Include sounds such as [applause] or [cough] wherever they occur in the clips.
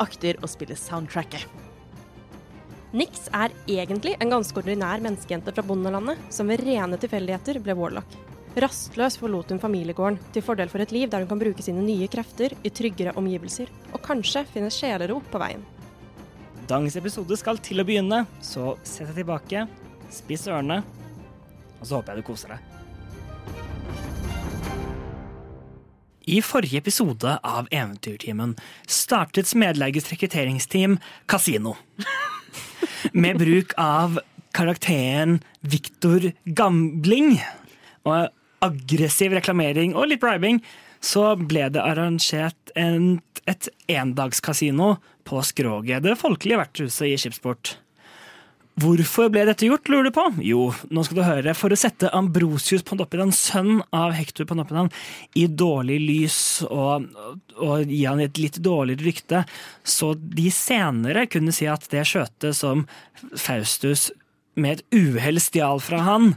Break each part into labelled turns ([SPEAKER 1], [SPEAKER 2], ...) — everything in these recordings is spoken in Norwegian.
[SPEAKER 1] akter å spille soundtracket.
[SPEAKER 2] Nix er egentlig en ganske ordinær menneskejente fra bondelandet, som ved rene tilfeldigheter ble warlock. Rastløs forlot hun familiegården, til fordel for et liv der hun kan bruke sine nye krefter i tryggere omgivelser, og kanskje finne sjelero på veien.
[SPEAKER 3] Dagens episode skal til å begynne, så sett deg tilbake, spiss ørene, og så håper jeg du koser deg. I forrige episode av Eventyrtimen startet Smedleigets rekrutteringsteam Casino. Med bruk av karakteren Viktor Gambling og aggressiv reklamering og litt bribing, så ble det arrangert en, et endagskasino på Skroget, det folkelige vertshuset i Skipsport. Hvorfor ble dette gjort, lurer du på? Jo, nå skal du høre. For å sette Ambrosius Pondoppidans, sønn av Hector Pondoppidans, i dårlig lys og, og gi han et litt dårligere rykte, så de senere kunne si at det skjøtet som Faustus med et uhell stjal fra han,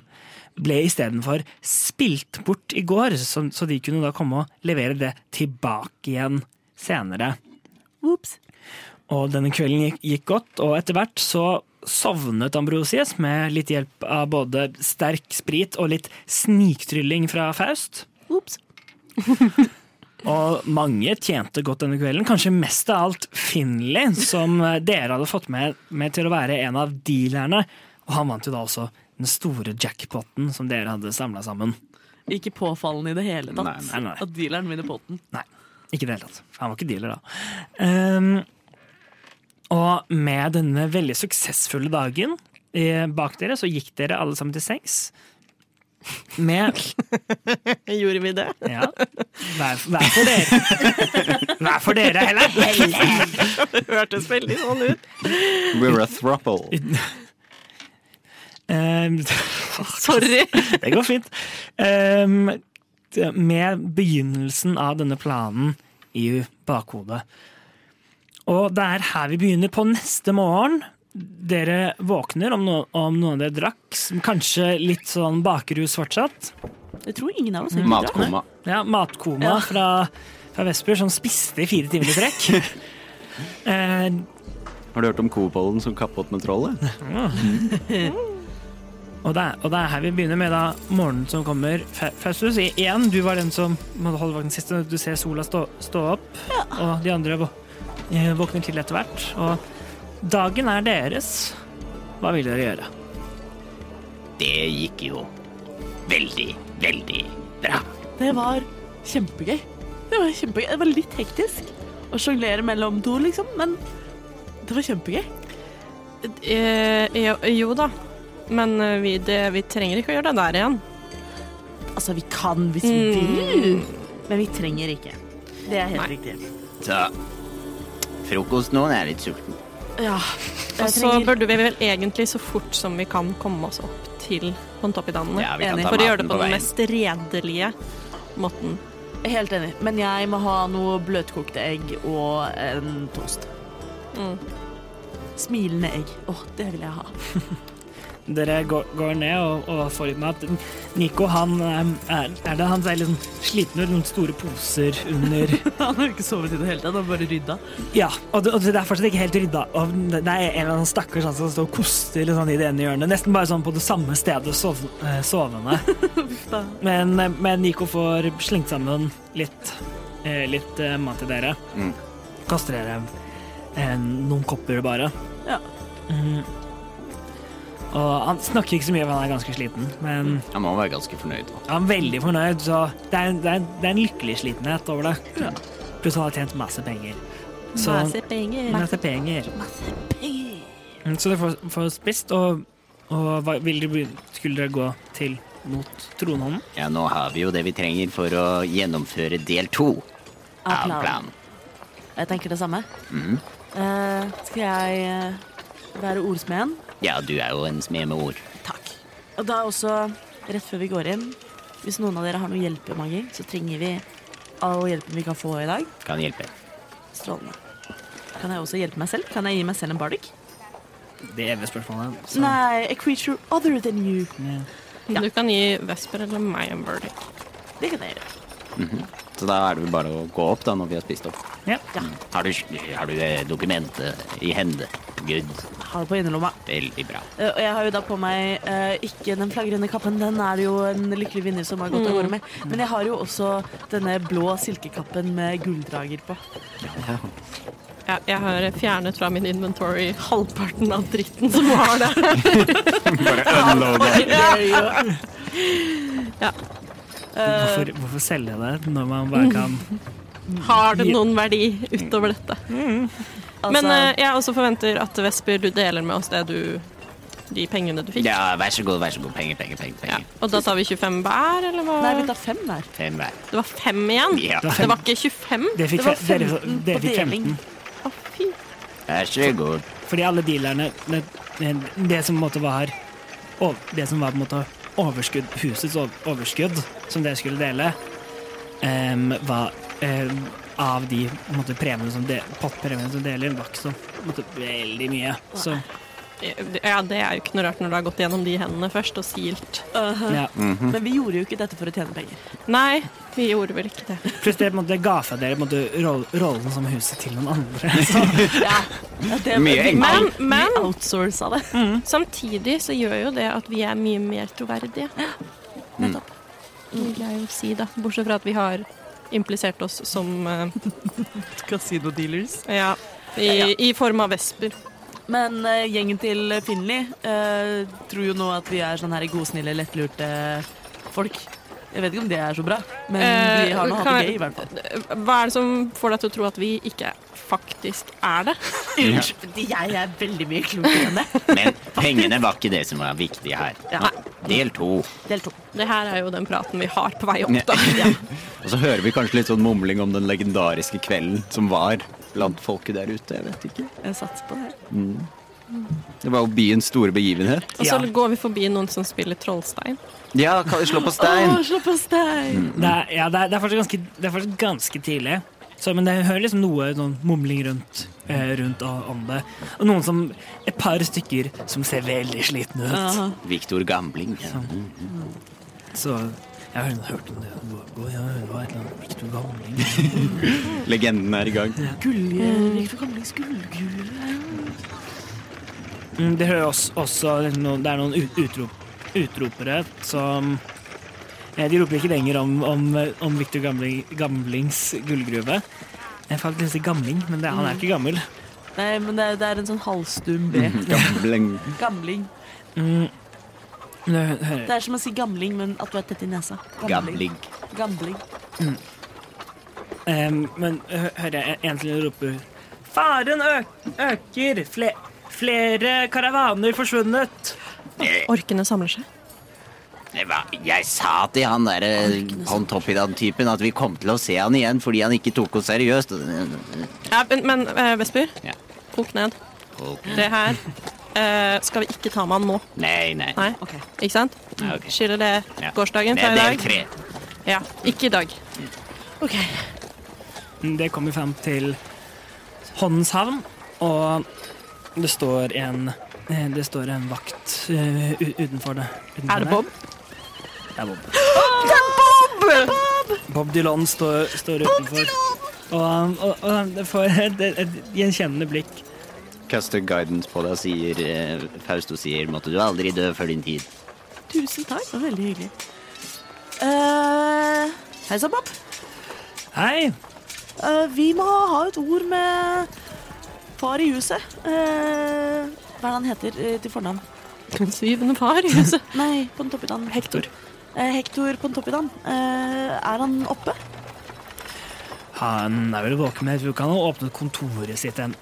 [SPEAKER 3] ble istedenfor spilt bort i går, så, så de kunne da komme og levere det tilbake igjen senere.
[SPEAKER 1] Ops.
[SPEAKER 3] Og denne kvelden gikk, gikk godt, og etter hvert så sovnet Ambrosius med litt hjelp av både sterk sprit og litt sniktrylling fra Faust.
[SPEAKER 1] Ops.
[SPEAKER 3] Og mange tjente godt denne kvelden, kanskje mest av alt Finley, som dere hadde fått med, med til å være en av dealerne. Og han vant jo da også den store jackpoten som dere hadde samla sammen.
[SPEAKER 4] Ikke påfallende i det hele tatt.
[SPEAKER 3] Nei, nei.
[SPEAKER 4] At dealeren vinner potten.
[SPEAKER 3] Nei, ikke i det hele tatt. For han var ikke dealer, da. Ehm, og med denne veldig suksessfulle dagen eh, bak dere, så gikk dere alle sammen til sengs. Med
[SPEAKER 4] Gjorde vi det? [laughs]
[SPEAKER 3] Ja. Hver, hver for dere. Hver for dere, heller.
[SPEAKER 4] Det hørtes veldig sånn ut.
[SPEAKER 5] We're a throuple.
[SPEAKER 3] Ehm,
[SPEAKER 4] Sorry.
[SPEAKER 3] det går fint. Ehm, det- med begynnelsen av denne planen i bakhodet. Og det er her vi begynner på neste morgen. Dere våkner om, no om noen av dere drakk, som kanskje litt sånn bakrus fortsatt.
[SPEAKER 1] Jeg tror ingen av oss egentlig drar.
[SPEAKER 5] Matkoma.
[SPEAKER 3] Ja, matkoma fra, fra Vesper som spiste i fire timer i trekk. Eh,
[SPEAKER 6] Har du hørt om kobolden som kappet med trollet?
[SPEAKER 3] Og det, er, og det er her vi begynner med da morgenen som kommer. Fa- Faustus, i- igjen, du var den som måtte holde vakten sist. og Du ser sola stå, stå opp, og de andre vå- eh, våkner til etter hvert. Og dagen er deres. Hva vil dere gjøre?
[SPEAKER 5] Det gikk jo veldig, veldig bra.
[SPEAKER 4] Det var
[SPEAKER 1] Kjempegøy. Det var kjempegøy. Det var litt hektisk å sjonglere mellom to, liksom, men det var kjempegøy.
[SPEAKER 2] Eh, jo, jo da, men eh, vi, det, vi trenger ikke å gjøre det der igjen.
[SPEAKER 1] Altså, vi kan hvis vi vil, men vi trenger ikke. Mm. Det er helt riktig.
[SPEAKER 5] Så frokost nå, jeg er litt sulten.
[SPEAKER 1] Ja,
[SPEAKER 2] Og så burde vi vel egentlig så fort som vi kan komme oss opp til Pontoppidanene.
[SPEAKER 5] Ja, vi kan
[SPEAKER 1] Enig.
[SPEAKER 5] ta
[SPEAKER 2] for å gjøre det
[SPEAKER 5] maten
[SPEAKER 2] på,
[SPEAKER 5] på
[SPEAKER 2] den
[SPEAKER 5] veien.
[SPEAKER 2] mest redelige måten.
[SPEAKER 1] Helt enig, men jeg må ha noe bløtkokte egg og en toast.
[SPEAKER 2] Mm.
[SPEAKER 1] Smilende egg. Å, det vil [laughs] jeg ha.
[SPEAKER 3] Dere går, går ned og, og får litt mat. Nico, han eh, er, er det han ser litt sånn sliten ut, noen store poser under
[SPEAKER 4] Han har jo ikke sovet i det hele tatt, han bare rydda.
[SPEAKER 3] Ja, og det, og det er fortsatt ikke helt rydda. Og det det er en eller annen stakkars han som står og koster litt sånn i det ene hjørnet. Nesten bare sånn på det samme stedet sov, eh, sovende.
[SPEAKER 4] da.
[SPEAKER 3] men, eh, men Nico får slengt sammen litt, eh, litt eh, mat til dere.
[SPEAKER 5] Mm.
[SPEAKER 3] Kaster dere eh, noen kopper bare.
[SPEAKER 7] Ja.
[SPEAKER 3] Mm. Og han snakker ikke så mye, for han er ganske sliten, men
[SPEAKER 5] Jeg må være ganske fornøyd. da.
[SPEAKER 3] han er veldig fornøyd, så det er, en- det er, en- det er en lykkelig slitenhet over det. Pluss han har tjent masse penger. Så, masse penger. Masse penger. Mm, Så dere får, får spist, og, og hva, vil dere, begyn- skulle dere gå til mot tronhånden?
[SPEAKER 8] Ja, nå har vi jo det vi trenger for å gjennomføre del to av planen.
[SPEAKER 1] Jeg tenker det samme. Eh, skal jeg eh, være ordsmeden?
[SPEAKER 8] Ja, du er jo en smed med ord.
[SPEAKER 1] Takk. Og da også, rett før vi går inn, hvis noen av dere har noe hjelpemagi, så trenger vi all hjelpen vi kan få i dag.
[SPEAKER 8] Kan hjelpe.
[SPEAKER 1] Strålende. Kan jeg også hjelpe meg selv? Kan jeg gi meg selv en bardic?
[SPEAKER 3] Det evige spørsmålet. så-
[SPEAKER 1] Nei, a creature other than you.
[SPEAKER 2] Du kan gi Vesper eller meg en birdie.
[SPEAKER 1] Det kan jeg gjøre.
[SPEAKER 8] Så da er det vel bare å gå opp da når vi har spist opp.
[SPEAKER 3] Ja.
[SPEAKER 8] Har du, har du eh, dokumentet i hende? Good.
[SPEAKER 1] Har det på innerlomma.
[SPEAKER 8] Veldig bra.
[SPEAKER 1] Eh, Og jeg har jo da på meg eh, ikke den flagrende kappen, den er det jo en lykkelig vinner som har gått av gårde med. Men jeg har jo også denne blå silkekappen med gulldrager på.
[SPEAKER 2] Jeg, jeg har fjernet fra min inventory halvparten av dritten som var der.
[SPEAKER 3] Hvorfor, hvorfor selge det når man bare kan
[SPEAKER 2] Har det noen verdi utover dette?
[SPEAKER 1] Altså,
[SPEAKER 2] Men eh, jeg også forventer at Vesper, du deler med oss det du De pengene du fikk.
[SPEAKER 8] Ja, vær så god, vær så god. Penger, penger, penger.
[SPEAKER 2] Ja.
[SPEAKER 8] penger.
[SPEAKER 2] Og da tar vi 25 hver, eller hva?
[SPEAKER 1] Nei, vi tar fem hver.
[SPEAKER 8] Fem hver.
[SPEAKER 2] Det var fem igjen?
[SPEAKER 8] Ja.
[SPEAKER 2] Det var ikke 25?
[SPEAKER 3] Dere fikk
[SPEAKER 1] Det var
[SPEAKER 3] fe- dere-
[SPEAKER 1] 15
[SPEAKER 3] dere
[SPEAKER 1] på
[SPEAKER 3] fikk
[SPEAKER 1] deling.
[SPEAKER 3] 15.
[SPEAKER 2] Å, fy.
[SPEAKER 8] Vær så god.
[SPEAKER 3] Fordi alle dealerne Det, det som på en måte var og Det som var på en måte overskudd Husets ov- overskudd Som dere skulle dele em, Var em, Av de på en måte, premiene som de, Pottpremiene som deler Var ikke så på en måte, veldig mye Så
[SPEAKER 2] Ja, det er jo ikke noe rart når du har gått gjennom de hendene først og silt.
[SPEAKER 3] ja
[SPEAKER 1] Men vi gjorde jo ikke dette for å tjene penger.
[SPEAKER 2] Nei, vi gjorde vel ikke det.
[SPEAKER 3] Pluss det på en måte, ga fra dere på en måte, roll, Rollen som huset til noen andre [laughs] Så
[SPEAKER 1] Ja, det-
[SPEAKER 5] Mye
[SPEAKER 1] vi-
[SPEAKER 5] enklere.
[SPEAKER 2] Men, men
[SPEAKER 1] Vi outsourca det.
[SPEAKER 2] Samtidig så gjør jo det at vi er mye mer troverdige.
[SPEAKER 8] Mm.
[SPEAKER 2] Nettopp. Vil jeg jo si, da. Bortsett fra at vi har implisert oss som eh,
[SPEAKER 7] Casino dealers.
[SPEAKER 2] Ja. I,
[SPEAKER 1] Ja.
[SPEAKER 2] I form av vesper.
[SPEAKER 1] Men eh, gjengen til Finley eh, tror jo nå at vi er sånne her godsnille, lettlurte folk. Jeg vet ikke om det er så bra, men
[SPEAKER 2] Eh,
[SPEAKER 1] vi har nå hatt
[SPEAKER 2] kan-
[SPEAKER 1] det gøy i hvert fall.
[SPEAKER 2] Hva er det som får deg til å tro at vi ikke faktisk er det?
[SPEAKER 1] [laughs] Unnskyld, jeg er veldig mye klokere enn det.
[SPEAKER 8] Men pengene var ikke det som var viktig her.
[SPEAKER 1] Ja.
[SPEAKER 8] Del to.
[SPEAKER 1] Del to.
[SPEAKER 2] Det her er jo den praten vi har på vei
[SPEAKER 8] [laughs]
[SPEAKER 2] opp, da.
[SPEAKER 5] Og så hører vi kanskje litt sånn mumling om den legendariske kvelden som var blant folket der ute. Jeg vet ikke.
[SPEAKER 1] Jeg satser på det.
[SPEAKER 5] Det var jo byens store begivenhet.
[SPEAKER 2] Og så
[SPEAKER 3] Ja.
[SPEAKER 2] går vi forbi noen som spiller Trollstein.
[SPEAKER 5] Ja, kan vi slå på stein?
[SPEAKER 1] slå på stein!
[SPEAKER 3] Det er, ja, det er, det er, fortsatt, ganske, det er fortsatt ganske tidlig. Så, men jeg hører liksom noe sånn mumling rundt, eh, rundt o- om det. Og noen som, et par stykker som ser veldig slitne ut.
[SPEAKER 8] Viktor Gambling. Ja.
[SPEAKER 3] Så jeg har hørt om det. Gå- gå- Ja, det var et eller annet Victor Gamling.
[SPEAKER 5] Legenden er i gang.
[SPEAKER 3] Mm, Det hører også, også liksom noen, det er noen ut- utrop, utropere som eh, De roper ikke lenger om, om, om Victor Gamling, Gamlings gullgruve. Jeg falt til å si Gamling, men det, han er ikke gammel.
[SPEAKER 1] Nei, men det, er- det er en sånn halvstum B.
[SPEAKER 5] Mhm. Gambling.
[SPEAKER 1] Gamling.
[SPEAKER 3] Men jeg hører-
[SPEAKER 1] Det er som å si gamling, men at du er tett i nesa.
[SPEAKER 8] Gambling.
[SPEAKER 1] Gamling.
[SPEAKER 3] Ehm, men hø hører jeg en til rope Faren ø- øker! Fle flere karavaner forsvunnet!
[SPEAKER 2] Orkene samler seg.
[SPEAKER 8] Det var- Jeg sa til han der eh, Pontoppidan-typen at vi kom til å se han igjen fordi han ikke tok oss seriøst.
[SPEAKER 2] Ja, men, men eh, Vesper,
[SPEAKER 8] Ja.
[SPEAKER 2] kok ned.
[SPEAKER 8] Ok.
[SPEAKER 2] Det her eh, skal vi ikke ta med han nå.
[SPEAKER 8] Nei, nei.
[SPEAKER 2] Nei,
[SPEAKER 1] Ok.
[SPEAKER 2] ikke sant?
[SPEAKER 8] Nei, ok.
[SPEAKER 2] Skiller det
[SPEAKER 8] Ja.
[SPEAKER 2] gårsdagen
[SPEAKER 8] Det
[SPEAKER 2] fra
[SPEAKER 8] er
[SPEAKER 2] i
[SPEAKER 8] del
[SPEAKER 2] dag?
[SPEAKER 8] tre.
[SPEAKER 2] Ja, ikke i dag.
[SPEAKER 1] Ok.
[SPEAKER 3] Det kommer fram til Håndens havn, og det står en eh, det står en vakt eh, u- utenfor det. utenfor
[SPEAKER 2] Er
[SPEAKER 3] der.
[SPEAKER 2] det Bob?
[SPEAKER 3] Det er Bob. Bob Dylan står, står utenfor. Og, han- og, og han får et, et, et gjenkjennende blikk.
[SPEAKER 8] Caster guidance på deg og sier eh, Fausto sier 'måtte du aldri dø før din tid'.
[SPEAKER 1] Tusen takk. Det var veldig hyggelig. Eh, Hei sann, Bob.
[SPEAKER 3] Hei!
[SPEAKER 1] Eh, vi må ha et ord med far i huset. Eh, hva er det han heter eh, til fornavn?
[SPEAKER 2] Syvende [laughs] far i huset.
[SPEAKER 1] Nei, Pontoppidan. Hektor. Eh, Hektor Pontoppidan. Eh, er han oppe?
[SPEAKER 3] Han er vel våken, men jeg tror ikke han har åpnet kontoret sitt en,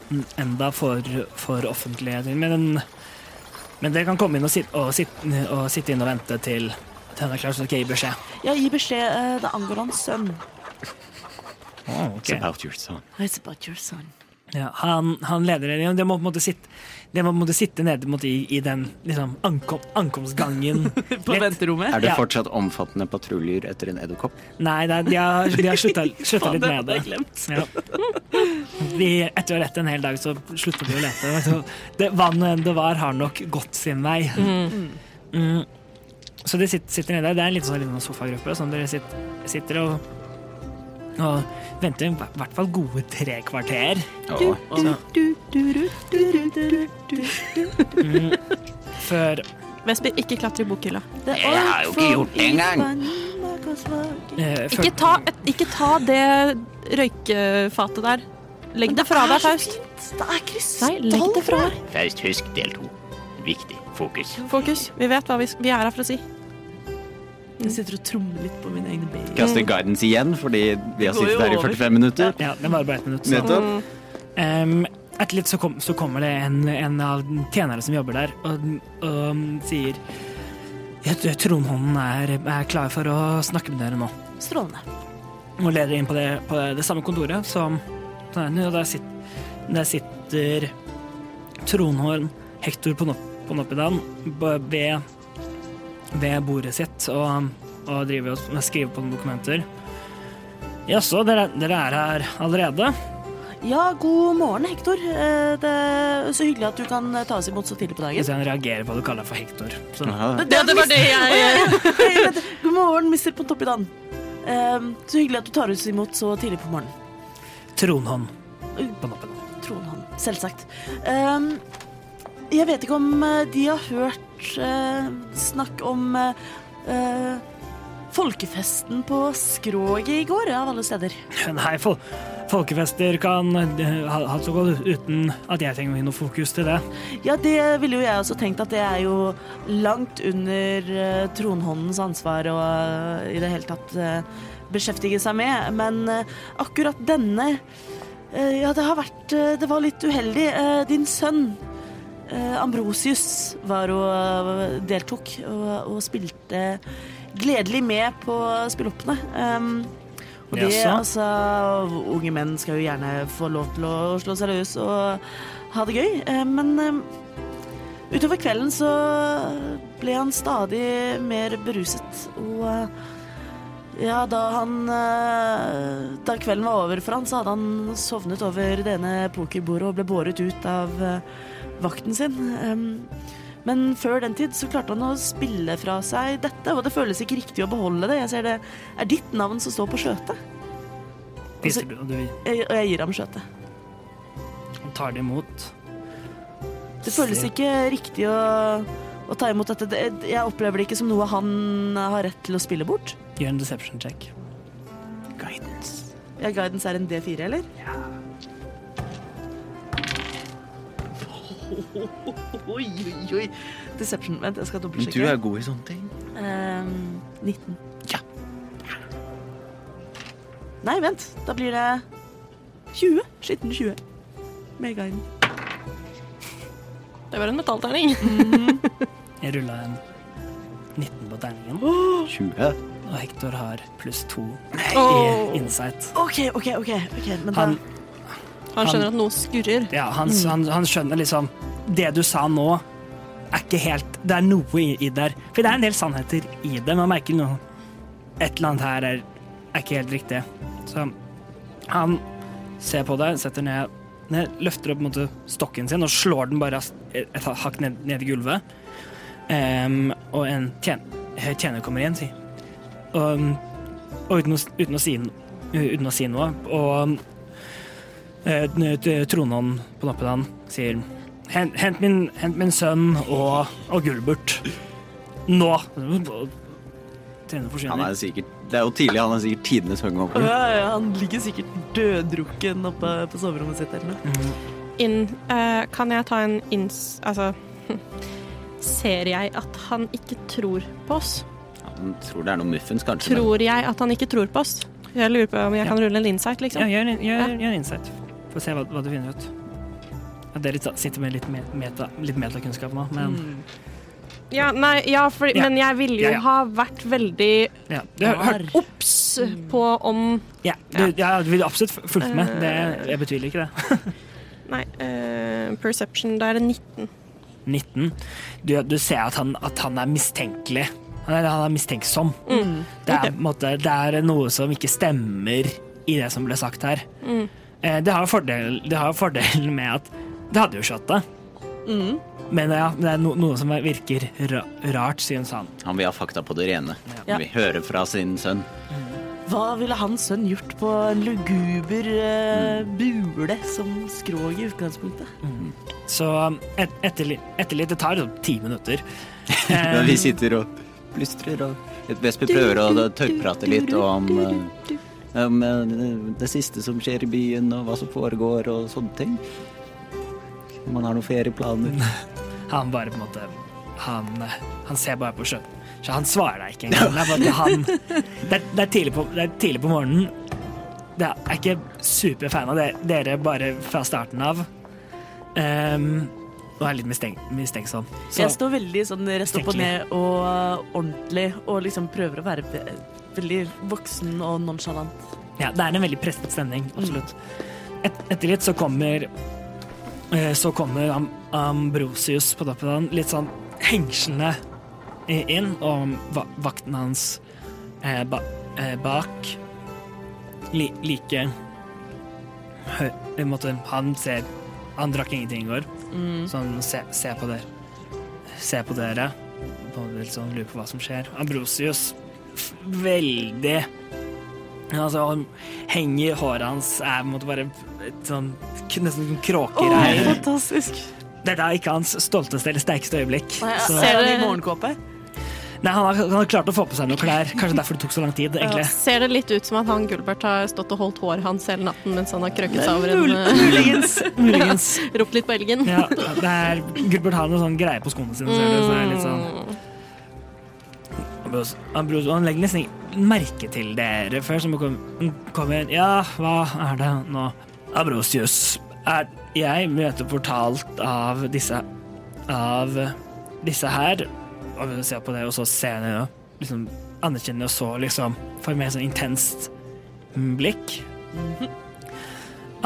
[SPEAKER 3] enda for, for offentligheten. Men, men dere kan komme inn og, sit, og, sit, og sitte inn og vente til til han er klar, så skal jeg gi beskjed.
[SPEAKER 1] Ja, gi beskjed. eh, det angår hans sønn.
[SPEAKER 3] Ok.
[SPEAKER 5] About your son.
[SPEAKER 1] It's about your son.
[SPEAKER 3] Ja, han, han leder dere, og dere må på en måte sitte, dere må på en måte sitte nede mot i, i den liksom, ankom, ankomstgangen.
[SPEAKER 7] På
[SPEAKER 3] Lett.
[SPEAKER 7] venterommet.
[SPEAKER 5] Er det
[SPEAKER 3] Ja.
[SPEAKER 5] fortsatt omfattende patruljer etter en edderkopp?
[SPEAKER 3] Nei, det er, de har, de har slutta slutta litt med det.
[SPEAKER 1] jeg glemt.
[SPEAKER 3] Ja. De, etter å ha lett en hel dag, så sluttet de å lete. Så Det, hva nå enn det var, har nok gått sin vei. Mm. Så de sitter, sitter nede. Det er en liten sånn liten sofagruppe som dere sitter, sitter og, og venter i hvert fall gode tre kvarter.
[SPEAKER 5] Ja.
[SPEAKER 3] Før
[SPEAKER 2] Vesper, ikke klatre i bokhylla.
[SPEAKER 1] Jeg har jo ikke gjort det engang.
[SPEAKER 3] eh, før-
[SPEAKER 2] Ikke ta, ikke ta det røykefatet der. Legg det fra deg, Faust.
[SPEAKER 1] Det er
[SPEAKER 2] Nei, legg
[SPEAKER 1] krystall.
[SPEAKER 2] det fra deg.
[SPEAKER 9] Faust, husk del to. Viktig. Fokus.
[SPEAKER 2] Fokus. Vi vet hva vi, vi er her for å si.
[SPEAKER 1] Jeg sitter og trommer litt på mine egne ben.
[SPEAKER 5] Kaster guidance igjen, fordi vi har
[SPEAKER 1] går jo
[SPEAKER 5] sittet her i
[SPEAKER 1] over.
[SPEAKER 5] 45 minutter.
[SPEAKER 3] Ja, Sånn. det var bare ett minutt. Så.
[SPEAKER 5] Nettopp.
[SPEAKER 3] Ehm, etter litt så, kom, så kommer det en, en av tjenerne som jobber der, og, og sier Jeg tror Tronhånden er, er klar for å snakke med dere nå.
[SPEAKER 1] Strålende.
[SPEAKER 3] Og leder inn på det, på det samme kontoret som og der, sit, der sitter Tronhorn Hector på Nop- på Noppidan b- ved, ved bordet sitt og, og driver og skriver på noen dokumenter. Jaså, dere, dere er her allerede?
[SPEAKER 1] Ja, god morgen, Hector. Eh, Det er så hyggelig at du kan eh, ta oss imot så tidlig på dagen. [laughs]
[SPEAKER 3] Hvis han reagerer på at du kaller deg for Hector. Så.
[SPEAKER 5] Aha.
[SPEAKER 1] Ja, det var det jeg God morgen, mister Pontoppidan. Eh, Så hyggelig at du tar oss imot så tidlig på morgenen.
[SPEAKER 3] Tronhånd på Noppidan.
[SPEAKER 1] Tror han, selvsagt. Ehm, jeg vet ikke om eh, de har hørt eh, snakk om eh, eh, folkefesten på Skroget i går, av alle steder.
[SPEAKER 3] Nei, fol folkefester kan eh, ha ha så godt uten at jeg trenger å gi noe fokus til det.
[SPEAKER 1] Ja, det ville jo jeg også tenkt at det er jo langt under eh, tronhåndens ansvar å eh, i det hele tatt eh, beskjeftige seg med, men eh, akkurat denne eh, Ja, det har vært eh, Det var litt uheldig. Eh, din sønn eh, Ambrosius var og eh, deltok og, og spilte gledelig med på spilloppene. Um, og det,
[SPEAKER 3] Jaså?
[SPEAKER 1] altså, unge menn skal jo gjerne få lov til å slå seg løs og ha det gøy, eh, men eh, utover kvelden så ble han stadig mer beruset, og eh, ja, da han eh, Da kvelden var over for han, så hadde han sovnet over det ene pokerbordet og ble båret ut av eh, vakten sin. Em, men før den tid så klarte han å spille fra seg dette, og det føles ikke riktig å beholde det. Jeg ser det er ditt navn som står på skjøtet,
[SPEAKER 3] Viser du, og du
[SPEAKER 1] Eh, og jeg gir ham skjøtet.
[SPEAKER 3] tar det imot.
[SPEAKER 1] Det føles ikke riktig å, å ta imot dette. Det- Jeg opplever det ikke som noe han har rett til å spille bort.
[SPEAKER 3] Gjør en deception check.
[SPEAKER 1] Ja, guidance er en D4, eller? [laughs] Oi, oi, oi. Deception. Vent, jeg skal
[SPEAKER 5] Men du
[SPEAKER 1] dobbeltsjekke.
[SPEAKER 5] er god i sånne ting.
[SPEAKER 1] Ehm, 19. Ja. Nei, vent. Da blir det 20. Skitten 20. Med guiden.
[SPEAKER 2] Det var en metallterning.
[SPEAKER 3] Jeg rulla en 19 på terningen,
[SPEAKER 5] 20.
[SPEAKER 3] og Hector har pluss 2
[SPEAKER 2] Åh.
[SPEAKER 3] i insight.
[SPEAKER 1] OK, OK, OK. ok, men da,
[SPEAKER 3] Han,
[SPEAKER 2] Han skjønner at noe skurrer.
[SPEAKER 3] ja, han, han, han skjønner liksom Det du sa nå, er ikke helt Det er noe i, i der. For det er en del sannheter i det. Man merker noe Et eller annet her er, er ikke helt riktig. Så han ser på det, setter ned, ned løfter opp på en måte, stokken sin og slår den bare et, et hakk ned, ned i gulvet. Em, og en tjen, eh, tjener kommer igjen, sier Og, og uten, å, s- uten, å si, n- uten å si noe. Og eh, n- t- tronhånden på nappen han sier Hent, hent, min, hent min sønn og, og Gulbert. Nå! Tjener
[SPEAKER 5] Han
[SPEAKER 3] forsvinner.
[SPEAKER 5] er sikkert, det er jo tidlig, han er sikkert tidenes hungover.
[SPEAKER 1] ja, ja, han ligger sikkert døddrukken oppe på soverommet sitt eller noe.
[SPEAKER 2] inn eh, Kan jeg ta en inns... Altså [laughs] Ser jeg at han ikke tror på oss?
[SPEAKER 5] Han tror det er noe muffens, kanskje. men-
[SPEAKER 2] Tror jeg at han ikke tror på oss? Jeg lurer på om jeg kan rulle en insight, liksom.
[SPEAKER 3] Ja, gjør, en- gjør, gjør en insight. Få se hva, hva du finner ut. Ja, dere sa- sitter med litt, me- meta, litt metakunnskap nå, men
[SPEAKER 2] Ja, nei, ja, for,
[SPEAKER 3] Ja.
[SPEAKER 2] men jeg ville jo
[SPEAKER 3] Ja, ja.
[SPEAKER 2] ha vært veldig
[SPEAKER 3] ja, du har hørt
[SPEAKER 2] obs på om
[SPEAKER 3] ja, du, ja, Eh. du ville absolutt fulgt med. Det, jeg betviler ikke det.
[SPEAKER 2] Nei, eh, perception, da er det 19.
[SPEAKER 3] 19. Du, du ser at han, at han er mistenkelig. Han er, han er mistenksom. Det, er, på en måte, det er noe som ikke stemmer i det som ble sagt her. Eh, Det har jo fordel, det har jo fordelen med at det hadde jo skjøtt det. Mm. Men ja, det er no, noe som virker ra, rart, synes han.
[SPEAKER 5] Han vil ha fakta på det rene.
[SPEAKER 1] Ja.
[SPEAKER 5] Han vil høre fra sin sønn.
[SPEAKER 1] Hva ville hans sønn gjort på en luguber eh,
[SPEAKER 3] Mm.
[SPEAKER 1] bule som skrog i utgangspunktet?
[SPEAKER 3] Så um, et, etter, li- etter litt, det tar sånn ti minutter.
[SPEAKER 5] Men vi sitter og plystrer, og et Vesper prøver å tørrprate litt om, eh, om eh, det siste som skjer i byen, og hva som foregår, og sånne ting. Om han har noen ferieplaner.
[SPEAKER 3] Han bare på en måte Han, eh, han ser bare på sjøen. Så han svarer deg ikke engang. Det er, bare, han, det, er, det, er tidlig på, det er tidlig på morgenen. Det er, jeg er ikke superfan av det, dere bare fra starten av. Ehm, og er litt mistenk, mistenksom. Så
[SPEAKER 1] Jeg står veldig sånn rett opp og ned og ordentlig og liksom prøver å være ve- veldig voksen og nonchalant.
[SPEAKER 3] ja, det er en veldig presset stemning. Absolutt. Et, etter litt så kommer eh, Så kommer Am Ambrosius på toppen av den, litt sånn hengslende i- inn, og va vakten hans eh, ba eh, bak li like hø i en måte, Han ser Han drakk ingenting i går,
[SPEAKER 1] Mm.
[SPEAKER 3] så han se ser på dere. Ser på dere. Og litt sånn lurer på hva som skjer. Ambrosius f- veldig Altså, han henger håret hans er på en måte bare et sånn k- nesten sånn kråkereir.
[SPEAKER 1] fantastisk.
[SPEAKER 3] Dette er ikke hans stolteste eller sterkeste øyeblikk.
[SPEAKER 1] Nei, jeg
[SPEAKER 3] Så,
[SPEAKER 1] ser han i morgenkåpe?
[SPEAKER 3] nei, han, har, han har klart å få på seg noen klær. Kanskje derfor det tok så lang tid, egentlig.
[SPEAKER 2] Ser det litt ut som at han Gulbert har stått og holdt håret hans hele natten mens han har krøkket seg over en eh, [laughs]
[SPEAKER 3] Muligens. Muligens.
[SPEAKER 2] Ropt litt på elgen.
[SPEAKER 3] Ja, det er, Gilbert har noe sånn greie på skoene sine, ser du. Så det er litt sånn Ambrose- Ambrose- Han legger nesten ikke merke til dere før, så må kom- han kommer inn. Ja, hva er det nå? Ambrosius, er jeg møter fortalt av disse Av disse her Og vi ser på det, og så ser han henne liksom anerkjenner og så liksom får med sånn intenst blikk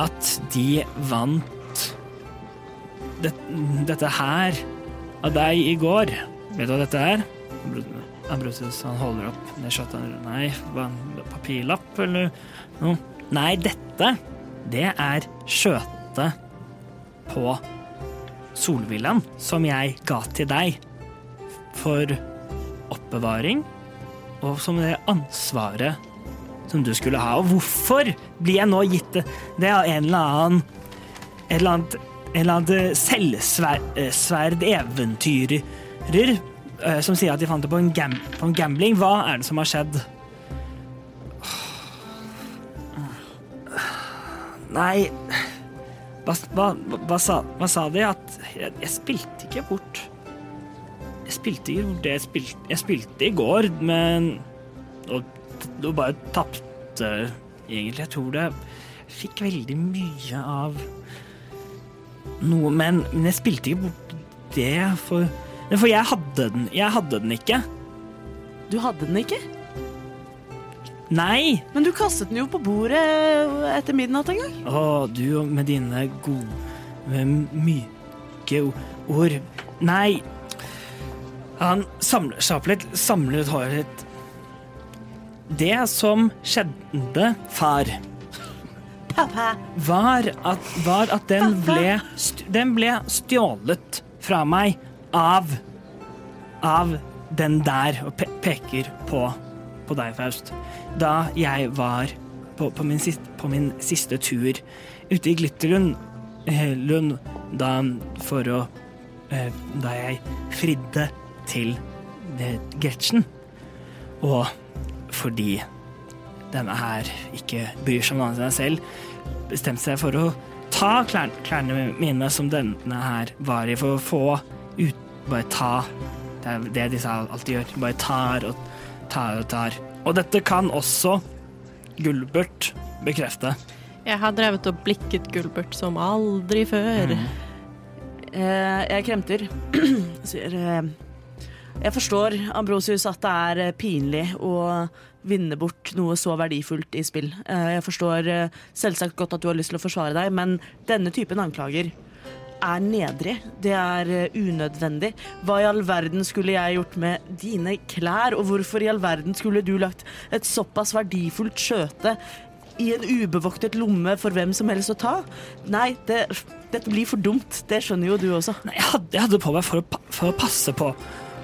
[SPEAKER 3] at de vant det, dette her av deg i går. Vet du hva dette er? Ambrosius han holder opp ned skjøttet. Nei, hva, en papirlapp eller noe? Nei, dette, det er skjøtet på Solvillaen som jeg ga til deg for oppbevaring, og som det ansvaret som du skulle ha. Og hvorfor blir jeg nå gitt det? Det er en eller annen et eller annet, en eller annet eh, selvsverd-eventyrer eh, som sier at de fant det på en, gam, på en gambling. Hva er det som har skjedd? Nei Hva, hva, hva, sa, hva sa de? At jeg, jeg spilte ikke bort Jeg spilte ikke bort det jeg spilte, jeg spilte i går, men Og, og bare tapte, egentlig. Jeg tror det jeg fikk veldig mye av noe, men, men jeg spilte ikke bort det, for, Nei, for jeg hadde den. Jeg hadde den ikke.
[SPEAKER 1] Du hadde den ikke?
[SPEAKER 3] Nei!
[SPEAKER 1] Men du kastet den jo på bordet etter midnatt en gang.
[SPEAKER 3] Å, du og med dine gode, myke o- ord. Nei. Han samler seg opp litt, samler ut håret litt. Det som skjedde, far,
[SPEAKER 1] Pappa.
[SPEAKER 3] var at, var at den, ble, st- den ble stjålet fra meg av av den der og pe peker på, på deg, Faust. Da jeg var på, på, min, siste, på min siste tur ute i Glitterlund eh, Lund, da, for å, eh, da jeg fridde til eh, Gretchen. Og fordi denne her ikke bryr seg om noe annet enn seg selv, bestemte seg for å ta klær, klærne mine som denne her var i, for å få ut Bare ta. Det er det disse alltid gjør. Bare tar og tar og tar. Og dette kan også Gulbert bekrefte.
[SPEAKER 2] Jeg har drevet og blikket Gulbert som aldri før.
[SPEAKER 3] Mm.
[SPEAKER 1] Eh, jeg kremter. [clears throat] Sier eh, Jeg forstår, Ambrosius, at det er eh, pinlig å vinne bort noe så verdifullt i spill. Eh, jeg forstår eh, selvsagt godt at du har lyst til å forsvare deg, men denne typen anklager er nedrig. Det er eh, unødvendig. Hva i all verden skulle jeg gjort med dine klær, og hvorfor i all verden skulle du lagt et såpass verdifullt skjøte i en ubevoktet lomme for hvem som helst å ta? Nei, det, dette blir for dumt. Det skjønner jo du også.
[SPEAKER 3] Nei, jeg hadde, jeg hadde på meg for å, pa- for å passe på,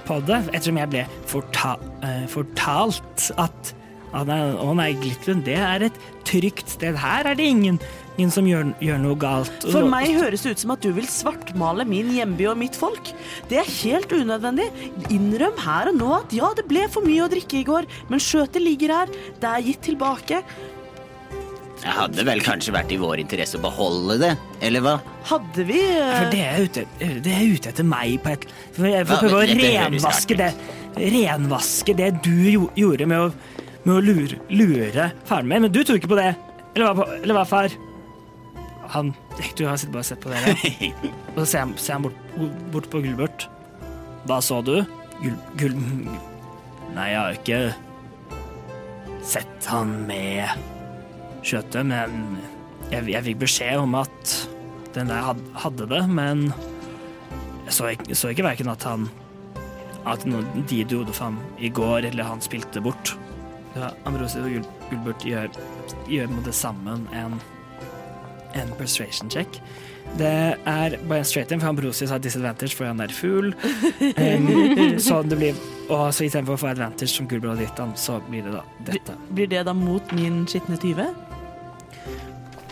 [SPEAKER 3] på det, ettersom jeg ble forta, eh, fortalt at å nei, å nei, Glitlund, det er et trygt sted. Her er det ingen, ingen som gjør, gjør noe galt. Og-
[SPEAKER 1] For meg høres det ut som at du vil svartmale min hjemby og mitt folk. Det er helt unødvendig. Innrøm her og nå at ja, det ble for mye å drikke i går, men skjøtet ligger her. Det er gitt tilbake.
[SPEAKER 5] Det hadde vel kanskje vært i vår interesse å beholde det, eller hva?
[SPEAKER 1] Hadde vi eh,
[SPEAKER 3] For det er ute, det er ute etter meg på et For jeg får
[SPEAKER 5] Ja,
[SPEAKER 3] prøve å
[SPEAKER 5] men dette høres
[SPEAKER 3] renvaske det,
[SPEAKER 5] rart
[SPEAKER 3] renvaske det du jo, gjorde med å, med å lure, lure faren min. Men du tror ikke på det. Eller hva, eller hva far? Han Du har sitt- bare sett på dere.
[SPEAKER 5] [laughs]
[SPEAKER 3] Og så ser han, ser han bort, bort på Gulbert. Hva så du? Gul... Gul... Nei, jeg har ikke sett han med skjøtet, men jeg, jeg fikk beskjed om at den der had, hadde det, men jeg så, ikke- så ikke verken at han At no, de du gjorde for ham i går, eller han spilte bort. Ja, Ambrose og Gul, Gulbert gjør, gjør med det sammen en, en persuasion check. Det er bare en straight in, for Ambrosius har disadvantage fordi han er fugl. Um, så det blir Og så istedenfor å få advantage som Gulbert og Dittan, så blir det da dette.
[SPEAKER 1] Blir det da mot min skitne tyve?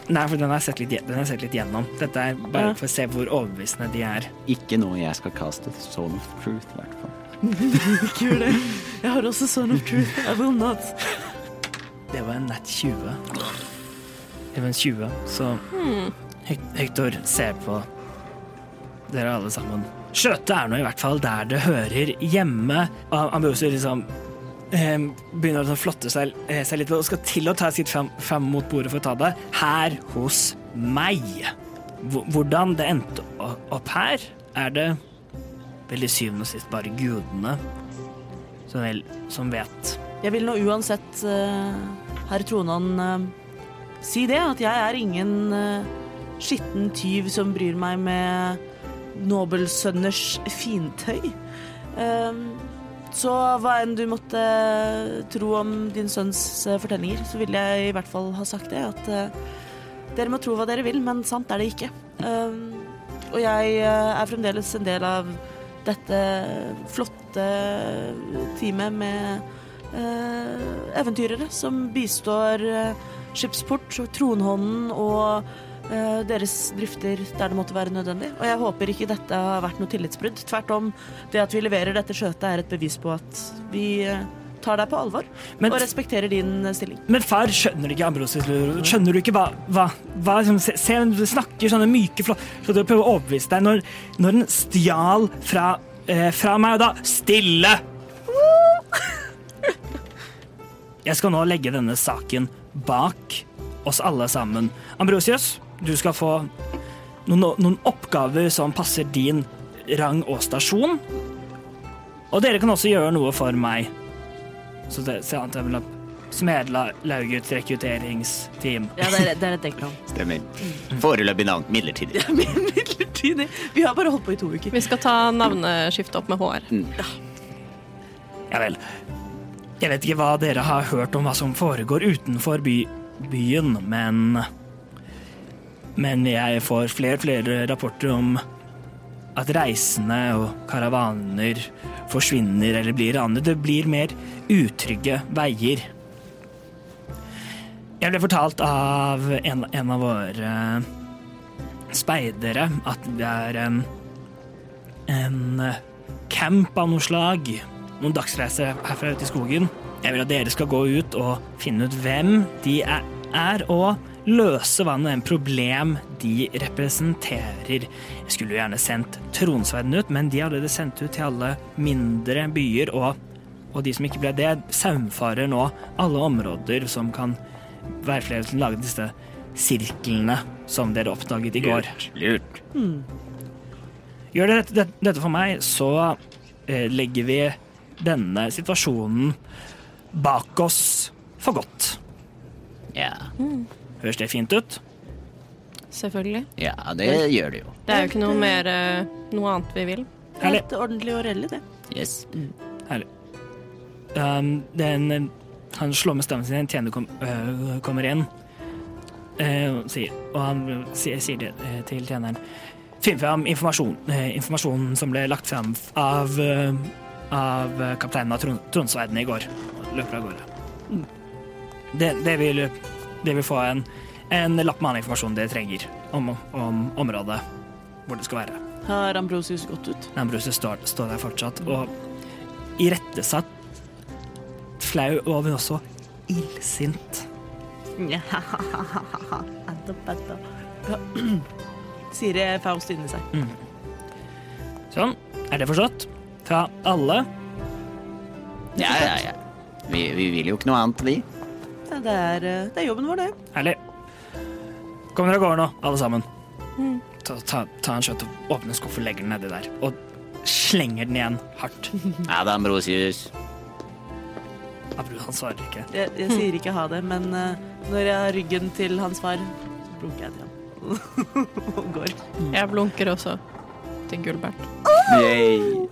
[SPEAKER 3] Nei, for den har jeg sett litt, gje- den har jeg sett litt gjennom. Dette er
[SPEAKER 1] Ja.
[SPEAKER 3] bare for å se hvor overbevisende de er.
[SPEAKER 5] Ikke noe jeg skal kaste Soul of Truth, i hvert fall.
[SPEAKER 1] Ikke [laughs] gjør det. Jeg har også Son of [laughs] Truth. I will not.
[SPEAKER 3] Det var en nett 20. Det var en 20, så Hek- Hector ser på dere alle sammen. Skjøtet er nå i hvert fall der det hører hjemme. Og Ambrose liksom eh, begynner å liksom flotte seg, eh, seg litt og skal til å ta sitt fram, fram mot bordet for å ta det. Her hos meg. Hvor- Hvordan det endte o- opp her, er det vel i syvende og sist bare gudene som, vel, som vet.
[SPEAKER 1] Jeg vil nå uansett, eh, herr Tronan, eh, si det, at jeg er ingen eh, skitten tyv som bryr meg med nobelsønners fintøy. Eh, så hva enn du måtte tro om din sønns eh, fortellinger, så vil jeg i hvert fall ha sagt det, at eh, dere må tro hva dere vil, men sant er det ikke. Eh, og jeg eh, er fremdeles en del av dette flotte teamet med eh, eventyrere som bistår eh, Skipsport, Tronhånden og eh, deres drifter der det måtte være nødvendig. Og jeg håper ikke dette har vært noe tillitsbrudd. Tvert om, det at vi leverer dette skjøtet er et bevis på at vi eh, tar deg på alvor
[SPEAKER 3] Men-
[SPEAKER 1] og respekterer din eh, stilling.
[SPEAKER 3] Men far, skjønner du ikke Ambrosius Luro? Skjønner du ikke hva, hva, hva liksom, se, se, Du snakker sånne myke flott Så du prøver å overbevise deg når, når den stjal fra, eh, fra meg, og da Stille! Jeg skal nå legge denne saken bak oss alle sammen. Ambrosius, du skal få noen, noen oppgaver som passer din rang og stasjon. Og dere kan også gjøre noe for meg. Så det ser han til at Smedlaugets rekrutteringsteam.
[SPEAKER 1] Ja, det er, det er et dekknavn.
[SPEAKER 5] Stemmer. Foreløpig navn. Midlertidig.
[SPEAKER 1] Midlertidig. Vi har bare holdt på i to uker.
[SPEAKER 2] Vi skal ta navneskiftet opp med HR.
[SPEAKER 3] Mm. Ja vel. Jeg vet ikke hva dere har hørt om hva som foregår utenfor by byen, men Men jeg får flere og flere rapporter om at reisende og karavaner forsvinner eller blir ranet. Det blir mer utrygge veier. Jeg ble fortalt av en, en av våre speidere at det er en, en eh, camp av noe slag. Noen dagsreiser herfra ute i skogen. Jeg vil at dere skal gå ut og finne ut hvem de er, er og løse hva nå enn problem de representerer. Jeg skulle jo gjerne sendt tronsverden ut, men de har allerede sendt ut til alle mindre byer, og, og de som ikke ble det, saumfarer nå alle områder som kan være flere til å lage disse sirklene som dere oppdaget i går.
[SPEAKER 9] Lurt.
[SPEAKER 3] Gjør dere dette, dette- dette for meg, så eh, legger vi denne situasjonen bak oss for godt.
[SPEAKER 5] Ja,
[SPEAKER 3] Høres det fint ut?
[SPEAKER 2] Selvfølgelig.
[SPEAKER 5] ja det gjør det jo.
[SPEAKER 2] Det er jo ikke noe mer eh, noe annet vi vil.
[SPEAKER 3] Herlig.
[SPEAKER 1] Helt ordentlig og rellig, det.
[SPEAKER 5] Yes.
[SPEAKER 3] Herlig. Um, den, han slår med stemmen sin, en tjener kom, øh, kommer inn eh, og sier, og han sier, sier det eh, til tjeneren. Finn fram informasjon, eh, informasjonen som ble lagt fram av, eh, av kapteinen av Tron- Tronsverden i går. Og Løper av gårde. Mm. Det, det, vil, det vil få en, en lapp med all informasjon dere trenger om, om området hvor det skal være.
[SPEAKER 1] Har Ambrosius gått ut?
[SPEAKER 3] Ambrose står, står der fortsatt og irettesatt, flau og men også illsint.
[SPEAKER 1] [laughs] [clears throat] Sier eh, Faust inni seg.
[SPEAKER 3] Sånn, er det forstått? Fra alle.
[SPEAKER 5] Ja, ja, ja. Vi, vi vil jo ikke noe annet, vi.
[SPEAKER 1] Ja, Det er, eh, det er jobben vår, det.
[SPEAKER 3] Herlig. Kom dere av gårde nå, alle sammen. Ta, ta, ta en skjøtt og åpne en skuff og legge den nedi der. Og slenger den igjen hardt.
[SPEAKER 5] Adam Rosius.
[SPEAKER 3] Abru, han svarer ikke.
[SPEAKER 1] Jeg, jeg sier ikke ha det, men eh, når jeg har ryggen til hans far, så blunker jeg til ham. [laughs] Og går.
[SPEAKER 3] Mm.
[SPEAKER 2] Jeg blunker også til Gulbert.
[SPEAKER 5] Yay.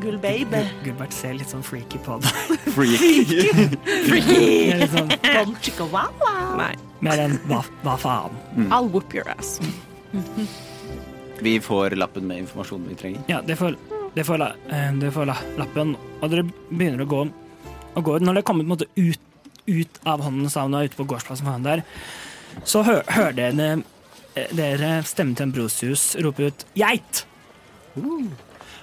[SPEAKER 1] Gull babe.
[SPEAKER 3] Gulbert ser litt sånn freaky på deg.
[SPEAKER 5] Freak.
[SPEAKER 3] Det er litt sånn,
[SPEAKER 1] Bom, chicka, wow, wow.
[SPEAKER 2] Nei.
[SPEAKER 3] Mer enn hva, hva faen.
[SPEAKER 2] I'll whoop your ass.
[SPEAKER 5] Vi får lappen med informasjonen vi trenger.
[SPEAKER 3] Ja, det får, det får, la, eh, det får la, lappen, og dere begynner å gå. Og går, når dere kommer på en måte ut, ut av hånden sammen og ute på gårdsplassen foran der, så hø, hører dere, eh, dere stemmen til Ambrosius rope ut 'geit'!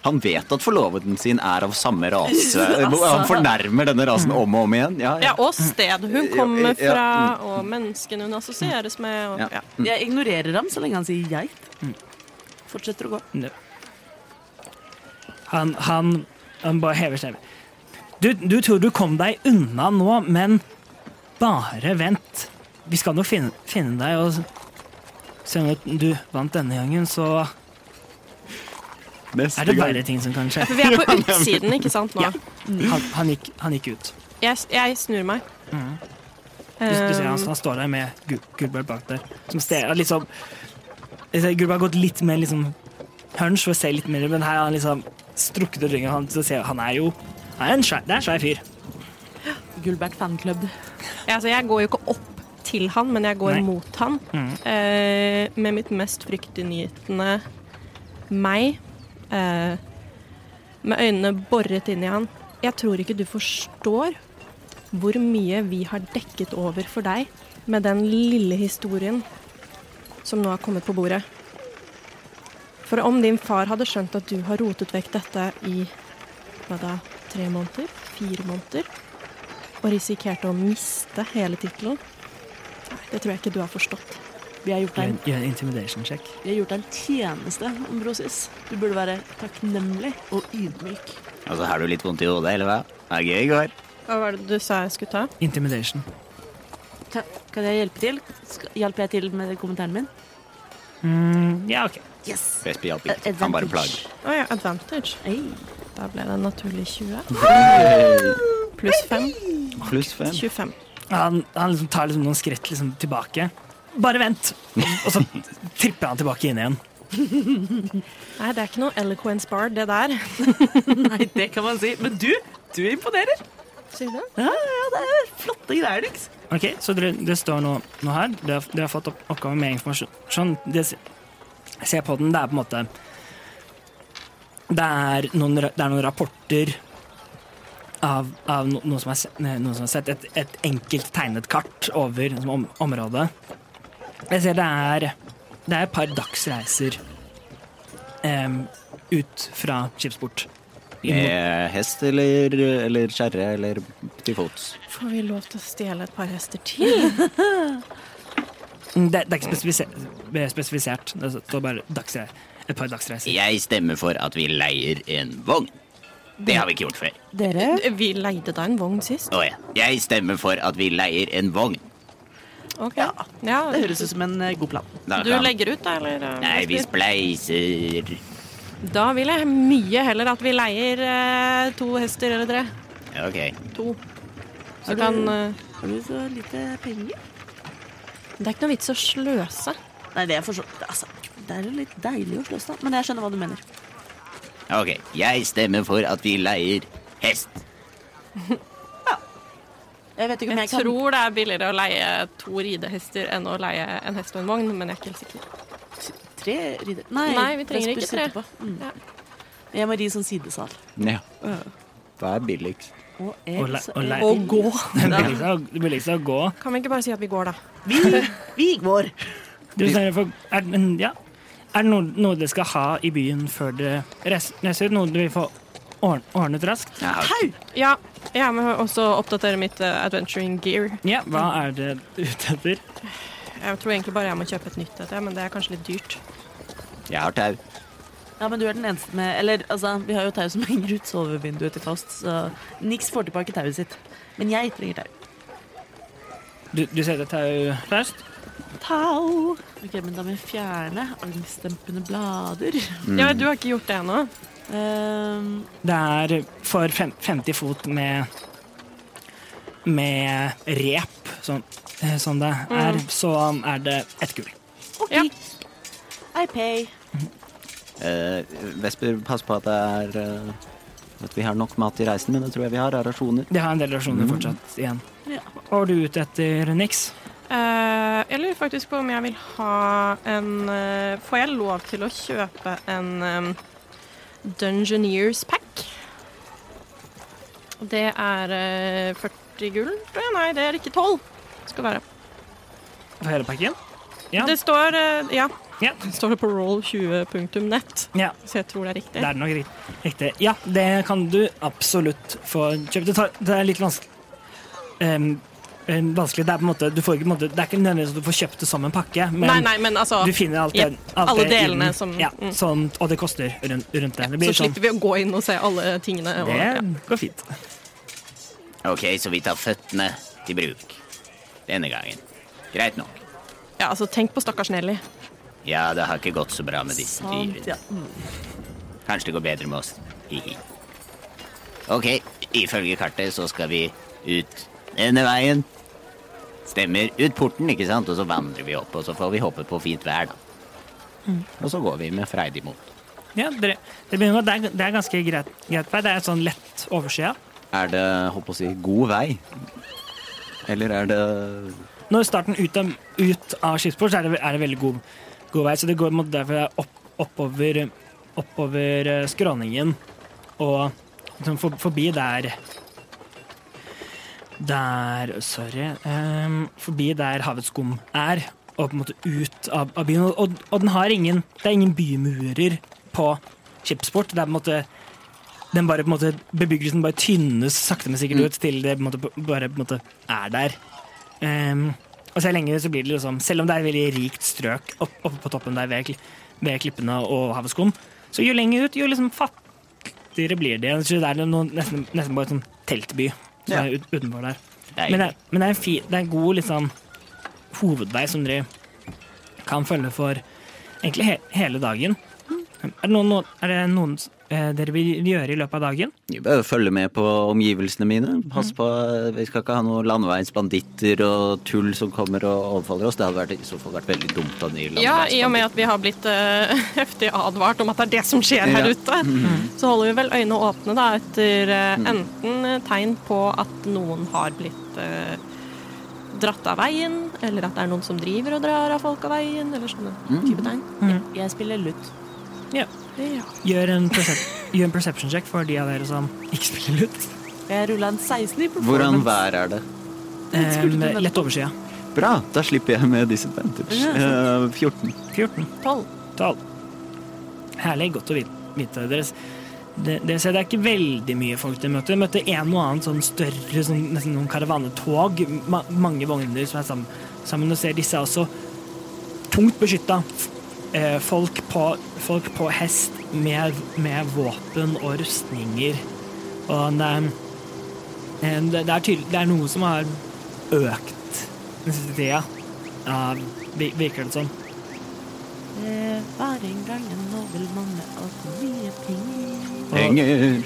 [SPEAKER 5] Han vet at forloveden sin er av samme rase. Han fornærmer denne rasen om og om igjen. Ja,
[SPEAKER 2] Ja, og sted hun
[SPEAKER 5] Ja,
[SPEAKER 2] kommer
[SPEAKER 5] ja,
[SPEAKER 2] fra, og menneskene hun assosieres med. Og,
[SPEAKER 5] Ja.
[SPEAKER 2] ja.
[SPEAKER 1] Jeg ignorerer ham så lenge han sier geit. Fortsetter å gå.
[SPEAKER 3] Nå. Han, han, han bare hever stemmen. Du, du tror du kom deg unna nå, men bare vent. Vi skal nå finne, finne deg, og selv om du vant denne gangen, så
[SPEAKER 5] Neste
[SPEAKER 3] er det
[SPEAKER 5] gang.
[SPEAKER 3] verre ting som kan skje.
[SPEAKER 2] For
[SPEAKER 3] [laughs]
[SPEAKER 2] vi er på utsiden, ikke sant, nå?
[SPEAKER 3] Ja. Han, han, gikk, han gikk ut.
[SPEAKER 2] Jeg, jeg snur meg. Um,
[SPEAKER 3] Du, du ser han, han står der med Gu- Gulbert bak der. Som ser han liksom jeg ser Gulbert har gått litt mer liksom hunch for å se litt mer, men her har han liksom strukket ut ryggen. Han, så ser, han er jo han er en svær, det er en svær fyr.
[SPEAKER 10] Gulbert fanclub.
[SPEAKER 2] Ja, altså, jeg går jo ikke opp til han, men jeg går
[SPEAKER 3] Nei.
[SPEAKER 2] mot han. Eh, med mitt mest fryktinngytende meg. eh, med øynene boret inn i han. Jeg tror ikke du forstår hvor mye vi har dekket over for deg med den lille historien som nå har kommet på bordet. For om din far hadde skjønt at du har rotet vekk dette i hva da, tre måneder? Fire måneder? og risikerte å miste hele tittelen. Nei, det tror jeg ikke du har forstått.
[SPEAKER 1] Vi har gjort
[SPEAKER 3] Gjør
[SPEAKER 1] deg en,
[SPEAKER 3] en- Gjør en intimidation check.
[SPEAKER 1] vi har gjort deg en tjeneste, Ambrosius. Du burde være takknemlig og ydmyk.
[SPEAKER 5] Altså, har du litt vondt i hodet, eller hva? Det er gøy i går.
[SPEAKER 2] Hva var det du sa jeg skulle ta?
[SPEAKER 3] Intimidation.
[SPEAKER 1] Kan, kan jeg hjelpe til? Skal, hjelper jeg til med kommentaren min?
[SPEAKER 3] Mm, ja, OK.
[SPEAKER 1] Yes!
[SPEAKER 5] Vespe
[SPEAKER 1] Eh,
[SPEAKER 5] hjalp ikke. Han bare plager.
[SPEAKER 2] Å ja, advantage. Da ble det en naturlig 20. Pluss 5.
[SPEAKER 5] Pluss fem.
[SPEAKER 2] 25.
[SPEAKER 3] Han, han liksom tar liksom noen skritt liksom tilbake. Bare vent! Og så tripper han tilbake inn igjen.
[SPEAKER 2] Nei, det er ikke noe eloquence bar, det der.
[SPEAKER 1] Nei, det kan man si. Men du, du imponerer.
[SPEAKER 2] Sier du det?
[SPEAKER 1] Ja, ja, det er flotte greier, Nix.
[SPEAKER 3] Ok, så dere, det står nå, nå her. Dere har, dere har fått opp oppgaven med informasjon. Sånn, det, se- se på den, det er på en måte Det er noen, ra- det er noen rapporter av, av no, noen, som har, se- ne, noen som har sett et, et enkelt tegnet kart over liksom, om, området. Jeg ser det er, det er et par dagsreiser em, ut fra skipsport.
[SPEAKER 5] Med hest eller, eller kjerre eller til fots.
[SPEAKER 1] [laughs]
[SPEAKER 2] Får vi lov til å stjele et par hester til?
[SPEAKER 3] Det, det er ikke spesifisert, spesifisert. Det står bare dagsre, et par dagsreiser.
[SPEAKER 9] Jeg stemmer for at vi leier en vogn. Det har vi ikke gjort før.
[SPEAKER 10] Dere?
[SPEAKER 2] Vi leide da en vogn sist.
[SPEAKER 9] Å ja. Jeg stemmer for at vi leier en vogn.
[SPEAKER 2] Ok.
[SPEAKER 1] Ja.
[SPEAKER 2] Ja,
[SPEAKER 1] Det høres ut som en eh, god plan.
[SPEAKER 9] Da
[SPEAKER 2] Du
[SPEAKER 9] kan-
[SPEAKER 2] legger ut, da? Eller?
[SPEAKER 9] Nei, vi spleiser.
[SPEAKER 2] Da vil jeg mye heller at vi leier eh, to hester eller tre.
[SPEAKER 9] Ok.
[SPEAKER 2] To. Så kan eh,
[SPEAKER 1] Har du så lite penger?
[SPEAKER 2] Det er ikke noe vits å sløse.
[SPEAKER 1] Nei, det er for så altså, Det er jo litt deilig å slåss, da. Men jeg skjønner hva du mener.
[SPEAKER 9] Ok, jeg stemmer for at vi leier hest.
[SPEAKER 1] Jeg vet ikke om
[SPEAKER 2] Jeg
[SPEAKER 1] jeg, kan
[SPEAKER 2] tror det er billigere å leie to ridehester enn å leie en hest og en vogn, men jeg er ikke helt sikker.
[SPEAKER 1] tre ridder. Nei,
[SPEAKER 2] Nei, vi trenger
[SPEAKER 1] Vesper
[SPEAKER 2] ikke tre.
[SPEAKER 1] sitter på. Mm.
[SPEAKER 2] Ja.
[SPEAKER 1] Jeg må ri sånn sidesal.
[SPEAKER 5] Ja. Hva er billigst?
[SPEAKER 1] Og jeg,
[SPEAKER 3] Og le-
[SPEAKER 1] så
[SPEAKER 3] og le-
[SPEAKER 1] jeg-
[SPEAKER 3] Og
[SPEAKER 1] [laughs] gå.
[SPEAKER 3] Det billigste er å- det billigste er å gå.
[SPEAKER 2] Kan vi ikke bare si at vi går, da?
[SPEAKER 1] Vi, vi går.
[SPEAKER 3] Du, snakker for, er, det- men, ja. er det noe, noe dere skal ha i byen før dere reis- reiser ut? Noe dere vil få ordn- ordnet raskt?
[SPEAKER 9] Jeg har-
[SPEAKER 1] Tau!
[SPEAKER 2] Ja. Jeg må også oppdatere mitt eh, adventuring gear.
[SPEAKER 3] Ja, hva er det ute etter?
[SPEAKER 2] Jeg tror egentlig bare jeg må kjøpe et nytt et, ja, men det er kanskje litt dyrt.
[SPEAKER 9] Jeg har tau.
[SPEAKER 1] Ja, men du er den eneste med Eller altså, vi har jo tau som [laughs] henger ut sovevinduet til Faust, så Nix får tilbake tauet sitt. Men jeg trenger tau.
[SPEAKER 3] Du, du ser det tau først?
[SPEAKER 1] Tau! Ok, men da må jeg fjerne armstempende blader.
[SPEAKER 2] Ja, du har ikke gjort det ennå.
[SPEAKER 1] Ehm,
[SPEAKER 3] Det er for fem, 50 fot med med rep, sånn, eh, som det er, så er det ett gull.
[SPEAKER 1] OK.
[SPEAKER 2] Ja.
[SPEAKER 1] I pay.
[SPEAKER 5] Eh, Vesper, pass på at det er eh, At vi har nok mat i reisen, men det tror jeg vi har. Er rasjoner.
[SPEAKER 3] De har en del rasjoner fortsatt igjen.
[SPEAKER 1] Ja.
[SPEAKER 3] Og er du ute etter niks?
[SPEAKER 2] Eh, jeg lurer faktisk på om jeg vil ha en eh, Får jeg lov til å kjøpe en em, Dungeoneers pack? Det er eh, 40 gull, tror jeg. Nei, det er ikke 12. Skal være.
[SPEAKER 3] For hele pakken? Ja.
[SPEAKER 2] Det står eh, Ja.
[SPEAKER 3] Ja.
[SPEAKER 2] Står det på roll20.net,
[SPEAKER 3] ja.
[SPEAKER 2] så jeg tror det er riktig.
[SPEAKER 3] Det er nok ri- riktig. Ja, det kan du absolutt få kjøpt. Det, tar, det er litt vanskelig. Em, em, vanskelig. Det er på en måte, du får ikke, på en måte, det er ikke nødvendigvis at du får kjøpt det som en pakke, men
[SPEAKER 2] nei, nei, men altså
[SPEAKER 3] du finner alt,
[SPEAKER 2] Jep,
[SPEAKER 3] det, alt
[SPEAKER 2] alle
[SPEAKER 3] det i
[SPEAKER 2] delene
[SPEAKER 3] den.
[SPEAKER 2] som-
[SPEAKER 3] ja,
[SPEAKER 2] mm.
[SPEAKER 3] sånn, Og det koster rundt, rundt det. Det
[SPEAKER 2] Så
[SPEAKER 3] blir sånn.
[SPEAKER 2] slipper vi å gå inn og se alle tingene. Og,
[SPEAKER 3] Det
[SPEAKER 2] ja.
[SPEAKER 3] går fint.
[SPEAKER 9] Ok, så vi tar føttene til bruk. Denne gangen. Greit nok.
[SPEAKER 2] ja, altså Tenk på stakkars Nelly.
[SPEAKER 9] Ja, det har ikke gått så bra med disse dyrene.
[SPEAKER 1] ja. Mm.
[SPEAKER 9] Kanskje det går bedre med oss. Hihi. Ok, ifølge kartet så skal vi ut denne veien. Stemmer. Ut porten, ikke sant? Og så vandrer vi opp, og så får vi håpe på fint vær, da. Og så går vi med freidig mot.
[SPEAKER 3] Ja, dere- det, begynner, med at det, er, det er ganske greit, greit vei. Det er sånn lett overskya.
[SPEAKER 5] Er det holdt på å si, god vei? Eller er det
[SPEAKER 3] Når starten ut av, ut av skipsport, så er det, er det veldig god, god vei. Så det går på en måte derfor opp, oppover, oppover eh, skråningen og liksom for, forbi der Der Sorry. ehm, forbi der havets skum er, og på en måte ut av, av byen. Og, og, og den har ingen Det er ingen bymurer på skipsport. Det er på en måte den bare, på en måte, Bebyggelsen bare tynnes sakte, men sikkert ut til det på en måte, bare på en måte er der. Ehm, og så lenge så blir det liksom Selv om det er et veldig rikt strøk opp, oppe på toppen der ved, kli- ved klippene og haveskum, så jo lenger ut, jo liksom fattigere blir det. Så det er noen, nesten, nesten bare et sånn teltby som
[SPEAKER 5] Ja.
[SPEAKER 3] er ut, utenfor der.
[SPEAKER 9] Deilig.
[SPEAKER 3] Men det, er- men det er en fi, det er en god liksom, hovedvei som dere kan følge for egentlig he, hele dagen. Er det noen, noen- er det noen eh, dere vil gjøre i løpet av dagen?
[SPEAKER 5] Jeg bør følge med på omgivelsene mine. Pass på, eh, Vi skal ikke ha noen landeveisbanditter og tull som kommer og overfaller oss. Det hadde vært, i så fall vært veldig dumt av de
[SPEAKER 2] Ja,
[SPEAKER 9] sånn.
[SPEAKER 2] I og med
[SPEAKER 5] landeveisbandittene.
[SPEAKER 2] at vi har blitt eh, [laughs] heftig advart om at det er det som skjer
[SPEAKER 5] Ja.
[SPEAKER 2] her
[SPEAKER 5] Mhm.
[SPEAKER 2] ute, så holder vi vel øynene åpne da, etter eh, enten eh, tegn på at noen har blitt eh, dratt av veien, eller at det er noen som driver og drar av folk av veien, eller sånne
[SPEAKER 5] Mhm.
[SPEAKER 2] type tegn.
[SPEAKER 1] Mm. Jeg spiller lutt.
[SPEAKER 3] Ja.
[SPEAKER 2] Ja.
[SPEAKER 3] Gjør en, percep gjør en perception check for de av dere som ikke spiller lutt.
[SPEAKER 1] Jeg rulla en 16 i performance.
[SPEAKER 5] Hvordan vær er det?
[SPEAKER 3] Um, lett overskya.
[SPEAKER 5] Bra, da slipper jeg med disadvantage. Eh, 14.
[SPEAKER 3] 14. 12. Herlig. Godt å vite. vite. Dere, s- de- dere ser det er ikke veldig mye folk dere møter. Dere møtte en og annen sånn større, sånn, nesten noen karavanetog. Ma mange vogner som er sammen, sammen. Og ser disse er også tungt beskytta. Eh, folk, på- folk på hest med, med våpen og rustninger. Og det, eh, det, det, er tydelig, det er noe som har økt den siste tida, eh, vi- virker det som.
[SPEAKER 1] Det var en gang en nobel mann med altfor mye penger.
[SPEAKER 3] Og,
[SPEAKER 5] Penger.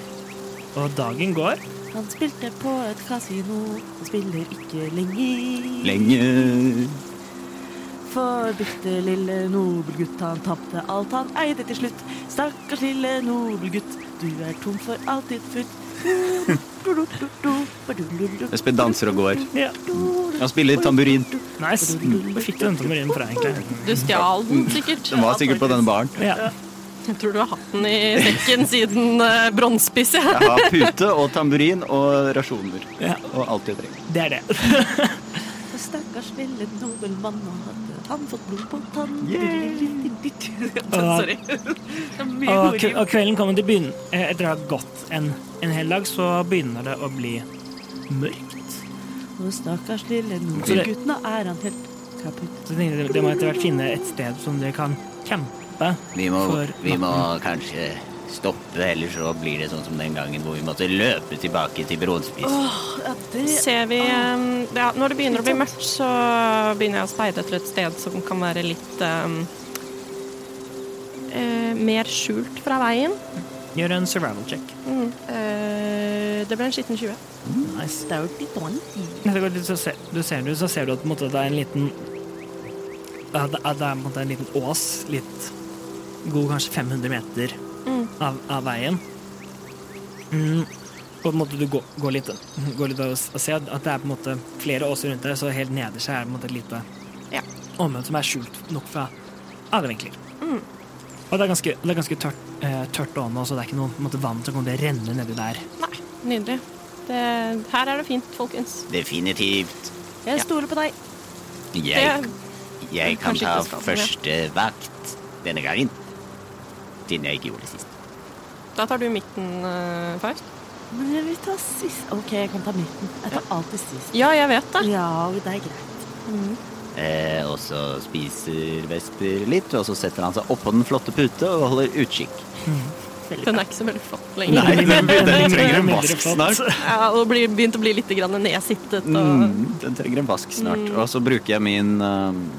[SPEAKER 3] og dagen går.
[SPEAKER 1] Han spilte på et kasino, han spiller ikke lenger.
[SPEAKER 5] Lenger.
[SPEAKER 1] For bitte lille nobelgutt, han tapte alt han eide til slutt. Stakkars lille nobelgutt, du er tom for alt ditt futt.
[SPEAKER 5] Espen danser og går.
[SPEAKER 3] Ja.
[SPEAKER 5] Han spiller tamburin.
[SPEAKER 3] Nice. Hvor fikk du den tamburinen fra, egentlig?
[SPEAKER 7] Du stjal den sikkert.
[SPEAKER 5] Den var sikkert på denne baren.
[SPEAKER 3] Ja.
[SPEAKER 7] Jeg tror du har hatt den i sekken siden
[SPEAKER 2] eh,
[SPEAKER 7] uh, bronsespiss. Ja.
[SPEAKER 5] Jeg har pute og tamburin og rasjoner.
[SPEAKER 3] Ja.
[SPEAKER 5] Og alt jeg trenger.
[SPEAKER 3] Det er det.
[SPEAKER 1] For stakkars lille nobelmann, nå hadde han fått blod på tann. [laughs]
[SPEAKER 7] Sorry.
[SPEAKER 3] Og, kve- og kvelden kommer til å begynne eh, Etter å ha gått en, en hel dag, så begynner det å bli mørkt.
[SPEAKER 1] Og stakkars lille nobelgutt, nå er han helt kaputt.
[SPEAKER 3] Så tenkte jeg, det må etter hvert finne et sted som dere kan campe.
[SPEAKER 9] Vi må,
[SPEAKER 3] For
[SPEAKER 9] vi må kanskje stoppe, ellers så blir det sånn som den gangen hvor vi måtte løpe tilbake til bronsespissen.
[SPEAKER 1] Ja, det
[SPEAKER 7] Ser vi eh, ja, Når det begynner å bli mørkt, så begynner jeg å speide etter et sted som kan være litt eh, eh, mer skjult fra veien.
[SPEAKER 3] Gjør en survival check.
[SPEAKER 7] Mm. Eh, det ble en skitten 20.
[SPEAKER 3] Nice. Neste gang du, så ser, du ser det, så ser du at på en måte, det er en liten at det at det er på en måte en liten ås, litt god kanskje 500 meter av, av veien. Mm. Og på en måte du går, går litt, går litt og, s- og ser at det er på en måte flere åser rundt der, så helt nederst er det på en måte et lite
[SPEAKER 7] Ja.
[SPEAKER 3] område som er skjult nok fra alle vinkler. Og det er ganske, det er ganske tørt, eh, tørt å nå, så det er ikke noe på en måte, vann som kommer til å renne nedi der.
[SPEAKER 7] Nei, nydelig. Det, her er det fint, folkens.
[SPEAKER 9] Definitivt.
[SPEAKER 7] Jeg stoler på deg.
[SPEAKER 9] Jeg,
[SPEAKER 7] Det-
[SPEAKER 9] jeg kan
[SPEAKER 7] Kanskje
[SPEAKER 9] ta
[SPEAKER 7] ikke skal, men ja.
[SPEAKER 9] første vakt denne gangen. Siden jeg ikke gjorde det sist.
[SPEAKER 7] Da tar du midten, eh, Faust.
[SPEAKER 1] Men jeg vil ta sist. OK, jeg kan ta midten. Jeg tar alltid sist.
[SPEAKER 7] Ja, jeg vet det.
[SPEAKER 1] Ja, det er greit.
[SPEAKER 9] Eh, og så spiser Vesper litt, og så setter han seg oppå den flotte pute og holder utkikk.
[SPEAKER 7] Den er ikke så veldig flott lenger.
[SPEAKER 5] Nei, den, den trenger en
[SPEAKER 3] Mindre
[SPEAKER 5] vask
[SPEAKER 3] flott.
[SPEAKER 5] snart.
[SPEAKER 7] Ja, og blir, begynt å bli litt grann nedsittet. Og,
[SPEAKER 5] Mm, den trenger en vask snart.
[SPEAKER 3] Mm.
[SPEAKER 5] Og så bruker jeg min um,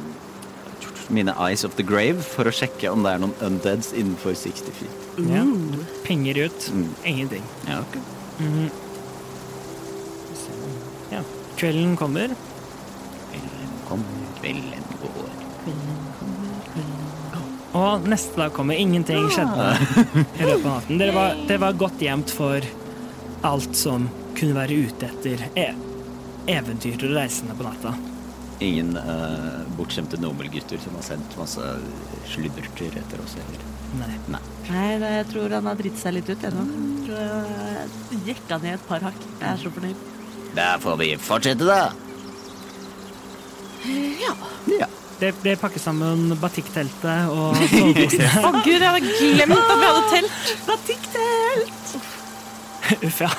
[SPEAKER 5] mine Eyes of the Grave for å sjekke om det er noen undeads innenfor 60 feet.
[SPEAKER 3] Ja.
[SPEAKER 1] Mm.
[SPEAKER 3] Penger ut. Ingenting.
[SPEAKER 5] Mm.
[SPEAKER 3] Mhm.
[SPEAKER 5] Ja, ok.
[SPEAKER 3] Ja. Kvelden kommer.
[SPEAKER 9] Kvelden kommer, kvelden går.
[SPEAKER 3] Og neste dag kommer
[SPEAKER 5] Ah.
[SPEAKER 3] ingenting skjedde i løpet av natten. Dere var, dere var godt gjemt for alt som kunne være ute etter e eventyr og reisende på natta.
[SPEAKER 5] Ingen eh, bortskjemte nobelgutter som har sendt masse sludderter etter oss heller.
[SPEAKER 3] Nei.
[SPEAKER 1] Nei, det- jeg tror han har dritt seg litt ut ennå. Mm, Jeg tror jeg Jekka ned et par hakk. Jeg er så fornøyd.
[SPEAKER 9] Da får vi fortsette, da.
[SPEAKER 3] Dere, dere pakker sammen batikkteltet og
[SPEAKER 5] [laughs]
[SPEAKER 3] soveposene.
[SPEAKER 7] Å gud, jeg hadde glemt at vi hadde telt! [laughs]
[SPEAKER 3] Uff, ja.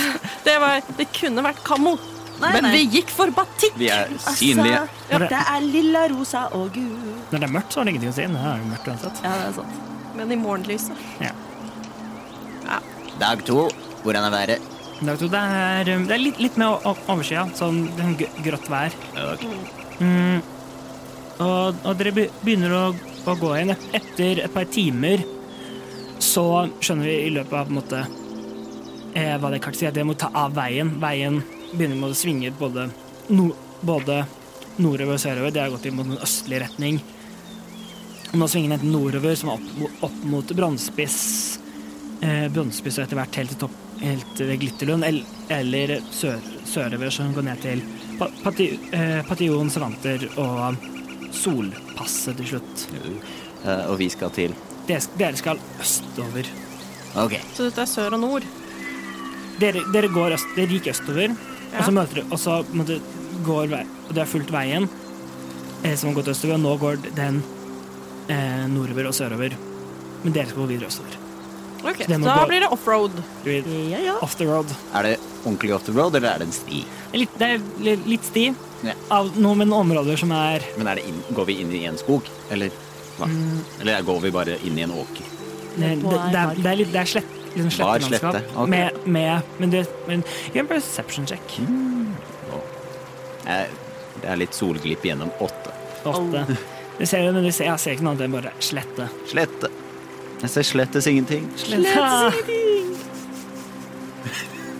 [SPEAKER 3] [laughs]
[SPEAKER 7] Det, var, det kunne vært kamel,
[SPEAKER 1] Nei,
[SPEAKER 7] men
[SPEAKER 1] nei.
[SPEAKER 7] vi gikk for batikk!
[SPEAKER 5] Vi er
[SPEAKER 1] Altså,
[SPEAKER 5] synlige.
[SPEAKER 1] det er lilla, rosa og gul.
[SPEAKER 3] Når det er mørkt, så har det ingenting å si. Nå er det mørkt uansett.
[SPEAKER 1] Ja, det er sant.
[SPEAKER 7] Men i morgenlyset.
[SPEAKER 9] Dag to. Hvordan er været?
[SPEAKER 3] Dag to, Det er, um, det er litt, litt mer o- o- overskya, sånn gr- grått vær.
[SPEAKER 9] Ok.
[SPEAKER 3] Mm. Og, og dere be- begynner å, å gå igjen. Et- Etter et par timer så skjønner vi i løpet av på en måte, eh, hva det kartet sier. Dere må ta av veien. Veien begynner med å svinge både, no, både nordover og sørover. Dere har gått i mot en østlig retning. Og nå svinger den enten nordover, som er opp, mo- opp mot Brannspiss. Eh, Brannspiss og etter hvert helt til topp helt til Glitterlund, el- eller sør, sørover, som går ned til Pa- Pati, eh, Pation, Savanter og Solpasset til slutt.
[SPEAKER 5] Eh, og vi skal til
[SPEAKER 3] Dere, sk- dere skal østover.
[SPEAKER 9] Ok.
[SPEAKER 7] Så dette er sør og nord.
[SPEAKER 3] Dere, dere går øst, dere gikk østover, og så møter dere, og så på en måte, går vei, og dere har fulgt veien eh, som har gått østover, og nå går den eh, nordover og sørover. Men dere skal gå videre østover.
[SPEAKER 7] Ok,
[SPEAKER 3] Det må
[SPEAKER 7] Da
[SPEAKER 3] gå-
[SPEAKER 7] blir det offroad.
[SPEAKER 3] Du er
[SPEAKER 1] Ja, ja.
[SPEAKER 3] Off the road.
[SPEAKER 5] Er det ordentlig off the road, eller er det en sti?
[SPEAKER 3] Det er Litt, det er li- litt sti,
[SPEAKER 9] Ja.
[SPEAKER 3] Av noen områder som er
[SPEAKER 9] Men er det inn, går vi inn i en skog, eller hva? Eller går vi bare inn i en åker?
[SPEAKER 3] Det, det, det, er, det er litt det er slett, liksom
[SPEAKER 9] Var
[SPEAKER 3] slettelandskap.
[SPEAKER 9] slette, ok.
[SPEAKER 3] Med, med, men det men, Gjør en perception check.
[SPEAKER 9] Mm. Eh, Det er litt solglipp gjennom åtte.
[SPEAKER 3] Åtte. Du ser, jo, men du ser, jeg ser ikke noe annet enn bare slette.
[SPEAKER 9] Slette. Jeg ser slettes ingenting.
[SPEAKER 3] Slette!
[SPEAKER 2] [laughs]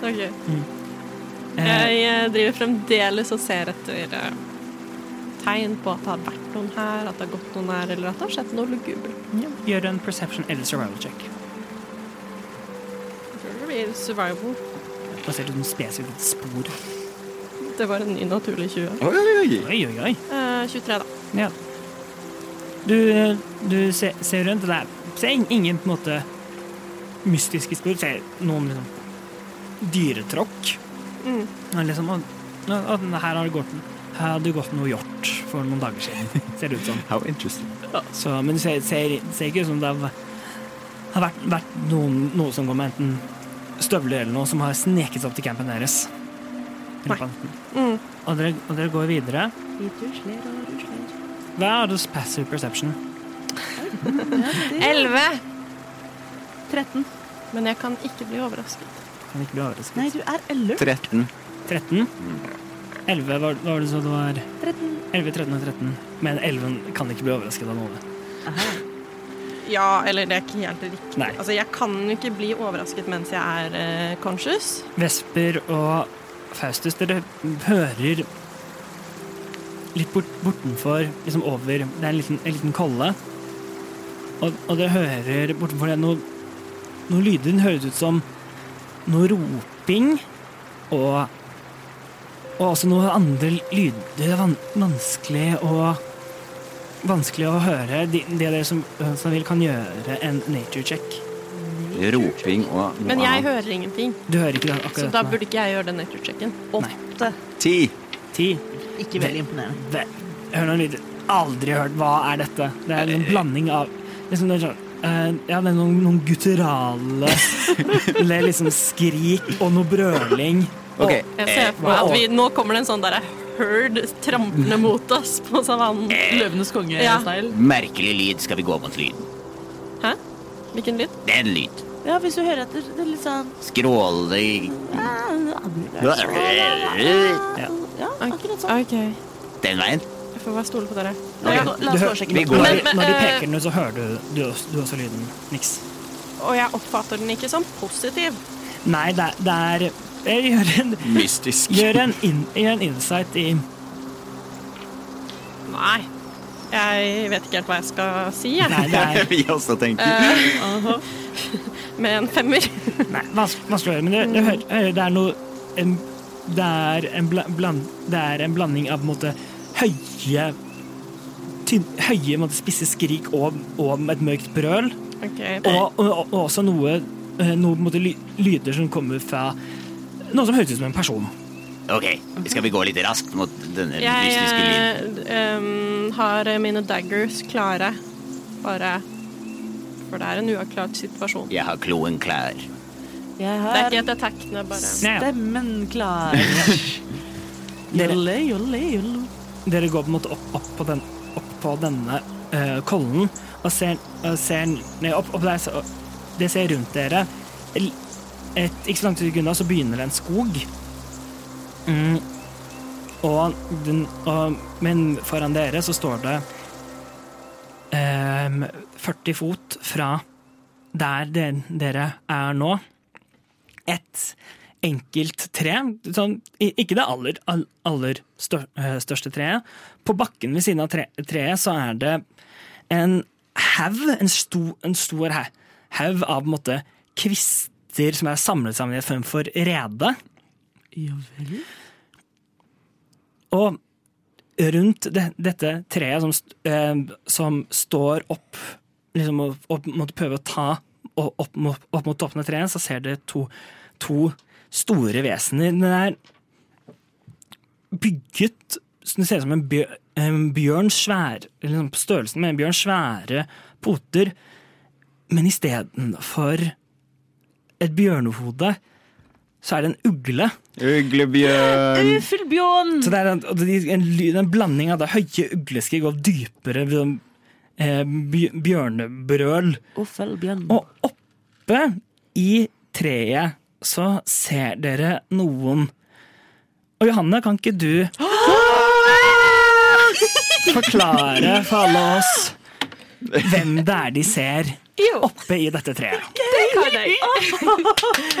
[SPEAKER 2] Ok. Jeg eh, driver fremdeles og ser etter eh, tegn på at det har vært noen her, at det har gått noen her, eller at det har skjedd noe lugubert.
[SPEAKER 3] Gjør en perception eller survival check.
[SPEAKER 2] Jeg tror det blir Survival.
[SPEAKER 3] Da ser du noen spesifikke spor.
[SPEAKER 2] Det var en ny naturlig 20.
[SPEAKER 9] Oi, oi, oi.
[SPEAKER 3] Oi, oi, oi.
[SPEAKER 2] Eh, 23, da.
[SPEAKER 3] Ja. Du, du ser, ser rundt, og det er ser ing- ingen på en måte mystiske spor. Ser noen liksom dyretråkk.
[SPEAKER 9] Mm.
[SPEAKER 3] Og Liksom, og, og og her har det gått her hadde det gått noe hjort for noen dager siden, ser det ut som.
[SPEAKER 9] [laughs] How interesting.
[SPEAKER 3] Så, men det ser, ser, ser ikke ut som det har, har vært, vært noen, noe som går med enten støvler eller noe, som har sneket seg opp til campen deres. Eller på enten.
[SPEAKER 9] Mm.
[SPEAKER 3] Og, dere, og dere går videre. Hva er deres passive perception?
[SPEAKER 2] 11!
[SPEAKER 11] 13.
[SPEAKER 2] Men jeg kan ikke bli overrasket.
[SPEAKER 3] Kan ikke bli overrasket.
[SPEAKER 11] Nei, du er 11.
[SPEAKER 9] 13.
[SPEAKER 3] 13? 11, hva hva var det så det var? 11, 13 og 13. Men 11 kan ikke bli overrasket av noe.
[SPEAKER 2] Ja, eller det er ikke helt riktig.
[SPEAKER 3] Nei.
[SPEAKER 2] Altså, jeg kan jo ikke bli overrasket mens jeg er eh, conscious.
[SPEAKER 3] Vesper og Faustus, dere hører litt bort, bortenfor, liksom over Det er en liten, en liten kolle. Og, og dere hører bortenfor det noe, noe lyder. Den høres ut som noe roping og og også noe andre lyder. Det er van, vanskelig å Vanskelig å høre. De- Det dere som, som vil, kan gjøre en nature check.
[SPEAKER 9] Roping og noe
[SPEAKER 2] Men jeg
[SPEAKER 9] annet.
[SPEAKER 2] hører ingenting,
[SPEAKER 3] Du hører ikke det
[SPEAKER 2] så
[SPEAKER 3] akkurat
[SPEAKER 2] da
[SPEAKER 3] nå.
[SPEAKER 2] burde ikke jeg gjøre den nature-checken.
[SPEAKER 11] Åtte.
[SPEAKER 9] Ti.
[SPEAKER 3] Ti.
[SPEAKER 11] Ikke veldig imponerende.
[SPEAKER 3] Ve- Hør nå lyder. Aldri hørt. Hva er dette? Det er
[SPEAKER 9] Eh,
[SPEAKER 3] en blanding av liksom, det er sånn, eh, Ja, det er noen, noen
[SPEAKER 9] [laughs]
[SPEAKER 3] gutturale Det er liksom skrik og noe brøling.
[SPEAKER 9] Ok,
[SPEAKER 2] Jeg
[SPEAKER 3] Eh,
[SPEAKER 2] ser for meg at vi, nå kommer det en sånn derre herd trampende mot oss på savannen.
[SPEAKER 3] Eh,
[SPEAKER 11] Løvenes konge.
[SPEAKER 2] Ja.
[SPEAKER 12] Merkelig lyd. Skal vi gå mot lyden?
[SPEAKER 2] Hæ? Hvilken lyd?
[SPEAKER 12] Den lyd.
[SPEAKER 1] Ja, hvis du hører etter, det er litt sånn ah,
[SPEAKER 12] Skråle
[SPEAKER 1] Ja, akkurat sånn.
[SPEAKER 2] OK.
[SPEAKER 12] Den veien.
[SPEAKER 2] Jeg får bare stole på dere.
[SPEAKER 1] La oss gå- La oss
[SPEAKER 3] Du
[SPEAKER 1] gå
[SPEAKER 3] hø-
[SPEAKER 1] og sjekke
[SPEAKER 9] vi
[SPEAKER 1] nå.
[SPEAKER 9] går.
[SPEAKER 3] Når, de-
[SPEAKER 2] Men, men,
[SPEAKER 3] når de
[SPEAKER 2] eh,
[SPEAKER 3] peker den ut, så hører du, du, også, du også lyden. Niks.
[SPEAKER 2] Og jeg oppfatter den ikke som positiv.
[SPEAKER 3] Nei, det er, det er jeg gjør en,
[SPEAKER 9] [laughs] Mystisk.
[SPEAKER 3] gjør, en in, gjør en insight i
[SPEAKER 2] Nei. Jeg vet ikke helt hva jeg skal si, jeg.
[SPEAKER 3] Nei, det er
[SPEAKER 9] Vi også
[SPEAKER 2] Eh,
[SPEAKER 9] tenker.
[SPEAKER 2] Med en femmer. [laughs]
[SPEAKER 3] Nei, vans- vanskelig å høre, men det, det, hører- hører- det er noe en, det, er en bla, bland, det er en blanding av på en måte høye tynn, høye på en måte, spisse skrik og, og et mørkt brøl,
[SPEAKER 2] Ok.
[SPEAKER 3] og, og, og også noe, eh, noe på en måte, ly- lyder som kommer fra noe som høres ut som en person.
[SPEAKER 12] Ok, skal vi gå litt raskt mot denne
[SPEAKER 2] Jeg
[SPEAKER 12] mystiske lyden?
[SPEAKER 2] eh, d- em, har mine daggers klare. Bare For det er en uavklart situasjon.
[SPEAKER 12] Jeg har kloen klar.
[SPEAKER 1] Jeg
[SPEAKER 2] Det er
[SPEAKER 1] har
[SPEAKER 2] ikke et attack, det er bare
[SPEAKER 3] Nei, ja.
[SPEAKER 1] stemmen klar.
[SPEAKER 3] dere,
[SPEAKER 1] Jolle, jolle, jolle.
[SPEAKER 3] dere går på en måte opp, opp, på, den, opp på denne eh, kollen og ser, og ser ned opp, opp der, så, det ser rundt dere. L- Et, ikke så langt unna så begynner det en skog. Mm. Og den, og, men foran dere så står det em, 40 fot fra der den- dere er nå, et enkelt tre, sånn, i- ikke det aller, all- aller stør, eh, største treet. På bakken ved siden av tre, treet så er det en haug, en, sto, en stor hau- haug av på en måte kvister som er samlet sammen i en form for rede.
[SPEAKER 1] Ja vel.
[SPEAKER 3] Og rundt det, dette treet som, st- eh, som står opp liksom, og, og måtte prøve å ta og, opp, mot- opp mot toppen av treet, så ser dere to, to store vesener. Den er bygget så Det ser ut som en, bjør, en bjørn svær, liksom på størrelsen med en bjørn svære poter, men istedenfor et bjørnehode, så er det en ugle.
[SPEAKER 5] Uglebjørn.
[SPEAKER 1] Uffelbjørn!
[SPEAKER 3] Så det er en, og det er en, ly- en blanding av det høye ugleskrik og dypere sånn, eh, bj- bjørnebrøl.
[SPEAKER 1] Uffelbjørn.
[SPEAKER 3] Og oppe i treet så ser dere noen. Og Johanne, kan ikke du forklare for alle oss hvem det er de ser oppe i dette treet?
[SPEAKER 7] kan jeg.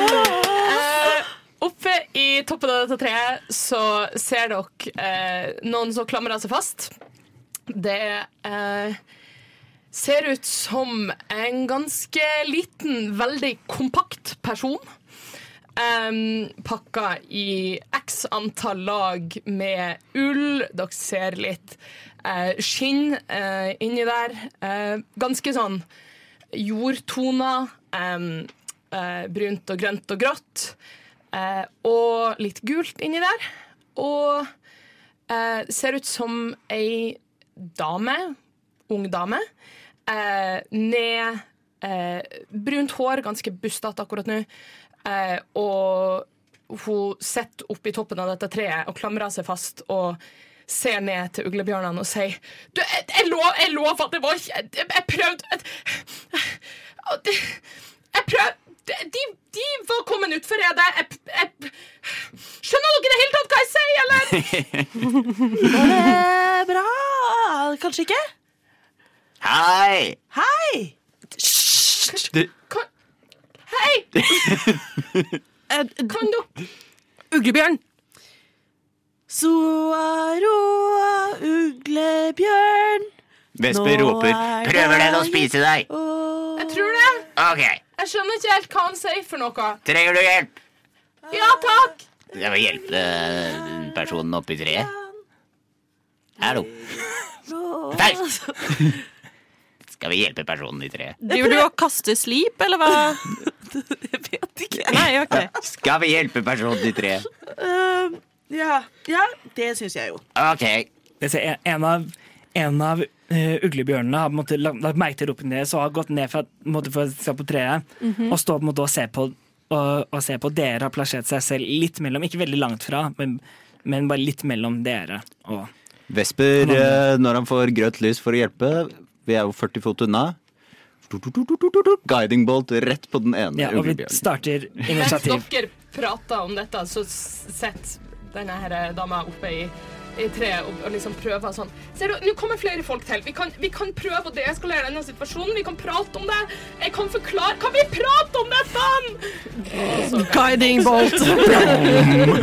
[SPEAKER 7] Eh, oppe i toppen av dette treet så ser dere eh, noen som klamrer seg fast. Det eh, ser ut som en ganske liten, veldig kompakt person. Um, pakka i x antall lag med ull. Dere ser litt eh, skinn eh, inni der. Eh, ganske sånn jordtoner. em, eh, brunt og grønt og grått. eh, og litt gult inni der. Og eh, ser ut som ei dame, ung dame, eh, med eh, brunt hår, ganske bustete akkurat nå. eh, og hun sitter oppi toppen av dette treet og klamrer seg fast og ser ned til uglebjørnene og sier Du, jeg, jeg, lov, jeg lover at det var ikke Jeg, jeg prøvde jeg, og de, jeg prøv, de, de, de var kommet utfor redet. Jeg, jeg, skjønner dere i det hele tatt hva jeg sier, eller?
[SPEAKER 1] Eh, bra! Kanskje ikke?
[SPEAKER 9] Hei!
[SPEAKER 1] Hei!
[SPEAKER 7] Kan, hei,
[SPEAKER 1] Eh, d-
[SPEAKER 7] kan dere
[SPEAKER 2] Uglebjørn!
[SPEAKER 1] Soaroa, uglebjørn
[SPEAKER 9] Vesper
[SPEAKER 1] Nå
[SPEAKER 9] roper.
[SPEAKER 1] er
[SPEAKER 9] Prøver den å
[SPEAKER 1] jeg-
[SPEAKER 9] spise deg?
[SPEAKER 1] Åh.
[SPEAKER 7] Jeg tror det.
[SPEAKER 9] Ok,
[SPEAKER 7] Jeg skjønner ikke helt hva han sier for noe.
[SPEAKER 9] trenger du hjelp?
[SPEAKER 7] Ja takk.
[SPEAKER 9] Jeg må hjelpe eh, personen oppi treet. Hallo.
[SPEAKER 1] [laughs]
[SPEAKER 9] Faust! Skal vi hjelpe personen i treet?
[SPEAKER 2] Driver du og kaster slip, eller hva?
[SPEAKER 1] [laughs] Jeg vet ikke.
[SPEAKER 2] Nei, ok.
[SPEAKER 9] Skal vi hjelpe personen i treet?
[SPEAKER 1] Eh, ja. ja, det syns jeg jo.
[SPEAKER 9] Ok.
[SPEAKER 3] Jeg ser en- en av, en av eh, uglebjørnene har på en måte la- lagt merke til ropen deres og har gått ned fra, på en måte, for å se på treet
[SPEAKER 2] Mhm.
[SPEAKER 3] og står på en måte og ser på, og, og ser på dere har plassert seg selv litt mellom, ikke veldig langt fra, men, men bare litt mellom dere og
[SPEAKER 5] Vesper, eh, når han får grønt lys for å hjelpe, vi er jo 40 fot unna. Guiding bolt rett på den ene
[SPEAKER 3] Ja, og vi
[SPEAKER 5] uglebjørnen.
[SPEAKER 3] starter
[SPEAKER 7] Mens
[SPEAKER 3] initiativ.
[SPEAKER 7] dere prater om dette, så s- sitter denne her eh, dama oppe i i treet og, og liksom prøver sånn Ser du, nå kommer flere folk til. Vi kan, vi kan prøve å deeskalere denne situasjonen. Vi kan prate om det. Jeg kan forklare Kan vi prate om dette?!
[SPEAKER 2] Guiding bolt.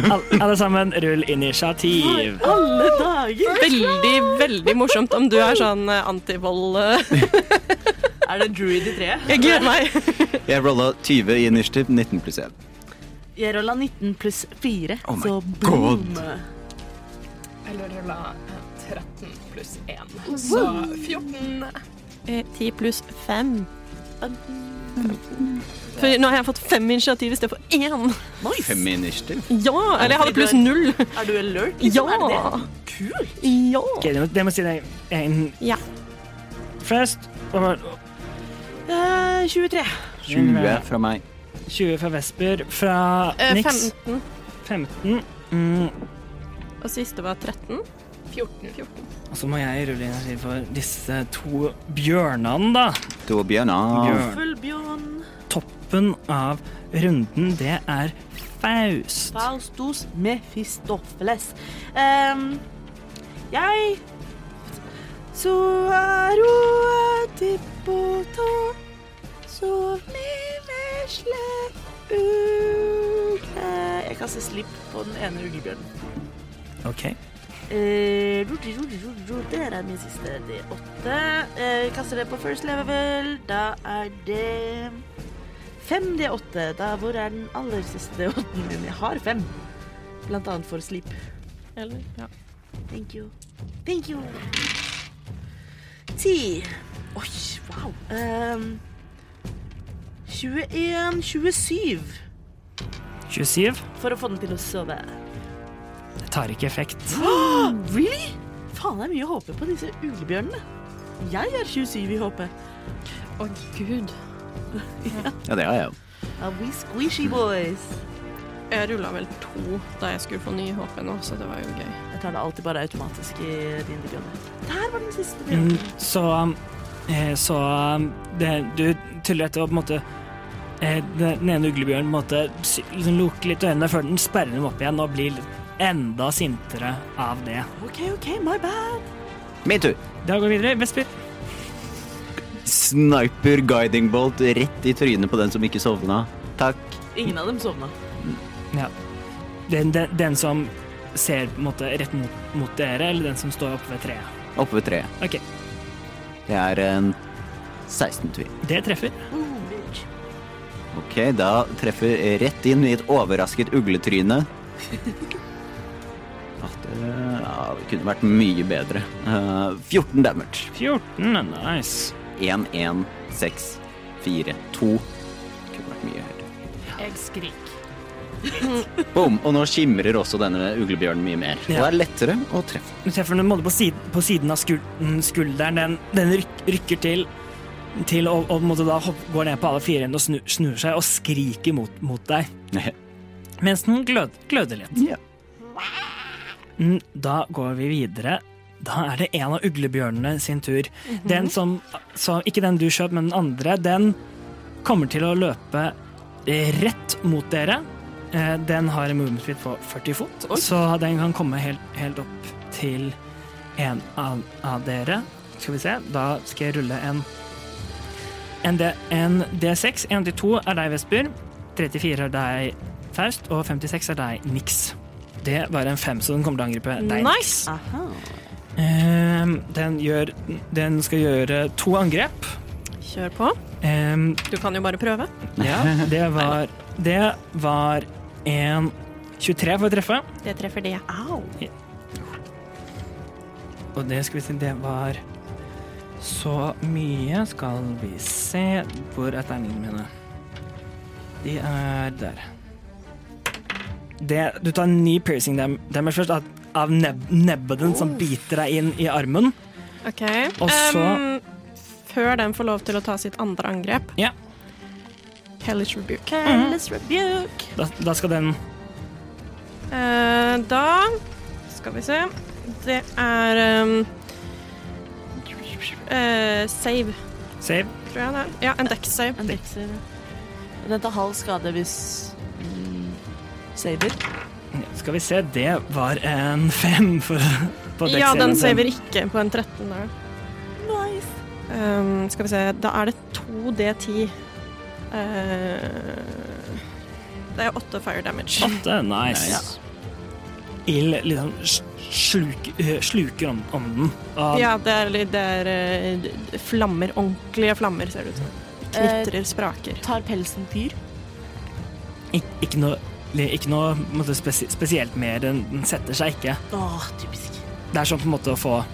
[SPEAKER 3] Al- Alle sammen, rull initiativ.
[SPEAKER 1] Alle dager!
[SPEAKER 2] Veldig, veldig morsomt om du er sånn eh, antivold. eh. [laughs]
[SPEAKER 1] Er det druid i treet?
[SPEAKER 2] Jeg gleder meg.
[SPEAKER 5] Jeg rolla 20 i initiativ, 19 pluss 1.
[SPEAKER 1] Jeg rolla 19 pluss 4,
[SPEAKER 5] my
[SPEAKER 1] så boom.
[SPEAKER 7] Eller rulla 13 pluss 1. Så 14.
[SPEAKER 2] Eh, Ti pluss fem. For nå har jeg fått fem initiativ i stedet for én.
[SPEAKER 5] Fem i initiativ.
[SPEAKER 2] Ja, eller jeg hadde pluss null.
[SPEAKER 1] Er du alert?
[SPEAKER 2] Ja.
[SPEAKER 1] Liksom? Er det det? Kult!
[SPEAKER 2] Ja.
[SPEAKER 3] Ok, det må, det må si deg en
[SPEAKER 2] ja.
[SPEAKER 3] først. og-
[SPEAKER 1] Eh, 23.
[SPEAKER 5] 20 fra meg.
[SPEAKER 3] 20 fra Vesper. Fra
[SPEAKER 2] Eh,
[SPEAKER 3] Nix
[SPEAKER 2] 15.
[SPEAKER 3] 15. Mm,
[SPEAKER 2] Og siste var 13.
[SPEAKER 7] 14.
[SPEAKER 3] og så må jeg rulle initiativ for disse to bjørnene, da.
[SPEAKER 5] To bjørner.
[SPEAKER 3] Bjørn.
[SPEAKER 1] Fullbjørn.
[SPEAKER 3] Toppen av runden, det er Faust.
[SPEAKER 1] Faustus Mephistopheles. Ehm, jeg Soaroa tippotå, sov med vesle ugle Eh, Jeg kaster slipp på den ene uglebjørnen.
[SPEAKER 3] Ok.
[SPEAKER 1] Eh, rudi, rudi, rudi, rudi, Der er min siste D8. Eh, kaster det på first level. Da er det 5 D8. Da hvor er den aller siste D8-en min? Jeg har 5. Blant annet for sleep.
[SPEAKER 2] Eller, ja.
[SPEAKER 1] Thank you. Thank you. Ti. Oi, wow. Ehm, 21, 27
[SPEAKER 3] 27.
[SPEAKER 1] for å få den til å sove.
[SPEAKER 3] Det tar ikke effekt.
[SPEAKER 1] Really? Faen, det er mye å håpe på disse uglebjørnene. Jeg har 27 i håpet.
[SPEAKER 2] Å, gud.
[SPEAKER 5] Ja, det har jeg jo.
[SPEAKER 1] Mm. Are we squishy boys?
[SPEAKER 7] Jeg rulla vel to da jeg skulle få ny HP nå, så det var jo gøy.
[SPEAKER 1] Jeg tar det alltid bare automatisk i din grønne. Der var den siste. bjørnen.
[SPEAKER 3] Mm, Så, eh, så det, du tuller etter å på en måte eh, Den ene uglebjørnen på en måte sy- liksom lukker litt øynene før den sperrer dem opp igjen og blir litt enda sintere av det.
[SPEAKER 1] OK, OK, my bad.
[SPEAKER 5] Min tur.
[SPEAKER 3] Da går vi videre. Vesper.
[SPEAKER 5] Sniper guiding bolt rett i trynet på den som ikke sovna. Takk.
[SPEAKER 1] Ingen av dem sovna.
[SPEAKER 3] Ja. Den, den, den som ser på en måte rett mot, mot dere, eller den som står oppe ved treet.
[SPEAKER 5] Oppe ved treet.
[SPEAKER 3] OK.
[SPEAKER 5] Det er en 16 tvil.
[SPEAKER 3] Det treffer.
[SPEAKER 5] Ok, da treffer jeg rett inn i et overrasket ugletryne. At det ja, det kunne vært mye bedre. Eh, 14 damage.
[SPEAKER 3] 14. Nice.
[SPEAKER 5] 1, 1, 6, 4, 2. Kunne vært mye høyere.
[SPEAKER 7] Jeg skrik.
[SPEAKER 5] [laughs] Boom. Og nå skimrer også denne uglebjørnen mye mer. Og
[SPEAKER 3] Ja.
[SPEAKER 5] er lettere å treffe.
[SPEAKER 3] Du treffer den på en måte på siden, på siden av skul- mm, skulderen. Den, den ryk, rykker til, til og, og på en måte da hopp, går ned på alle fire og snur, snur seg og skriker mot, mot deg. Mens den glød, gløder litt.
[SPEAKER 5] Ja.
[SPEAKER 3] Mm, Da går vi videre. Da er det en av uglebjørnene sin tur. Den som, så Ikke den du skjøt, men den andre. Den kommer til å løpe rett mot dere. Eh, Den har en movement speed på 40 fot, så den kan komme helt, helt opp til en av, av dere. Skal vi se, da skal jeg rulle en en, D, en D6. 1 til 2 er deg, Vesper. 34 er deg, Faust. Og 56 er deg, Nix. Det var en fem, så den kommer til å angripe deg. Nix.
[SPEAKER 1] Aha.
[SPEAKER 3] Ehm, den, gjør, den skal gjøre to angrep.
[SPEAKER 2] Kjør på.
[SPEAKER 3] Ehm,
[SPEAKER 2] Du kan jo bare prøve.
[SPEAKER 3] ja, det var Det var en 23 for å treffe.
[SPEAKER 2] Det treffer det.
[SPEAKER 1] Au.
[SPEAKER 3] Og det skal vi si, det var så mye. Skal vi se Hvor er terningene mine? De er der. Det, du tar ni piercing dam damage først, av, av neb nebben som biter deg inn i armen.
[SPEAKER 2] OK.
[SPEAKER 3] Og så-
[SPEAKER 2] Em, før den får lov til å ta sitt andre angrep
[SPEAKER 3] Ja.
[SPEAKER 2] Hellish rebuke.
[SPEAKER 1] Careless rebuke.
[SPEAKER 3] Da, da skal den
[SPEAKER 2] Eh, da skal vi se. Det er em, eh, Save,
[SPEAKER 3] save.
[SPEAKER 2] tror jeg det er. Ja, en dex-save.
[SPEAKER 1] En dekser. Den tar halv skade hvis mm, Saver.
[SPEAKER 3] Ja, Skal vi se, det var en fem for, på
[SPEAKER 2] Ja, den
[SPEAKER 3] dex-saven.
[SPEAKER 2] saver ikke på en 13. Der.
[SPEAKER 1] Nice.
[SPEAKER 2] Ehm, skal vi se, da er det 2D10. Eh, det er 8 fire damage.
[SPEAKER 3] Åtte, nice. Ild liksom s- sluk, eh, sluker om- ånden. Og
[SPEAKER 2] Ja, det er, litt- det er eh, d- d- flammer. Ordentlige flammer, ser det ut som. Knitrer, spraker.
[SPEAKER 1] Tar pelsen fyr?
[SPEAKER 3] ikke, ikke noe, ikke noe på en måte, spesi spesielt mer. Den, den setter seg ikke.
[SPEAKER 1] Åh, typisk.
[SPEAKER 3] Det er som på en måte å få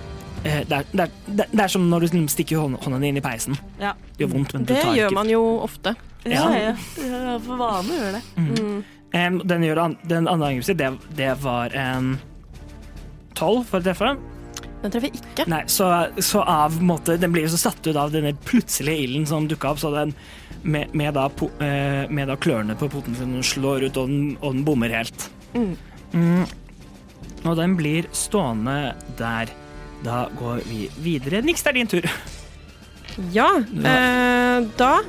[SPEAKER 3] eh, det er, det, er, det- det er som når du liksom stikker hånda, hånda di inn i peisen.
[SPEAKER 1] Ja.
[SPEAKER 3] Det gjør vondt, men du
[SPEAKER 2] Det
[SPEAKER 3] tar
[SPEAKER 2] gjør
[SPEAKER 3] ikke
[SPEAKER 2] man jo ofte.
[SPEAKER 3] Ja.
[SPEAKER 1] Ja, ja. Jeg har for vane å gjøre det.
[SPEAKER 3] Em, Eh, den, gjør, an- den andre angrepet, det, det var en tolv for å treffe.
[SPEAKER 2] Den treffer ikke.
[SPEAKER 3] Nei, så, så av på en måte, Den blir jo så satt ut av denne plutselige ilden som dukka opp, så den med, med, da, po- eh, med da klørne på poten sin den slår ut, og den, og den bommer helt.
[SPEAKER 2] Mm.
[SPEAKER 3] Mm. Og den blir stående der. Da går vi videre. Niks, det er din tur.
[SPEAKER 2] Ja, eh, da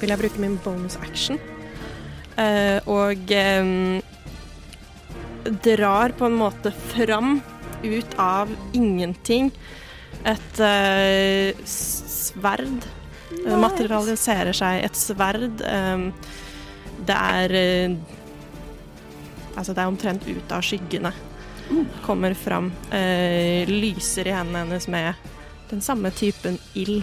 [SPEAKER 2] vil jeg bruke min bonus action. Eh, og eh, drar på en måte fram ut av ingenting et eh, s- sverd. Eh, Materialiserer seg et sverd. eh, det er eh, Altså, det er omtrent ut av skyggene. Kommer fram. eh, lyser i hendene hennes med den samme typen ild.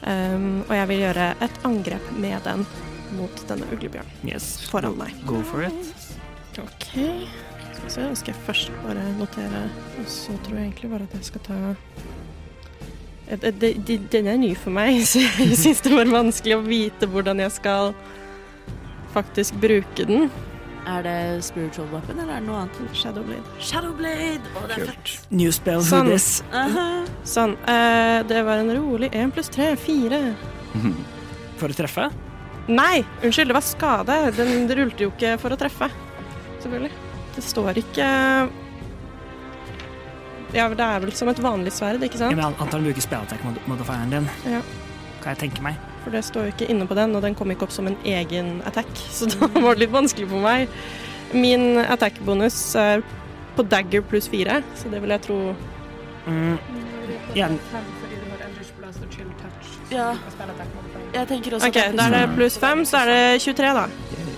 [SPEAKER 2] Um, og jeg vil gjøre et angrep med den mot denne uglebjørnen
[SPEAKER 3] Yes.
[SPEAKER 2] foran meg.
[SPEAKER 3] Go for it.
[SPEAKER 2] OK. Skal vi se, nå skal jeg først bare notere, og så tror jeg egentlig bare at jeg skal ta Eh, det- det- det- Den er ny for meg, [laughs] så jeg syns det var vanskelig å vite hvordan jeg skal faktisk bruke den.
[SPEAKER 1] Er det spiritual weapon, eller er det noe annet?
[SPEAKER 2] Shadowblade.
[SPEAKER 1] Shadowblade! Å, det er fett.
[SPEAKER 3] New spell
[SPEAKER 2] Sånn.
[SPEAKER 3] for this.
[SPEAKER 1] Aha.
[SPEAKER 2] Sånn. eh, det var en rolig én pluss tre. Fire.
[SPEAKER 3] For å treffe.
[SPEAKER 2] Nei, unnskyld, det var skade. Den rulte jo ikke for å treffe. Selvfølgelig. Det står ikke Ja, det er vel som et vanlig sverd, ikke
[SPEAKER 3] Jeg
[SPEAKER 2] sant?
[SPEAKER 3] antar han bruker spillattakk-modifieren din,
[SPEAKER 2] Ja.
[SPEAKER 3] kan jeg tenke meg.
[SPEAKER 2] For det står jo ikke inne på den, og den kom ikke opp som en egen attack, [laughs] så da var det litt vanskelig for meg. Min attack-bonus er på dagger pluss fire, så det vil jeg tro
[SPEAKER 3] Mm, igjen.
[SPEAKER 1] Ja. Jeg tenker også
[SPEAKER 2] OK,
[SPEAKER 1] at
[SPEAKER 2] da er det pluss fem, så er det 23, da.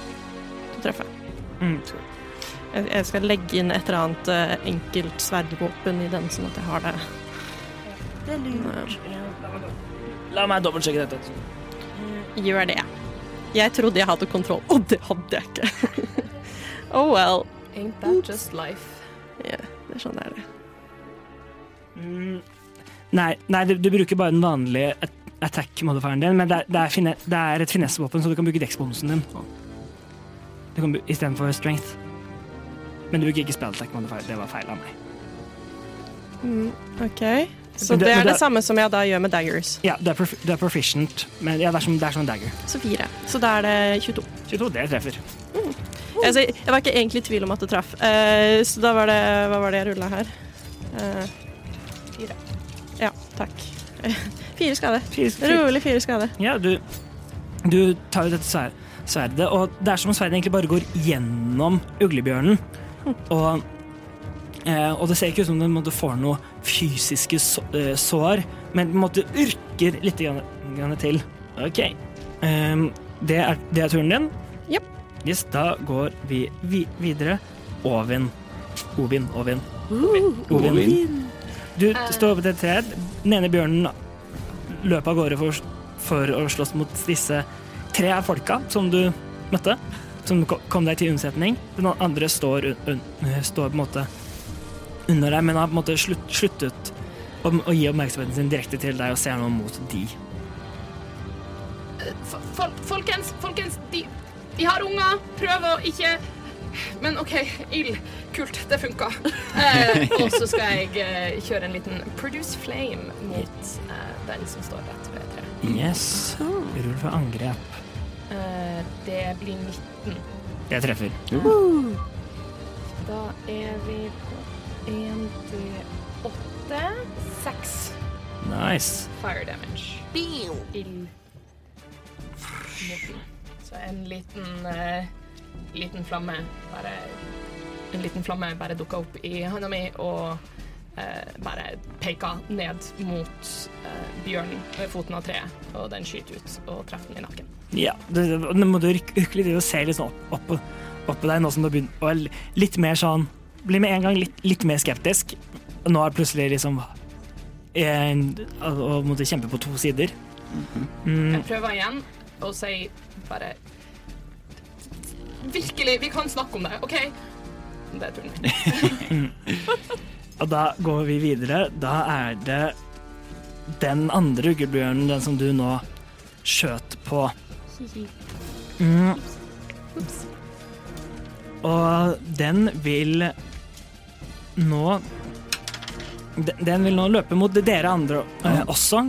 [SPEAKER 2] Du treffer.
[SPEAKER 3] Mm.
[SPEAKER 2] Jeg, jeg skal legge inn et eller annet eh, enkelt sverdvåpen i den, sånn at jeg har det.
[SPEAKER 1] det er lurt.
[SPEAKER 3] La meg dobbeltsjekke dette.
[SPEAKER 2] Gjør det. Jeg trodde jeg hadde kontroll, og det hadde jeg ikke. [laughs] oh well.
[SPEAKER 7] Ain't that just life?
[SPEAKER 2] Yeah, det er sånn det er det.
[SPEAKER 3] Mm. Nei, nei du, du bruker bare den vanlige at- attack-modifieren din, men det er, det er, fine, det er et finessevåpen, så du kan bruke dex-bonusen din. Du kan bru- Istedenfor strength. Men du bruker ikke spillattack-modifier. Det var feil av meg.
[SPEAKER 2] Mm, OK. Så
[SPEAKER 3] Men det-
[SPEAKER 2] det
[SPEAKER 3] men
[SPEAKER 2] er
[SPEAKER 3] det-
[SPEAKER 2] det samme som jeg da gjør med daggers.
[SPEAKER 3] Ja, du er, prof du er proficient, men ja, det, er som, det er som en dagger.
[SPEAKER 2] Så fire. Så da er det 22.
[SPEAKER 3] 22, det treffer.
[SPEAKER 2] Altså, jeg var ikke egentlig i tvil om at det traff, Eh, så da var det Hva var det jeg rulla her? Eh, fire. Ja, takk. [laughs] fire skader.
[SPEAKER 3] Fire- fire-
[SPEAKER 2] Rolig fire skader.
[SPEAKER 3] Ja, du, du tar jo dette sver- sverdet, og det er som om sverdet egentlig bare går gjennom uglebjørnen. Og, eh, og det ser ikke ut som den måtte får noe fysiske så, eh, sår, men den måtte urker litt grann, grann til. OK. Ehm, det, er, det er turen din?
[SPEAKER 2] Japp.
[SPEAKER 3] Yes, da går vi, vi videre. Ovin. Ovin, Ovin. Ovin. Du står oppe til et tre. Den ene bjørnen løp av gårde for, for å slåss mot disse tre folka som du møtte. Som ko- kom deg til unnsetning. Den andre står, un, un, står på en måte under deg, men har på en måte slutt, sluttet å, å gi oppmerksomheten sin direkte til deg og ser nå mot de.
[SPEAKER 7] Fol- fol- Folkens, folkens, de, de har unger. Prøv å ikke Men OK, ild. Kult, det funka. Eh, og så skal jeg eh, kjøre en liten produce flame mot eh, den som står rett ved treet.
[SPEAKER 3] Yes. Rull for angrep.
[SPEAKER 7] Eh, det blir 19.
[SPEAKER 3] Det treffer.
[SPEAKER 7] Da er vi på 1D8. 6
[SPEAKER 3] Nice.
[SPEAKER 7] fire damage. Ild. mot den. Så en liten eh, liten flamme bare En liten flamme bare dukka opp i handa mi og eh, bare peka ned mot eh, bjørnen ved foten av treet, og den skyter ut og treffer den i nakken.
[SPEAKER 3] Ja, det, det- nå må du rykke, rykke litt i og se litt sånn opp, opp, på- opp på deg nå som du har begynt å være litt mer sånn Bli med en gang litt, litt mer skeptisk. Nå er det plutselig liksom en, Å å måtte kjempe på to sider.
[SPEAKER 7] Jeg prøver igjen og sier bare Virkelig, vi kan snakke om det, OK? Det er turen min.
[SPEAKER 3] Og da går vi videre. Da er det den andre uglebjørnen, den som du nå skjøt på. Mm. Og den vil nå Den den vil nå løpe mot dere andre eh, også.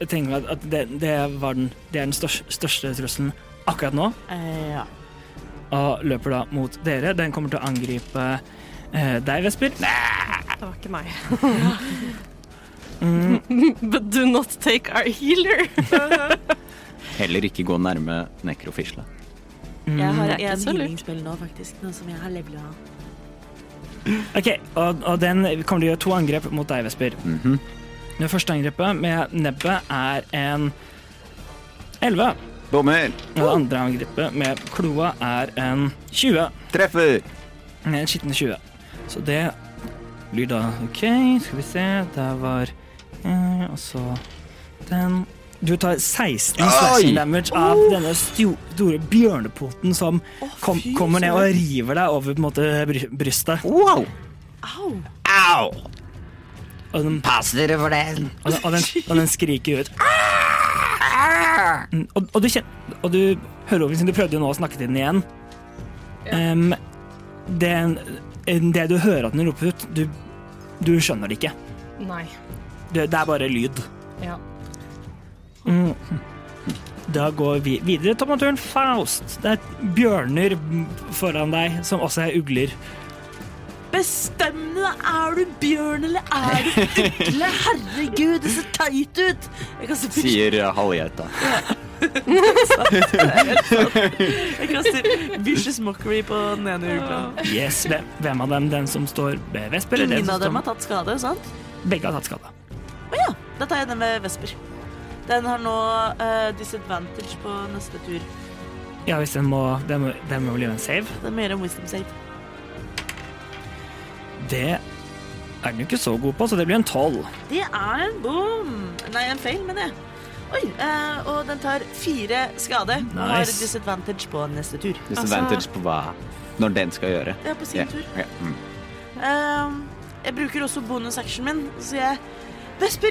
[SPEAKER 3] Jeg tenker at, at det, det, var den, det er den største, største trusselen akkurat nå.
[SPEAKER 1] Eh, ja.
[SPEAKER 3] Og løper da mot dere. Den kommer til å angripe eh, deg, Vesper.
[SPEAKER 2] Det var ikke [laughs] meg. [laughs] But do not take our [laughs] healer.
[SPEAKER 5] Heller ikke gå nærme nekrofisla.
[SPEAKER 1] Jeg har
[SPEAKER 2] Det er ikke
[SPEAKER 1] en
[SPEAKER 2] så lurt.
[SPEAKER 1] healingspill nå, faktisk, nå som jeg har levela.
[SPEAKER 3] Ok, og, og den kommer til å gjøre to angrep mot deg, Vesper.
[SPEAKER 5] Mhm.
[SPEAKER 3] Det første angrepet med nebbet er en 11.
[SPEAKER 5] Bommer!
[SPEAKER 3] Og det andre angrepet med kloa er en 20.
[SPEAKER 5] Treffer!
[SPEAKER 3] En skitten 20. Så det blir da OK, skal vi se. Der var eh, Og så den. Du tar 16 slashing damage av denne sto- store bjørnepoten som kom, kommer ned og river deg over på en måte bry- brystet.
[SPEAKER 9] Wow! Au!
[SPEAKER 3] Og den
[SPEAKER 9] Pass dere for den!
[SPEAKER 3] Og den, og den, og den skriker ut. Mm, Og, og, du kjenner, og du hører over, siden du prøvde jo nå å snakke til den igjen. Em, den, det du hører at den roper ut, du, du skjønner det ikke.
[SPEAKER 7] Nei.
[SPEAKER 3] Det, det er bare lyd.
[SPEAKER 7] Ja.
[SPEAKER 3] da går vi videre til naturen Faust. Det er bjørner foran deg, som også er ugler.
[SPEAKER 1] Bestem deg! Er du bjørn eller er du
[SPEAKER 3] [laughs]
[SPEAKER 1] ugle? Herregud, det ser teit ut! Jeg kan se for
[SPEAKER 8] Sier
[SPEAKER 5] eh,
[SPEAKER 8] halvgeita.
[SPEAKER 1] Jeg kaster vicious mockery på den ene ugla.
[SPEAKER 3] Yes, hvem- hvem av dem? Den som står ved Vesper? eller den
[SPEAKER 1] Ingen
[SPEAKER 3] som
[SPEAKER 1] av dem
[SPEAKER 3] står-
[SPEAKER 1] har tatt skade, sant?
[SPEAKER 3] Begge har tatt skade.
[SPEAKER 1] Å ja, da tar jeg den med vesper. Den har nå eh, disadvantage på neste tur.
[SPEAKER 3] Ja, hvis den må, den må, den må gjøre en save.
[SPEAKER 1] Den må gjøre en wisdom save.
[SPEAKER 3] Det er den jo ikke så god på, så det blir en tolv.
[SPEAKER 1] Det er en boom. Nei, en feil, mener jeg. Oi, eh, og den tar fire skade. Og har
[SPEAKER 3] Nice.
[SPEAKER 1] disadvantage på neste tur.
[SPEAKER 8] Disadvantage på hva når den skal gjøre.
[SPEAKER 1] Ja, på Altså- sin
[SPEAKER 8] Ja,
[SPEAKER 1] tur.
[SPEAKER 8] ja, mm.
[SPEAKER 1] Ehm, jeg bruker også bonusactionen min, så sier jeg Vesper,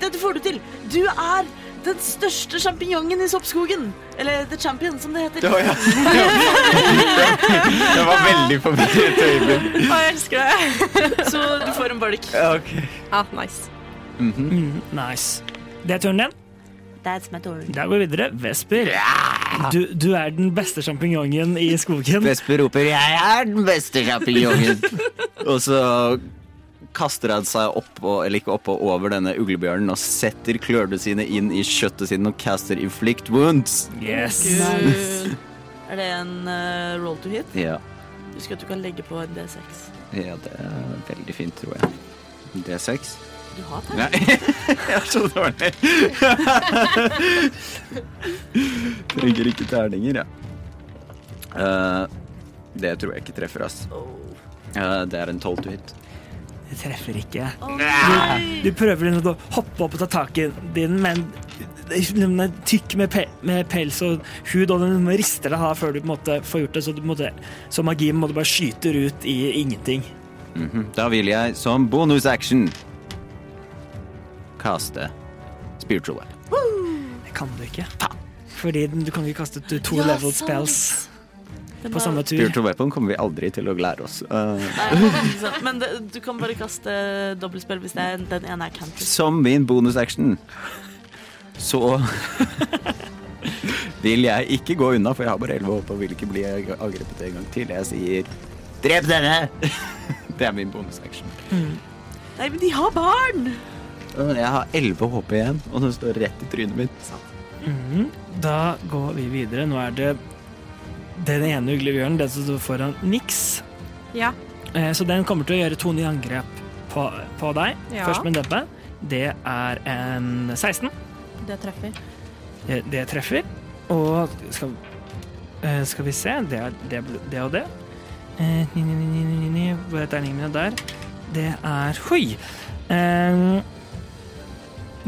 [SPEAKER 1] dette får du til. Du er den største sjampinjongen i soppskogen. Eller The Champion, som det heter.
[SPEAKER 8] Å, ja. Det var veldig forvirret øyeblikk.
[SPEAKER 2] Å, jeg elsker det.
[SPEAKER 1] Så du får en bolk.
[SPEAKER 2] Ja, Ah, nice.
[SPEAKER 3] Mm, nice. Det er turen din.
[SPEAKER 1] That's my turn.
[SPEAKER 3] Der går vi videre. Vesper, du, du er den beste sjampinjongen i skogen.
[SPEAKER 5] Vesper roper 'jeg er den beste sjampinjongen', og så kaster han seg oppå, eller ikke oppå, over denne uglebjørnen og setter klørne sine inn i kjøttet sine og caster inflict wounds.
[SPEAKER 3] Yes.
[SPEAKER 1] Nice. Er det en eh, roll to hit?
[SPEAKER 5] Ja,
[SPEAKER 1] Husk at du kan legge på en D6.
[SPEAKER 5] ja det er veldig fint, tror jeg. D6.
[SPEAKER 1] Du har tegn.
[SPEAKER 5] Nei, jeg er så dårlig. [laughs] Trenger ikke terninger, jeg. Eh, det tror jeg ikke treffer, ass. Eh, det er en 12 to hit.
[SPEAKER 3] Det treffer ikke. Du prøver liksom å hoppe opp og ta tak i den, men den er tykk med, pe med pels og hud, og den rister deg hard før du på en måte får gjort det, så, du på en måte, så magien må du bare skyter ut i ingenting.
[SPEAKER 5] Da vil jeg som bonus action kaste spiritual weapon.
[SPEAKER 3] Det kan du ikke. Fordi den, du kan ikke kaste ut to level spells
[SPEAKER 1] Den
[SPEAKER 3] på
[SPEAKER 1] var-
[SPEAKER 3] samme tur.
[SPEAKER 5] Spiritual weapon kommer vi aldri til å lære oss. Eh,
[SPEAKER 1] Ikke sant? Men det, du kan bare kaste dobbeltspill hvis det er, den ene er cantrip.
[SPEAKER 5] som min bonus action så vil jeg ikke gå unna, for jeg har bare 11 håp og vil ikke bli angrepet en gang til. Jeg sier
[SPEAKER 9] Drep denne!
[SPEAKER 5] [laughs] det er min bonus action.
[SPEAKER 1] Nei, men de har barn!
[SPEAKER 5] Jeg har 11 HP igjen, og den står rett i trynet mitt.
[SPEAKER 3] Da går vi videre. Nå er det den ene uglebjørnen, den som står foran Nix.
[SPEAKER 2] Ja.
[SPEAKER 3] Eh, Så den kommer til å gjøre to nye angrep på, på deg.
[SPEAKER 2] Ja.
[SPEAKER 3] Først med nebbe. Det er en 16.
[SPEAKER 2] Det treffer.
[SPEAKER 3] Eh, Det treffer. Og skal, eh, skal vi se Det er det, det og det. Eh, ni, ni, ni, ni, ni, ni. Hvor er terningene mine der? Det er Hoi! Eh,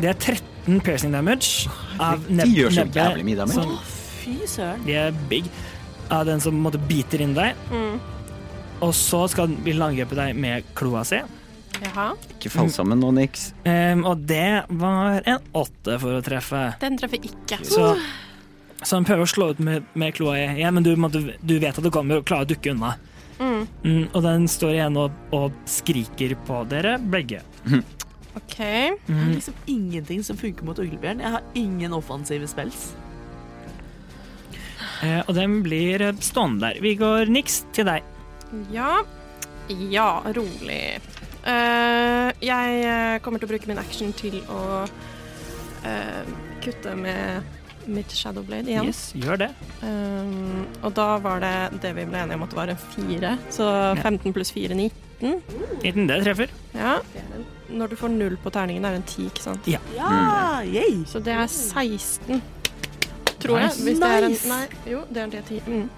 [SPEAKER 3] Det er 13 piercing damage av
[SPEAKER 5] De
[SPEAKER 3] neb-
[SPEAKER 5] gjør så
[SPEAKER 3] nebbet
[SPEAKER 5] jævlig mye damage.
[SPEAKER 3] som-
[SPEAKER 1] Fy søren.
[SPEAKER 3] de er big. Av den som på en måte biter inn deg. Og så skal, vil den angripe deg med kloa si.
[SPEAKER 2] Jaha.
[SPEAKER 5] Ikke fall sammen nå, Nix.
[SPEAKER 3] Ehm, og det var en åtte for å treffe.
[SPEAKER 2] Den treffer ikke.
[SPEAKER 3] Så, så han prøver å slå ut med, med kloa igjen, men du, må- du, du vet at du kommer og klarer å dukke unna.
[SPEAKER 2] Uh.
[SPEAKER 3] Mm, og den står igjen og, og skriker på dere begge. Mm,
[SPEAKER 2] OK.
[SPEAKER 1] Det er liksom ingenting som funker mot uglebjørn. Jeg har ingen offensive spells.
[SPEAKER 3] Eh, og den blir eh, stående der. Vi går niks til deg.
[SPEAKER 2] Ja. Ja, rolig. Eh, jeg eh, kommer til å bruke min action til å eh, kutte med mitt shadowblade igjen.
[SPEAKER 3] Yes, gjør det.
[SPEAKER 2] Um, og da var det det vi ble enige om at det var en fire. Så 15 pluss 4, 9.
[SPEAKER 3] 19, det treffer.
[SPEAKER 2] Ja. Når du får null på terningen, er det en 10, ikke sant?
[SPEAKER 1] Ja, yay!
[SPEAKER 2] Så det er 16, tror jeg.
[SPEAKER 3] Nice.
[SPEAKER 2] Hvis det er en,
[SPEAKER 1] Nice.
[SPEAKER 2] nei, jo, det er en D10. Mm.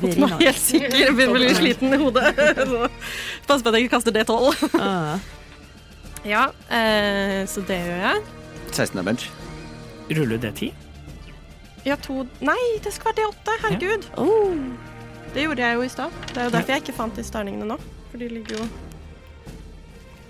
[SPEAKER 1] Very
[SPEAKER 2] Jeg er helt sikker. Jeg Begynner å bli sliten i hodet. [laughs] Så Pass på at jeg ikke kaster D12.
[SPEAKER 1] Ah.
[SPEAKER 2] Ja, eh, så det gjør jeg.
[SPEAKER 5] 16 er bench.
[SPEAKER 3] Ruller du D10?
[SPEAKER 2] Ja, to Nei, det skal være D8. Herregud.
[SPEAKER 1] Oh.
[SPEAKER 2] Det gjorde jeg jo i stad. Det er jo derfor jeg ikke fant disse terningene nå. For de ligger jo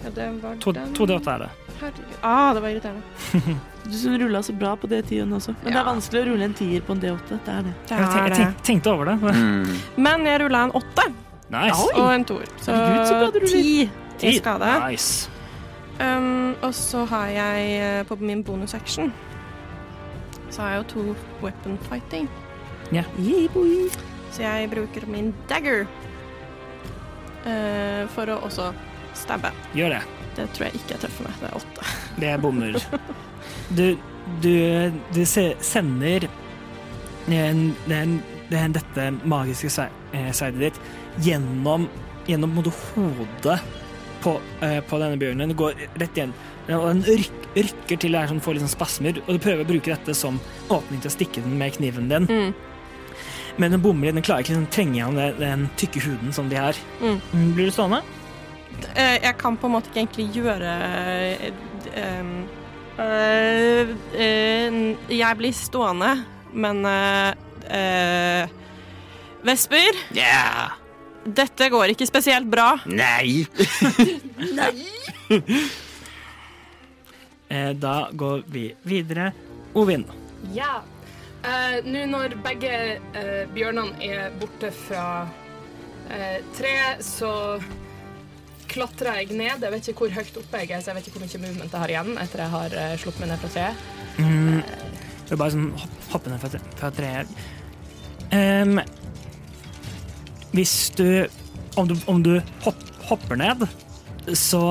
[SPEAKER 2] ja, det var
[SPEAKER 3] To,
[SPEAKER 2] den.
[SPEAKER 3] to D8 er det.
[SPEAKER 2] Herregud. Ah, det var irriterende.
[SPEAKER 1] [laughs] Du som rulla så bra på D10-en også. Men det er
[SPEAKER 2] Ja.
[SPEAKER 1] vanskelig å rulle en tier på en D8. Det er det.
[SPEAKER 2] Det
[SPEAKER 3] Jeg,
[SPEAKER 2] er
[SPEAKER 3] tenk, jeg
[SPEAKER 2] det.
[SPEAKER 3] tenk, tenkte over det.
[SPEAKER 9] Mm.
[SPEAKER 5] Mm.
[SPEAKER 2] Men jeg rulla en åtte
[SPEAKER 3] Nice.
[SPEAKER 2] og en toer. Så
[SPEAKER 1] Herregud, så bra du ruller.
[SPEAKER 2] ti i
[SPEAKER 3] Ti.
[SPEAKER 2] skade.
[SPEAKER 3] Nice.
[SPEAKER 2] Um, og så har jeg eh, på min bonusaction så har jeg jo to weapon fighting.
[SPEAKER 3] Ja.
[SPEAKER 2] Så jeg bruker min dagger eh, for å også stabbe.
[SPEAKER 3] Gjør det.
[SPEAKER 2] Det tror jeg ikke jeg treffer meg. Det er åtte.
[SPEAKER 3] Det bommer. Du, du, du se, sender en, den, den, dette magiske sve- eh, sverdet ditt gjennom, gjennom på en måte hodet på, eh, på denne bjørnen. Det går rett igjen. Og den ryk, rykker til det er sånn, får litt sånn spasmer, og du prøver å bruke dette som åpning til å stikke den med kniven din.
[SPEAKER 2] Mm.
[SPEAKER 3] Men den bommer, den klarer ikke liksom å trenge gjennom den, den tykke huden som de har.
[SPEAKER 2] Mm.
[SPEAKER 3] Blir du stående?
[SPEAKER 2] Eh, jeg kan på en måte ikke egentlig gjøre eh, d- em, eh, eh, Jeg blir stående, men eh, eh, Vesper,
[SPEAKER 9] Ja!
[SPEAKER 2] dette går ikke spesielt bra.
[SPEAKER 9] Nei!
[SPEAKER 3] Eh, Da går vi videre. Ovin.
[SPEAKER 7] Ja. Eh, Nå når begge eh, bjørnene er borte fra uh, treet, så klatrer jeg ned. Jeg vet ikke hvor høyt oppe jeg er, så jeg vet ikke hvor mye movement jeg har igjen etter jeg har eh, sluppet meg ned fra treet.
[SPEAKER 3] Det er bare sånn hopp, hoppe ned fra, tre, fra treet. Ehm, hvis du Om du, om du hopp, hopper ned, så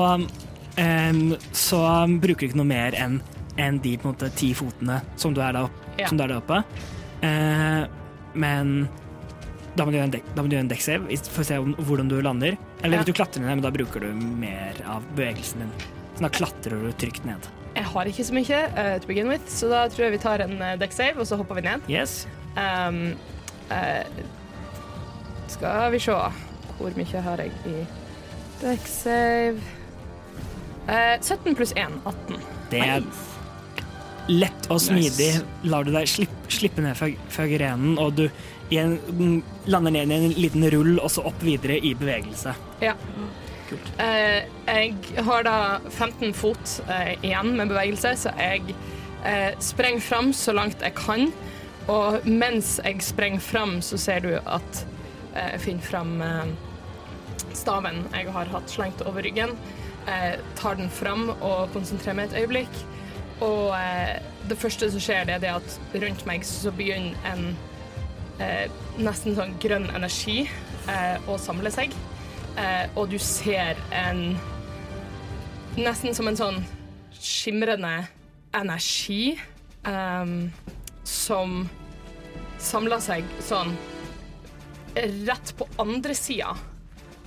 [SPEAKER 3] ehm, Så bruker du ikke noe mer enn enn de på en måte ti fotene som du er der, opp,
[SPEAKER 7] Ja.
[SPEAKER 3] som du er der oppe. Eh, men da må du gjøre en, dek, da må du gjøre en dekksave i- for å se om, hvordan du lander. Eller
[SPEAKER 7] Ja.
[SPEAKER 3] hvis du klatrer ned, men da bruker du mer av bevegelsen din. Så da klatrer du trygt ned.
[SPEAKER 7] Jeg har ikke så mye eh, to begin with, så da tror jeg vi tar en eh, deck save, og så hopper vi ned.
[SPEAKER 3] Yes.
[SPEAKER 7] Ehm, eh, skal vi se Hvor mye har jeg i deck save? Eh, 17 pluss 1, 18.
[SPEAKER 3] Det er lett og smidig. Lar du deg slipp, slippe ned fra, fra grenen, og du i en- mm, lander ned i en liten rull, og så opp videre i bevegelse.
[SPEAKER 7] Ja. Eh, jeg har da 15 fot eh, igjen med bevegelse, så jeg eh, sprenger fram så langt jeg kan. Og mens jeg sprenger fram, så ser du at eh, jeg finner fram eh, staven jeg har hatt slengt over ryggen. Eh, tar den fram og konsentrerer meg et øyeblikk. Og eh, det første som skjer, det er det at rundt meg så begynner en eh, nesten sånn grønn energi eh, å samle seg. Eh, og du ser en Nesten som en sånn skimrende energi ehm, som samler seg sånn rett på andre sida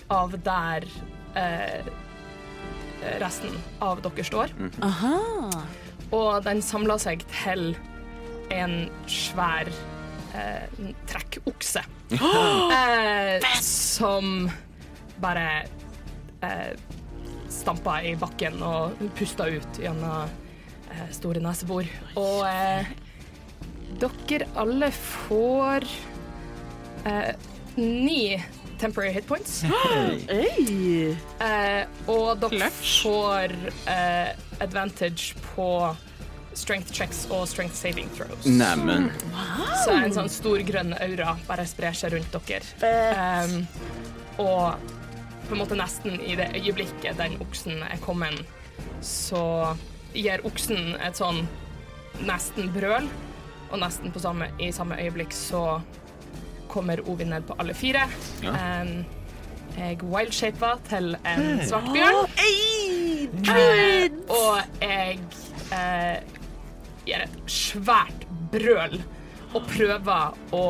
[SPEAKER 7] av der eh, resten av dere står. Og den samler seg til en svær eh, trekkokse. eh, som bare eh, stampa i bakken og pusta ut gjennom eh, store nesebor. Og eh, dere alle får eh, ni temporary hit points.
[SPEAKER 1] Øy!
[SPEAKER 7] Eh, og dere får eh, advantage på strength checks og strength saving throws.
[SPEAKER 5] Neimen.
[SPEAKER 7] Så en sånn stor grønn aura bare sprer seg rundt dere. Ehm, og på en måte nesten i det øyeblikket den oksen er kommet, så gir oksen et sånn nesten brøl, og nesten på samme, i samme øyeblikk så kommer Ovin ned på alle fire. Ehm, jeg wildshaper til en svart bjørn. Eh, og jeg eh, gjør et svært brøl og prøver å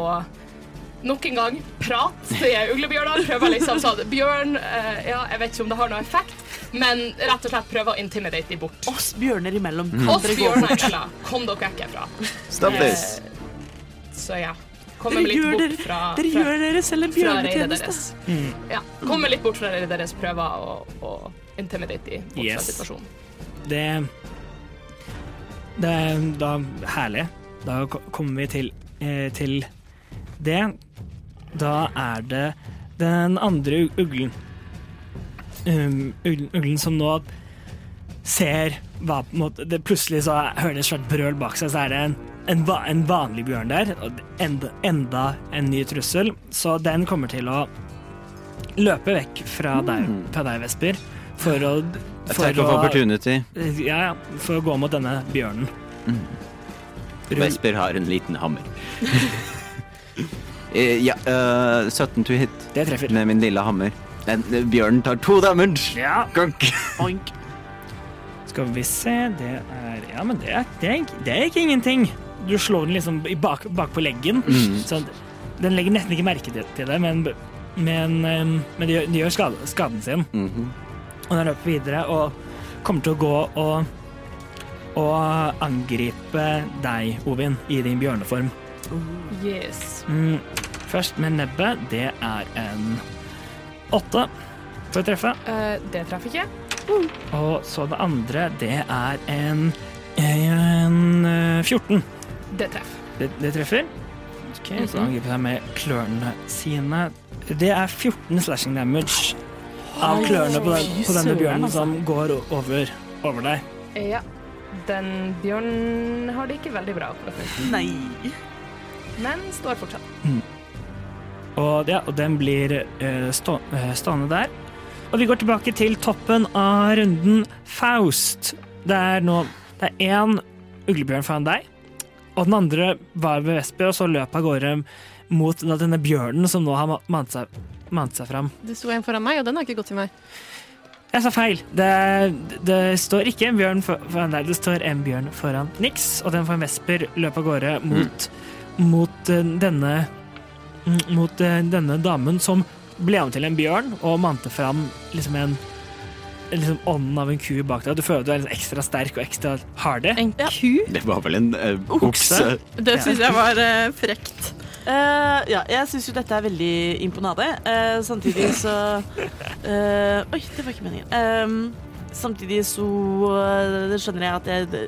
[SPEAKER 7] nok en gang prate til uglebjørner. Prøver liksom sånn Bjørn, eh, ja, jeg vet ikke om det har noen effekt, men rett og slett prøver å intimidate de bort.
[SPEAKER 1] Oss bjørner imellom.
[SPEAKER 7] Oss bjørner imellom. Kom dere vekk herfra.
[SPEAKER 5] Stop this.
[SPEAKER 7] Eh, Så ja. Kommer
[SPEAKER 1] Dere
[SPEAKER 7] litt
[SPEAKER 1] gjør
[SPEAKER 7] bort
[SPEAKER 1] dere,
[SPEAKER 7] fra,
[SPEAKER 1] dere,
[SPEAKER 7] fra,
[SPEAKER 1] gjør dere selv en
[SPEAKER 7] fra reidet
[SPEAKER 1] bjørnetjeneste.
[SPEAKER 7] deres. Ja, kommer litt bort fra reidet deres, prøver å, å intimidate de bort fra
[SPEAKER 3] Yes.
[SPEAKER 7] situasjonen.
[SPEAKER 3] Det Det er da herlig. Da ko- kommer vi til, eh, til det. Da er det den andre u- uglen. Um, uglen, uglen som nå ser hva på en måte det, Plutselig så hører de et svært brøl bak seg, så er det en, en, va- en vanlig bjørn der. Og enda, enda en ny trussel. Så den kommer til å løpe vekk fra deg, fra deg Vesper, for å
[SPEAKER 5] Attack of opportunity.
[SPEAKER 3] ja, ja, for å gå mot denne bjørnen.
[SPEAKER 5] Vesper har en liten hammer. [laughs] Eh, ja, eh, 17 to hit
[SPEAKER 3] Det treffer.
[SPEAKER 5] med min lille hammer. Den, eh, bjørnen tar to damage.
[SPEAKER 3] Ja.
[SPEAKER 5] Gank.
[SPEAKER 1] Oink.
[SPEAKER 3] Skal vi se, det er Ja, men det er, det er, det er ikke ingenting. Du slår den liksom i bak, bakpå leggen. Så den legger nesten ikke merke til, til det, men, men, eh, men det gjør, det gjør skade, skaden sin. Og den løper videre og kommer til å gå og, og angripe deg, Ovin, i din bjørneform.
[SPEAKER 7] Yes.
[SPEAKER 3] Mm. Først med nebbet. Det er en åtte for å treffe.
[SPEAKER 7] Eh, det treffer ikke.
[SPEAKER 3] Og så det andre, det er en, en eh, 14.
[SPEAKER 7] Det treffer.
[SPEAKER 3] Det, det treffer. Ok, Så angriper jeg med klørne sine. Det er 14 slashing damage av klørne på, den, på denne bjørnen som går o- over, over deg.
[SPEAKER 7] Ja. Den bjørnen har det ikke veldig bra, akkurat nå,
[SPEAKER 1] Nei.
[SPEAKER 7] men står fortsatt.
[SPEAKER 3] Og, ja, og den blir eh, stå, eh, stående der. Og vi går tilbake til toppen av runden Faust. Det er nå Det er én uglebjørn foran deg, og den andre var ved Vesper, og så løp av gårde mot da denne bjørnen som nå har ma- mant seg, mant seg fram.
[SPEAKER 2] Det sto en foran meg, og den har ikke gått til meg.
[SPEAKER 3] Jeg sa feil. Det, det står ikke en bjørn for- foran deg, det står en bjørn foran Nix, og den får en vesper løpe av gårde mot, mot eh, denne mm, mot eh, denne damen som ble om til en bjørn og mante fram liksom en liksom ånden av en ku bak deg. Du føler at du er litt ekstra sterk og ekstra harde.
[SPEAKER 2] En ku?
[SPEAKER 5] Det var vel en eh, okse.
[SPEAKER 3] Okse.
[SPEAKER 2] Det syns jeg var eh, frekt.
[SPEAKER 1] Eh, ja, jeg syns jo dette er veldig imponade. Eh, samtidig så eh, Oi, det var ikke meningen. Eh, samtidig så eh, skjønner jeg at jeg det-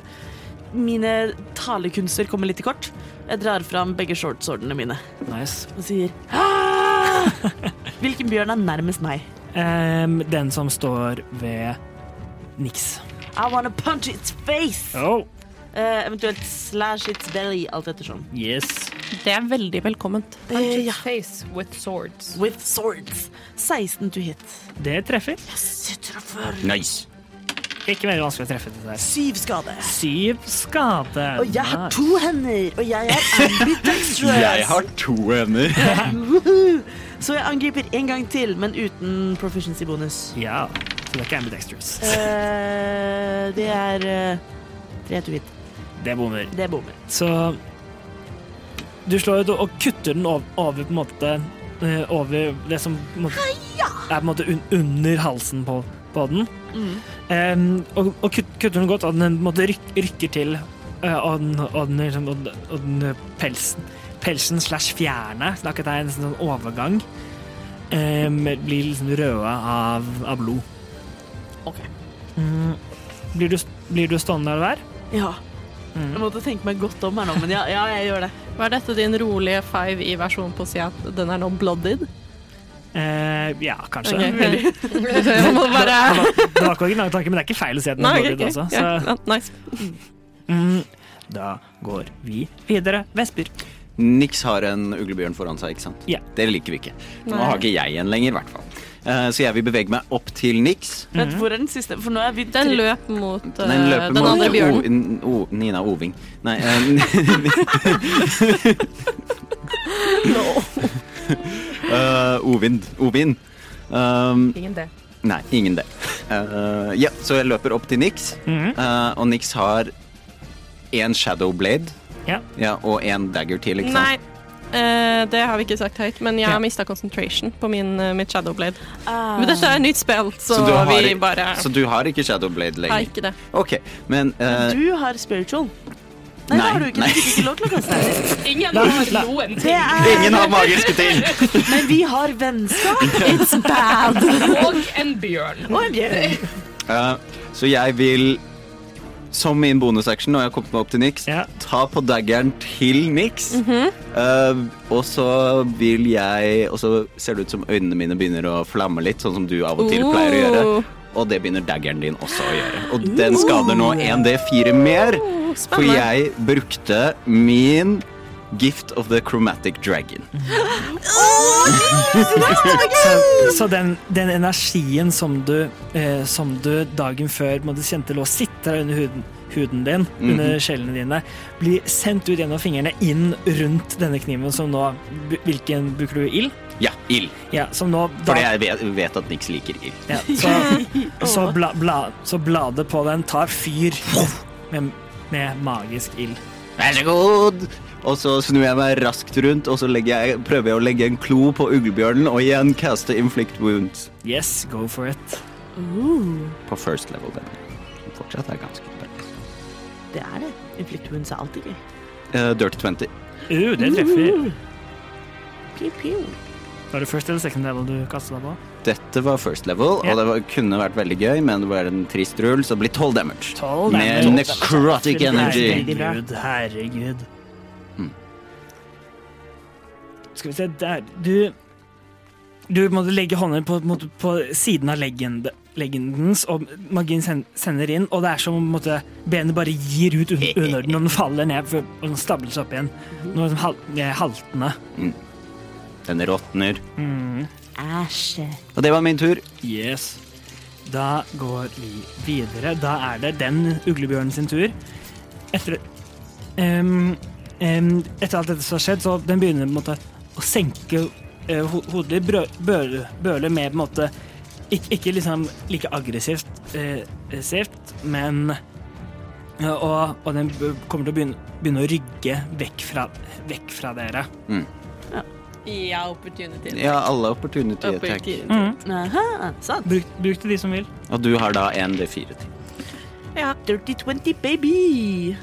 [SPEAKER 1] Mine talekunster kommer litt til kort. Jeg drar fram begge shortsordene mine
[SPEAKER 3] Nice. [gasps]
[SPEAKER 1] og sier «Ah! Hvilken bjørn er nærmest meg?
[SPEAKER 3] Em, den som står ved Nix.
[SPEAKER 1] I wanna punch its face!
[SPEAKER 3] Oh,
[SPEAKER 1] Eh, eventuelt slash its belly, alt ettersom.
[SPEAKER 3] yes.
[SPEAKER 2] Det er veldig velkomment.
[SPEAKER 1] Eh, ja.
[SPEAKER 7] Face with swords.
[SPEAKER 1] With swords. 16 to hit.
[SPEAKER 3] Det treffer.
[SPEAKER 1] Jeg treffer.
[SPEAKER 5] Nice.
[SPEAKER 3] Ikke mer vanskelig å treffe det der.
[SPEAKER 1] Syv skade.
[SPEAKER 3] Syv skade.
[SPEAKER 1] Og jeg har
[SPEAKER 3] Nice.
[SPEAKER 1] to hender, og jeg er ambidextrous.
[SPEAKER 5] [laughs] Jeg har to hender.
[SPEAKER 1] Woohoo! Så jeg angriper en gang til, men uten proficiency-bonus.
[SPEAKER 3] Ja, så det er ikke ambidextrous.
[SPEAKER 1] Eh, det er eh, tre to hit.
[SPEAKER 3] Det bommer.
[SPEAKER 1] Det bommer.
[SPEAKER 3] Så du slår ut og kutter den over, over på en måte eh, Over det som på en måte, er på en måte un under halsen på, på den. Em, og og kut, kutter den godt, og den på en måte ryk, rykker til. eh, og, den, og, den, liksom- og, den, og den eh, pelsen Pelsen slash fjærene, snakket jeg, en sånn overgang, em, blir liksom røde av, av blod.
[SPEAKER 1] Ok.
[SPEAKER 3] Mm. Blir, du, blir du stående der hver?
[SPEAKER 1] Ja.
[SPEAKER 2] Mm.
[SPEAKER 1] Jeg måtte tenke meg godt om her nå, men ja, ja jeg gjør
[SPEAKER 2] [laughs]
[SPEAKER 1] det.
[SPEAKER 2] Var dette din rolige five i versjon på å si at den er nå blooded?
[SPEAKER 3] Eh, ja, kanskje.
[SPEAKER 2] [laughs] Ok.
[SPEAKER 3] Veldig.
[SPEAKER 2] Jeg må bare
[SPEAKER 3] Det var- det var ikke original tanke, men det er ikke feil å si at den
[SPEAKER 2] Nei,
[SPEAKER 3] er
[SPEAKER 2] ok,
[SPEAKER 3] dårlig også.
[SPEAKER 2] ok.
[SPEAKER 3] Så,
[SPEAKER 2] Ja, nice.
[SPEAKER 3] mm, da går vi videre. Vesper.
[SPEAKER 5] Nix har en uglebjørn foran seg, ikke sant?
[SPEAKER 3] Ja.
[SPEAKER 5] Det liker vi ikke. Nå
[SPEAKER 2] Nei.
[SPEAKER 5] har ikke jeg en lenger, i hvert fall. Eh, så jeg vil bevege meg opp til Nix.
[SPEAKER 1] Vent, hvor er den siste? For nå er vi
[SPEAKER 2] Mm. Den
[SPEAKER 1] tre-
[SPEAKER 2] løp mot eh,
[SPEAKER 5] Den løper
[SPEAKER 2] den
[SPEAKER 5] mot
[SPEAKER 2] andre bjørnen.
[SPEAKER 5] O- O- Nina Oving. Nei [laughs] eh, Eh, Ovind. Ovin. Um,
[SPEAKER 7] Ingen det.
[SPEAKER 5] nei, ingen det. Eh, ja, så jeg løper opp til Nix,
[SPEAKER 3] Mhm.
[SPEAKER 5] eh, og Nix har én shadow blade
[SPEAKER 3] Ja.
[SPEAKER 5] ja, og én dagger til, ikke
[SPEAKER 2] Nei,
[SPEAKER 5] sant?
[SPEAKER 2] eh, det har vi ikke sagt høyt, men jeg
[SPEAKER 3] Ja.
[SPEAKER 2] har mista concentration på min, eh, mitt shadowblade.
[SPEAKER 1] Ah.
[SPEAKER 2] Men dette er nytt spill, så,
[SPEAKER 5] Så du har
[SPEAKER 2] vi
[SPEAKER 5] i-
[SPEAKER 2] bare
[SPEAKER 5] Så du har ikke shadow blade
[SPEAKER 2] har
[SPEAKER 5] lenger?
[SPEAKER 2] ikke det.
[SPEAKER 5] OK, men eh,
[SPEAKER 1] Du har spiritual. Nei, det
[SPEAKER 5] Nei,
[SPEAKER 1] har du ikke.
[SPEAKER 5] nei.
[SPEAKER 1] Du fikk ikke lov til å kaste
[SPEAKER 5] [laughs]
[SPEAKER 1] deg.
[SPEAKER 7] Ingen
[SPEAKER 3] La-
[SPEAKER 7] har
[SPEAKER 3] la-
[SPEAKER 7] noen
[SPEAKER 1] Det
[SPEAKER 7] ting.
[SPEAKER 5] Ingen
[SPEAKER 1] er
[SPEAKER 5] har magiske ting!
[SPEAKER 1] Men vi
[SPEAKER 5] [laughs]
[SPEAKER 1] har vennskap
[SPEAKER 2] It's bad!
[SPEAKER 7] [laughs] Og en bjørn.
[SPEAKER 1] og en bjørn.
[SPEAKER 5] Eh, så jeg vil, som min bonusaction, når jeg har kommet meg opp til Nix,
[SPEAKER 3] Ja.
[SPEAKER 5] ta på daggeren til Nix. Eh, og så vil jeg Og så ser det ut som øynene mine begynner å flamme litt, sånn som du av og til pleier å gjøre.
[SPEAKER 2] Oh.
[SPEAKER 5] Og det begynner daggeren din også å gjøre. Og den skader nå 1D4 mer, for
[SPEAKER 2] spennende.
[SPEAKER 5] jeg brukte min Gift of the Chromatic Dragon.
[SPEAKER 3] Så, så den, den energien som du, eh, som du dagen før på en måte, kjente lå sitter under huden, huden din,
[SPEAKER 2] Mhm.
[SPEAKER 3] under skjellene dine, blir sendt ut gjennom fingrene inn rundt denne kniven som nå Hvilken bruker du? Ild?
[SPEAKER 9] Ja, ild.
[SPEAKER 3] Ja, som nå da-
[SPEAKER 9] Fordi jeg vet, vet at Nix liker ild.
[SPEAKER 3] ja, så,
[SPEAKER 2] [laughs]
[SPEAKER 3] så, bla, bla, så bladet på den tar fyr med, med magisk ild.
[SPEAKER 13] Vær så god!
[SPEAKER 14] Og så snur jeg meg raskt rundt, og så legger jeg, prøver jeg å legge en klo på uglebjørnen og igjen caste inflict wounds.
[SPEAKER 3] Yes, go for it.
[SPEAKER 9] På first level, den. Som fortsatt er ganske bra.
[SPEAKER 1] Det er det. Inflict wounds er alltid gøy.
[SPEAKER 9] Eh, dirty 20.
[SPEAKER 3] Uh, det treffer.
[SPEAKER 1] Pew, pew.
[SPEAKER 3] Var det first eller second level du kastet deg på?
[SPEAKER 9] Dette var first level,
[SPEAKER 3] Ja.
[SPEAKER 9] og det var, kunne vært veldig gøy, men det var en trist rull, så det blir 12 damage.
[SPEAKER 3] 12
[SPEAKER 9] Med
[SPEAKER 3] damage.
[SPEAKER 9] necrotic energy.
[SPEAKER 1] veldig bra.
[SPEAKER 3] Herregud, herregud. Skal vi se der Du Du måtte legge hånden på, mot- på siden av legende, legendens, og magien sen, sender inn, og det er som om på en måte, benet bare gir ut un-
[SPEAKER 9] [laughs]
[SPEAKER 3] underorden, og den faller ned for, og den stabler seg opp igjen. Nå er den hal, eh, haltende.
[SPEAKER 9] Den råtner.
[SPEAKER 1] Æsj.
[SPEAKER 9] Og det var min tur.
[SPEAKER 3] Yes. Da går vi videre. Da er det den uglebjørnen sin tur. Etter, em, em, etter alt dette som har skjedd, så den begynner på en måte å senke eh, ho hodet litt, brø- bøle, bøle med på en måte ikke, ikke liksom like aggressivt, eh, aggressivt, men ja, og, og den b- kommer til å begynne, begynne å rygge vekk fra, vekk fra dere.
[SPEAKER 7] Ja, opportunity.
[SPEAKER 9] Ja, alle opportunity attack.
[SPEAKER 7] Opportunity.
[SPEAKER 1] Aha, sant.
[SPEAKER 3] Bruk, bruk til de som vil.
[SPEAKER 9] Og du har da en D4 til.
[SPEAKER 1] Ja. Dirty 20, baby.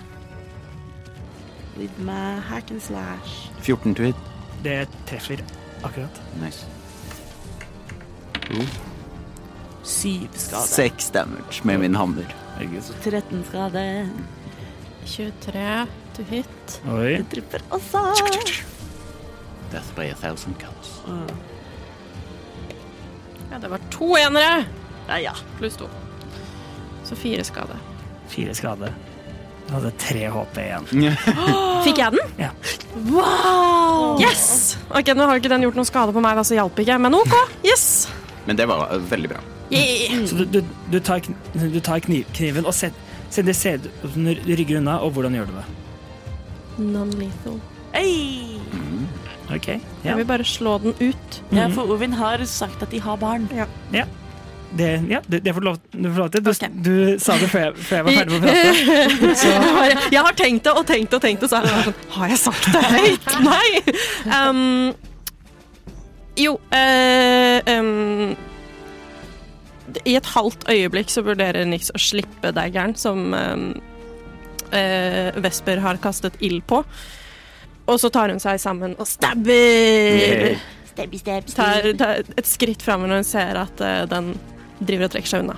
[SPEAKER 1] With my hack and slash.
[SPEAKER 9] 14 to hit.
[SPEAKER 3] Det treffer akkurat.
[SPEAKER 9] Nice.
[SPEAKER 1] Syv skade.
[SPEAKER 14] 6 damage med min hammer.
[SPEAKER 1] 13 skade.
[SPEAKER 7] 23 to hit.
[SPEAKER 3] Oi.
[SPEAKER 1] Det treffer også.
[SPEAKER 9] Death by a thousand cuts.
[SPEAKER 7] Ja, det var to enere
[SPEAKER 1] Ja, ja.
[SPEAKER 7] pluss to. Så fire skade.
[SPEAKER 3] Fire skader. Du hadde tre HP igjen.
[SPEAKER 2] Fikk jeg den?
[SPEAKER 3] Ja.
[SPEAKER 1] Wow!
[SPEAKER 2] Yes! Ok, Nå har jo ikke den gjort noen skade på meg, da, så hjalp ikke. Men OK. Yes!
[SPEAKER 9] Men det var eh, veldig bra.
[SPEAKER 3] Så du, du, du tar, kn- du tar kniv, kniven og set- sender sæd Du rygger unna, og hvordan gjør du det?
[SPEAKER 2] Non-lethal.
[SPEAKER 1] Hey!
[SPEAKER 3] Ok.
[SPEAKER 2] Jeg
[SPEAKER 3] Ja.
[SPEAKER 2] vil bare slå den ut.
[SPEAKER 1] Ja, for Ovin har sagt at de har barn.
[SPEAKER 3] Det, ja, det, det får du lov, du får lov til. Du,
[SPEAKER 2] Ok.
[SPEAKER 3] du sa det før jeg, før jeg var ferdig med
[SPEAKER 2] [laughs]
[SPEAKER 3] å prate.
[SPEAKER 2] Bare, Jeg har tenkt det og tenkt det og tenkt det, så er jeg sånn Har jeg sagt det høyt? Nei! Um, jo eh, um, I et halvt øyeblikk så vurderer Nix å slippe daggeren som um, eh, Vesper har kastet ild på. Og så tar hun seg sammen og stabber!
[SPEAKER 1] Stabby, stabby,
[SPEAKER 2] Tar, tar et skritt fram når hun ser at eh, den driver og trekker seg unna.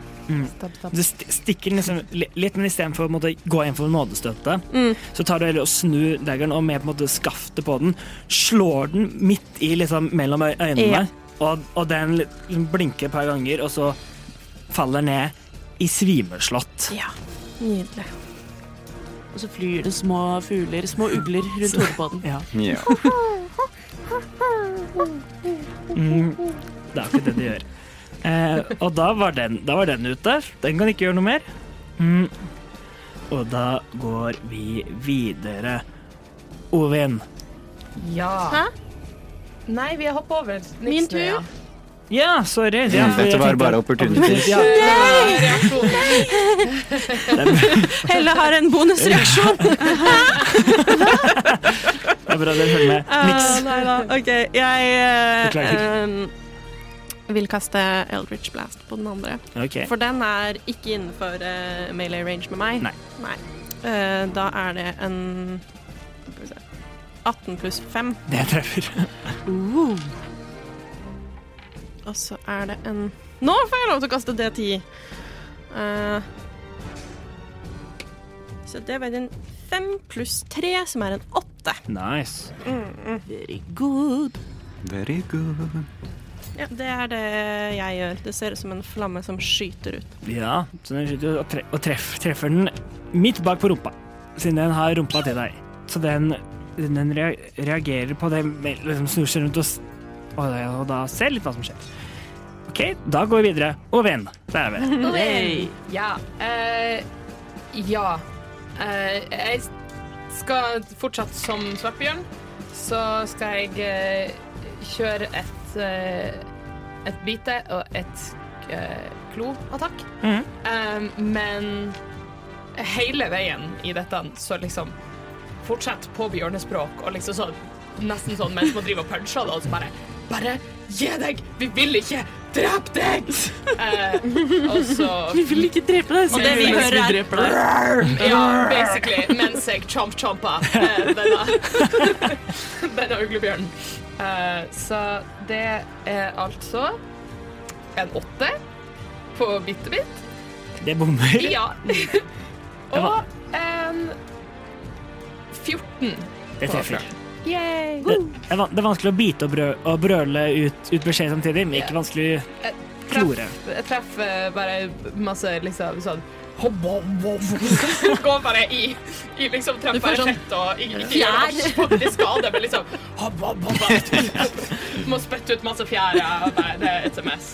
[SPEAKER 3] Du st- stikker den liksom li- litt, men istedenfor å måtte gå inn for nådestøtet,
[SPEAKER 2] Mm.
[SPEAKER 3] så tar du heller og snur daggeren og med på en måte skaftet på den, slår den midt i liksom mellom øy- øynene,
[SPEAKER 2] Ja.
[SPEAKER 3] og, og den liksom blinker et par ganger, og så faller ned i svimeslått.
[SPEAKER 2] Ja, nydelig.
[SPEAKER 1] Og så flyr det små fugler, små ugler rundt hodet på den.
[SPEAKER 3] Ja.
[SPEAKER 9] Ja.
[SPEAKER 3] Mm, det er jo ikke det de gjør. Eh, og da var, den, da var den ute. Den kan ikke gjøre noe mer. Mm. Og da går vi videre. Ovin.
[SPEAKER 7] Ja. Hæ? Nei, vi har hoppet over. Niks
[SPEAKER 2] Min
[SPEAKER 7] nå,
[SPEAKER 2] tur?
[SPEAKER 7] ja.
[SPEAKER 3] Ja, sorry. Ja,
[SPEAKER 14] Mm, dette
[SPEAKER 3] jeg
[SPEAKER 14] var
[SPEAKER 3] tenkte-
[SPEAKER 14] bare opportunities.
[SPEAKER 3] Ja,
[SPEAKER 2] Helle har en bonusreaksjon.
[SPEAKER 3] det er bra dere følger med.
[SPEAKER 2] Ah,
[SPEAKER 3] Niks.
[SPEAKER 2] nei da. OK, jeg eh,
[SPEAKER 3] Beklager.
[SPEAKER 2] em, vil kaste Eldritch Blast på den andre.
[SPEAKER 3] Ok.
[SPEAKER 2] For den er ikke innenfor eh, melee range med meg.
[SPEAKER 3] Nei.
[SPEAKER 2] Eh, da er det en Skal vi se 18 pluss 5,
[SPEAKER 3] Det treffer.
[SPEAKER 2] og så er det en Nå får jeg lov til å kaste D10! Eh, så det var en 5 pluss 3, som er en 8.
[SPEAKER 3] Nice.
[SPEAKER 1] Very good.
[SPEAKER 9] Very good.
[SPEAKER 2] Ja, det er det jeg gjør. Det ser ut som en flamme som skyter ut.
[SPEAKER 3] Ja, så den skyter jo og, tre og treff, treffer den midt bak på rumpa, siden den har rumpa til deg. Så den, den rea- reagerer på det, med- liksom snur seg rundt og, s- og, og da ser litt hva som skjer. OK, da går vi videre. Og venn, der er vi.
[SPEAKER 7] Ja. eh, ja. Eh, jeg skal fortsatt som svartbjørn, så skal jeg eh, kjøre et eh, et bite og et eh, kloattakk.
[SPEAKER 3] Mhm.
[SPEAKER 7] Eh, men hele veien i dette, så liksom fortsett på bjørnespråk og liksom sånn Nesten sånn mens man driver og puncher det, og så bare Bare gi deg! Vi vil ikke drepe
[SPEAKER 1] [laughs]
[SPEAKER 7] deg! Eh, og så
[SPEAKER 1] Vi vil ikke drepe deg.
[SPEAKER 7] Og det vi
[SPEAKER 1] Mens
[SPEAKER 7] hører er-
[SPEAKER 1] dreper deg.
[SPEAKER 7] ja, basically. Mens jeg chomp-chompa eh, denne, [laughs] denne uglebjørnen. Eh, så det er altså en åtte på bitte mitt.
[SPEAKER 3] Det bommer.
[SPEAKER 1] [laughs]
[SPEAKER 7] Ja. [laughs] Og en 14.
[SPEAKER 3] Det treffer.
[SPEAKER 7] Yay.
[SPEAKER 3] Det, det er van- det er vanskelig å bite og, brø og brøle ut, ut beskjed samtidig, men ikke vanskelig å klore.
[SPEAKER 7] Jeg treffer bare masse liksom sånn hopp, hopp, hopp. [laughs] Går bare i, i liksom
[SPEAKER 2] Du
[SPEAKER 7] treffer
[SPEAKER 2] får
[SPEAKER 7] bare
[SPEAKER 2] sånn
[SPEAKER 7] fett og ikke ikke gjør noe faktisk skade, men liksom hopp, hopp, hopp, [laughs] hopp. Må spytte ut masse fjære. og bare, Det er et SMS.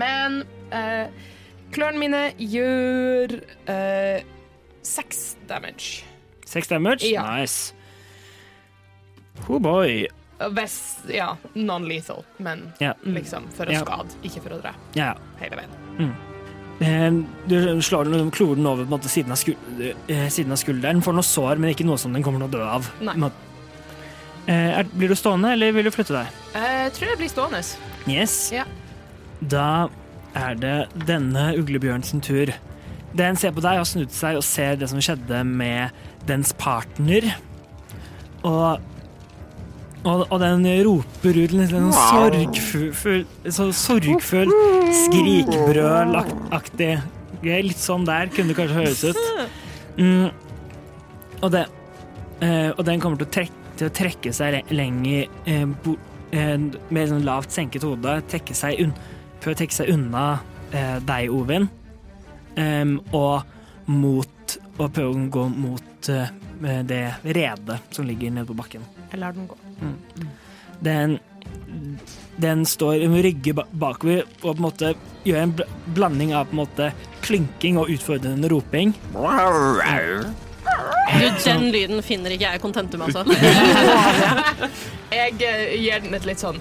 [SPEAKER 7] Men eh, klørne mine gjør eh, seks damage.
[SPEAKER 3] Seks damage?
[SPEAKER 7] Ja.
[SPEAKER 3] Nice. Oh boy.
[SPEAKER 7] Hvis Ja, non-lethal, men
[SPEAKER 3] Ja.
[SPEAKER 7] liksom for å
[SPEAKER 3] Ja.
[SPEAKER 7] skade, ikke for å drepe
[SPEAKER 3] Ja.
[SPEAKER 7] hele veien.
[SPEAKER 3] Eh, Du slår den, klor den over på en måte, siden, av skul eh, siden av skulderen. Får noe sår, men ikke noe som den kommer til å dø av.
[SPEAKER 7] Nei.
[SPEAKER 3] Må- Eh, er, blir du stående, eller vil du flytte deg?
[SPEAKER 7] Eh, Jeg tror jeg blir stående.
[SPEAKER 3] Yes.
[SPEAKER 7] Ja.
[SPEAKER 3] Da er det denne uglebjørn sin tur. Den ser på deg og snur seg og ser det som skjedde med dens partner. Og og, og den roper ut en sånn sorgfull, så sorgfull skrikbrølaktig greie. Litt sånn der kunne det kanskje høres ut. Mm. Og, det, eh, og den kommer til å, trek, til å trekke seg le- lenger eh, bo, eh, med sånn lavt senket hode. Trekke seg un, prøve å trekke seg unna eh, deg, Ovin, Em, og mot Og prøve å gå mot eh, det redet som ligger nede på bakken.
[SPEAKER 7] Jeg lar den gå.
[SPEAKER 3] Den, den står med rygge ba- bakover og på en måte gjør en bl blanding av på en måte klynking og utfordrende roping.
[SPEAKER 2] Du, den lyden finner ikke jeg i kontentum,
[SPEAKER 3] [laughs]
[SPEAKER 2] altså.
[SPEAKER 7] Jeg eh, gir den et litt sånn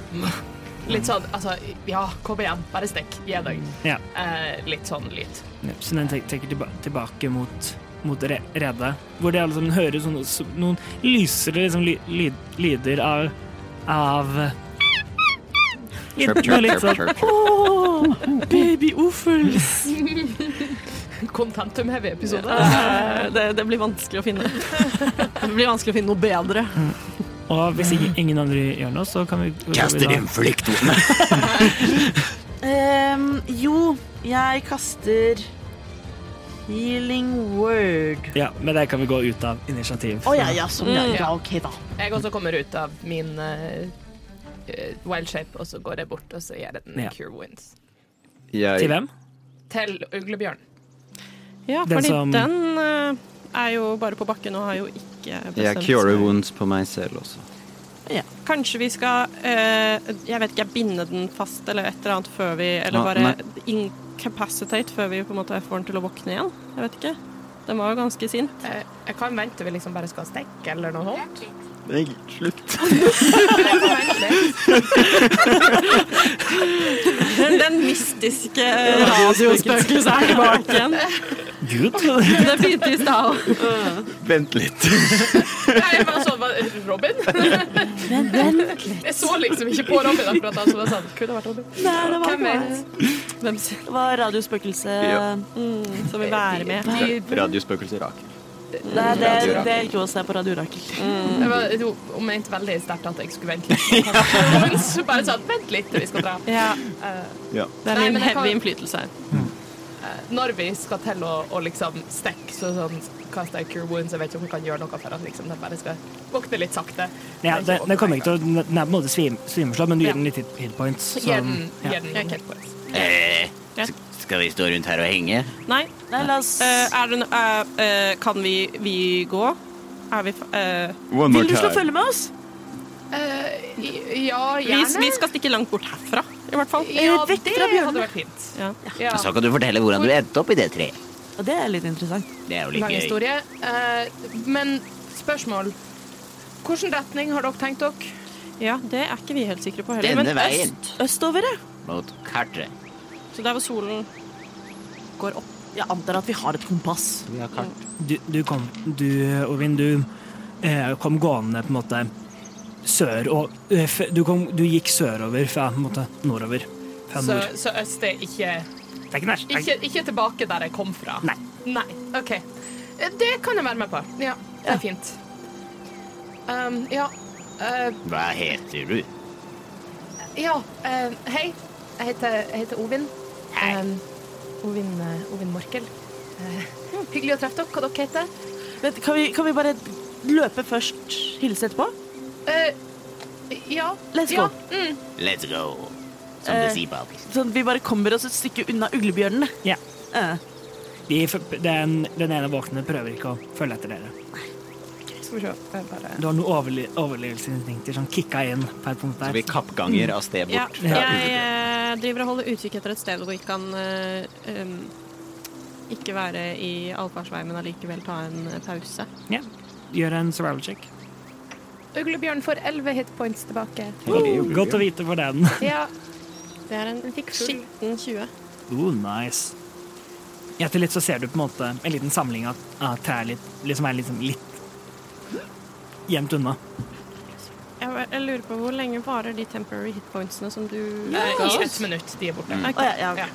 [SPEAKER 7] Litt sånn, altså Ja, kom igjen, bare stikk. Gi deg.
[SPEAKER 3] Ja.
[SPEAKER 7] Eh, litt sånn lyd. [laughs]
[SPEAKER 3] Så den tek- trekker tilba tilbake mot, mot re redet, hvor det alle sammen hører sånne, så, noen lysere liksom, ly lyd lyder av, av litt, noe litt sånn
[SPEAKER 1] Baby Ofuls.
[SPEAKER 7] Contentum-heavy episode.
[SPEAKER 2] Det, det blir vanskelig å finne. Det blir vanskelig å finne noe bedre.
[SPEAKER 3] Og hvis ikke, ingen andre gjør noe, så kan vi
[SPEAKER 5] sånn-
[SPEAKER 9] Kaster
[SPEAKER 3] vi da-
[SPEAKER 9] inn flyktene.
[SPEAKER 1] Ehm, jo, jeg kaster healing word.
[SPEAKER 3] Ja, men det kan vi gå ut av initiativ.
[SPEAKER 1] Å ja, ja, sånn, ja. ja. OK, da.
[SPEAKER 7] Jeg også kommer ut av min eh, eh, wild shape, og så går jeg bort og så gir jeg den
[SPEAKER 3] Ja.
[SPEAKER 7] cure wounds.
[SPEAKER 3] Til
[SPEAKER 5] Jeg,
[SPEAKER 3] hvem?
[SPEAKER 7] Til uglebjørn.
[SPEAKER 2] Ja,
[SPEAKER 3] Den
[SPEAKER 2] fordi
[SPEAKER 3] som-
[SPEAKER 2] den eh, er jo bare på bakken og har jo ikke
[SPEAKER 5] jeg
[SPEAKER 2] seg.
[SPEAKER 5] curer wounds på meg selv også.
[SPEAKER 2] Kanskje vi skal eh, Jeg vet ikke, jeg binde den fast eller et eller annet før vi Eller
[SPEAKER 5] Ah,
[SPEAKER 2] bare incapacitate før vi på en måte får den til å våkne igjen. Jeg vet ikke. Den var jo ganske sint.
[SPEAKER 7] Eh, jeg kan vente vi liksom bare skal stikke, eller noe sånt.
[SPEAKER 5] Nei, slutt.
[SPEAKER 7] Jeg kan vente litt.
[SPEAKER 2] Den, den
[SPEAKER 3] [laughs]
[SPEAKER 2] mystiske radiospøkelset er tilbake igjen.
[SPEAKER 3] Gud!
[SPEAKER 2] Det begynte i stad òg.
[SPEAKER 5] Vent litt.
[SPEAKER 7] [laughs] Nei, jeg bare sånn, hva- Robin? Jeg så liksom ikke på Robin akkurat da, så det var sånn, kunne vært Robin.
[SPEAKER 1] Nei, det var,
[SPEAKER 7] Hvem vet?
[SPEAKER 2] Hvem sin-
[SPEAKER 1] det var radiospøkelset.
[SPEAKER 5] Ja.
[SPEAKER 2] mm, som vil være med?
[SPEAKER 9] [laughs]
[SPEAKER 5] Radiospøkelser raker.
[SPEAKER 1] Det er det, det er ikke oss det er på Radio Rakel.
[SPEAKER 2] Mm.
[SPEAKER 7] Jeg var, jo, hun mente veldig sterkt at jeg skulle vente [laughs] litt. Så bare sånn, vent litt til vi skal dra.
[SPEAKER 2] Ja,
[SPEAKER 7] Eh,
[SPEAKER 5] Ja.
[SPEAKER 2] det er
[SPEAKER 7] Nei,
[SPEAKER 2] min
[SPEAKER 7] men jeg kan-
[SPEAKER 2] heavy innflytelse her.
[SPEAKER 7] når vi skal til å, å liksom stikke, så sånn, kaster jeg cure wounds. Jeg vet ikke om hun kan gjøre noe for at liksom, den bare skal våkne litt sakte.
[SPEAKER 3] Ja, den, den kommer ikke til å Den er på en måte svim, svimeslå, men du
[SPEAKER 7] Ja.
[SPEAKER 3] gir den litt hit- hit points.
[SPEAKER 7] Gi den, gi
[SPEAKER 3] ja.
[SPEAKER 7] den noen hit points.
[SPEAKER 9] Eh,
[SPEAKER 2] Ja.
[SPEAKER 9] s- skal vi stå rundt her og henge?
[SPEAKER 2] Nei,
[SPEAKER 1] Nei, la oss
[SPEAKER 2] eh, er det no- eh, eh, Kan vi, vi gå? Er vi fa- eh,
[SPEAKER 5] One
[SPEAKER 1] Vil du slå følge med oss?
[SPEAKER 7] Eh, i- ja,
[SPEAKER 2] vi,
[SPEAKER 7] gjerne.
[SPEAKER 2] vi skal stikke langt bort herfra, i hvert fall.
[SPEAKER 7] ja,
[SPEAKER 1] vekk
[SPEAKER 7] det
[SPEAKER 1] fra bjørnene.
[SPEAKER 7] hadde vært fint.
[SPEAKER 2] Ja.
[SPEAKER 7] Ja.
[SPEAKER 9] Så kan du fortelle hvordan du endte opp i det treet.
[SPEAKER 1] Og det er litt interessant.
[SPEAKER 9] Det er jo
[SPEAKER 7] Lang
[SPEAKER 9] litt gøy.
[SPEAKER 7] historie. Eh, men spørsmål. Hvilken retning har dere tenkt dere?
[SPEAKER 2] Ja, det er ikke vi helt sikre på heller.
[SPEAKER 9] Denne
[SPEAKER 2] men
[SPEAKER 9] veien
[SPEAKER 2] øst,
[SPEAKER 1] Østover, ja.
[SPEAKER 9] mot kartet.
[SPEAKER 2] så der hvor solen går opp.
[SPEAKER 1] Jeg antar at vi har et kompass.
[SPEAKER 3] Du, du kom Du, Ovin, du eh, kom gående på en måte sør og eh, f- du, kom, du gikk sørover fra på en måte nordover. Fra
[SPEAKER 7] Så,
[SPEAKER 3] nord.
[SPEAKER 7] så øst er ikke,
[SPEAKER 3] Det er ikke nær.
[SPEAKER 7] ikke Ikke tilbake der jeg kom fra?
[SPEAKER 3] Nei.
[SPEAKER 7] Nei. OK. Eh, Det kan jeg være med på. Ja, det er fint. Um, ja. Eh,
[SPEAKER 9] Hva heter du?
[SPEAKER 7] ja. eh, hei. Jeg heter, jeg heter Ovin.
[SPEAKER 9] Hei.
[SPEAKER 7] Um, Ovin, eh, Ovin Morkel. Eh, hyggelig å treffe dere. Hva dere heter
[SPEAKER 1] Men kan vi, kan vi bare løpe først, hilse etterpå?
[SPEAKER 7] Eh, ja.
[SPEAKER 1] Let's
[SPEAKER 7] ja.
[SPEAKER 1] go.
[SPEAKER 7] Mm.
[SPEAKER 9] Let's go. Som
[SPEAKER 1] Eh.
[SPEAKER 9] det sier på Abis.
[SPEAKER 1] Sånn at vi bare kommer oss et stykke unna uglebjørnene.
[SPEAKER 3] Ja.
[SPEAKER 1] Eh,
[SPEAKER 3] De, f- den, den ene våkne prøver ikke å følge etter dere.
[SPEAKER 7] Skal vi se. Jeg bare
[SPEAKER 3] Du har noen overle overlevelsesinstinkter som kicka inn på et punkt
[SPEAKER 5] Så
[SPEAKER 3] der.
[SPEAKER 5] vi kappganger av sted
[SPEAKER 2] Ja,
[SPEAKER 5] bort. fra
[SPEAKER 2] jeg
[SPEAKER 5] ulven.
[SPEAKER 2] eh, driver og holder utkikk etter et sted hvor jeg kan eh, em, ikke være i allfarsvei, men allikevel ta en eh, pause.
[SPEAKER 3] Ja. Gjør en survival check.
[SPEAKER 7] Uglebjørn får 11 hitpoints tilbake.
[SPEAKER 5] Heldig ulv,
[SPEAKER 3] Godt
[SPEAKER 5] ja.
[SPEAKER 3] å vite for den.
[SPEAKER 7] Ja,
[SPEAKER 2] Det er en
[SPEAKER 7] Den fikk full.
[SPEAKER 2] skitten 20.
[SPEAKER 3] Oh, nice. Ja, til litt så ser du på en måte en liten samling av, av trær litt, liksom er liksom litt gjemt unna.
[SPEAKER 2] Jeg, jeg lurer på hvor lenge varer de temporary hitpointsene som du
[SPEAKER 7] eh,
[SPEAKER 2] ga
[SPEAKER 7] i
[SPEAKER 2] oss?
[SPEAKER 7] ett minutt. De er borte.
[SPEAKER 2] Ok,
[SPEAKER 1] Å, ja, ja.
[SPEAKER 7] Ja.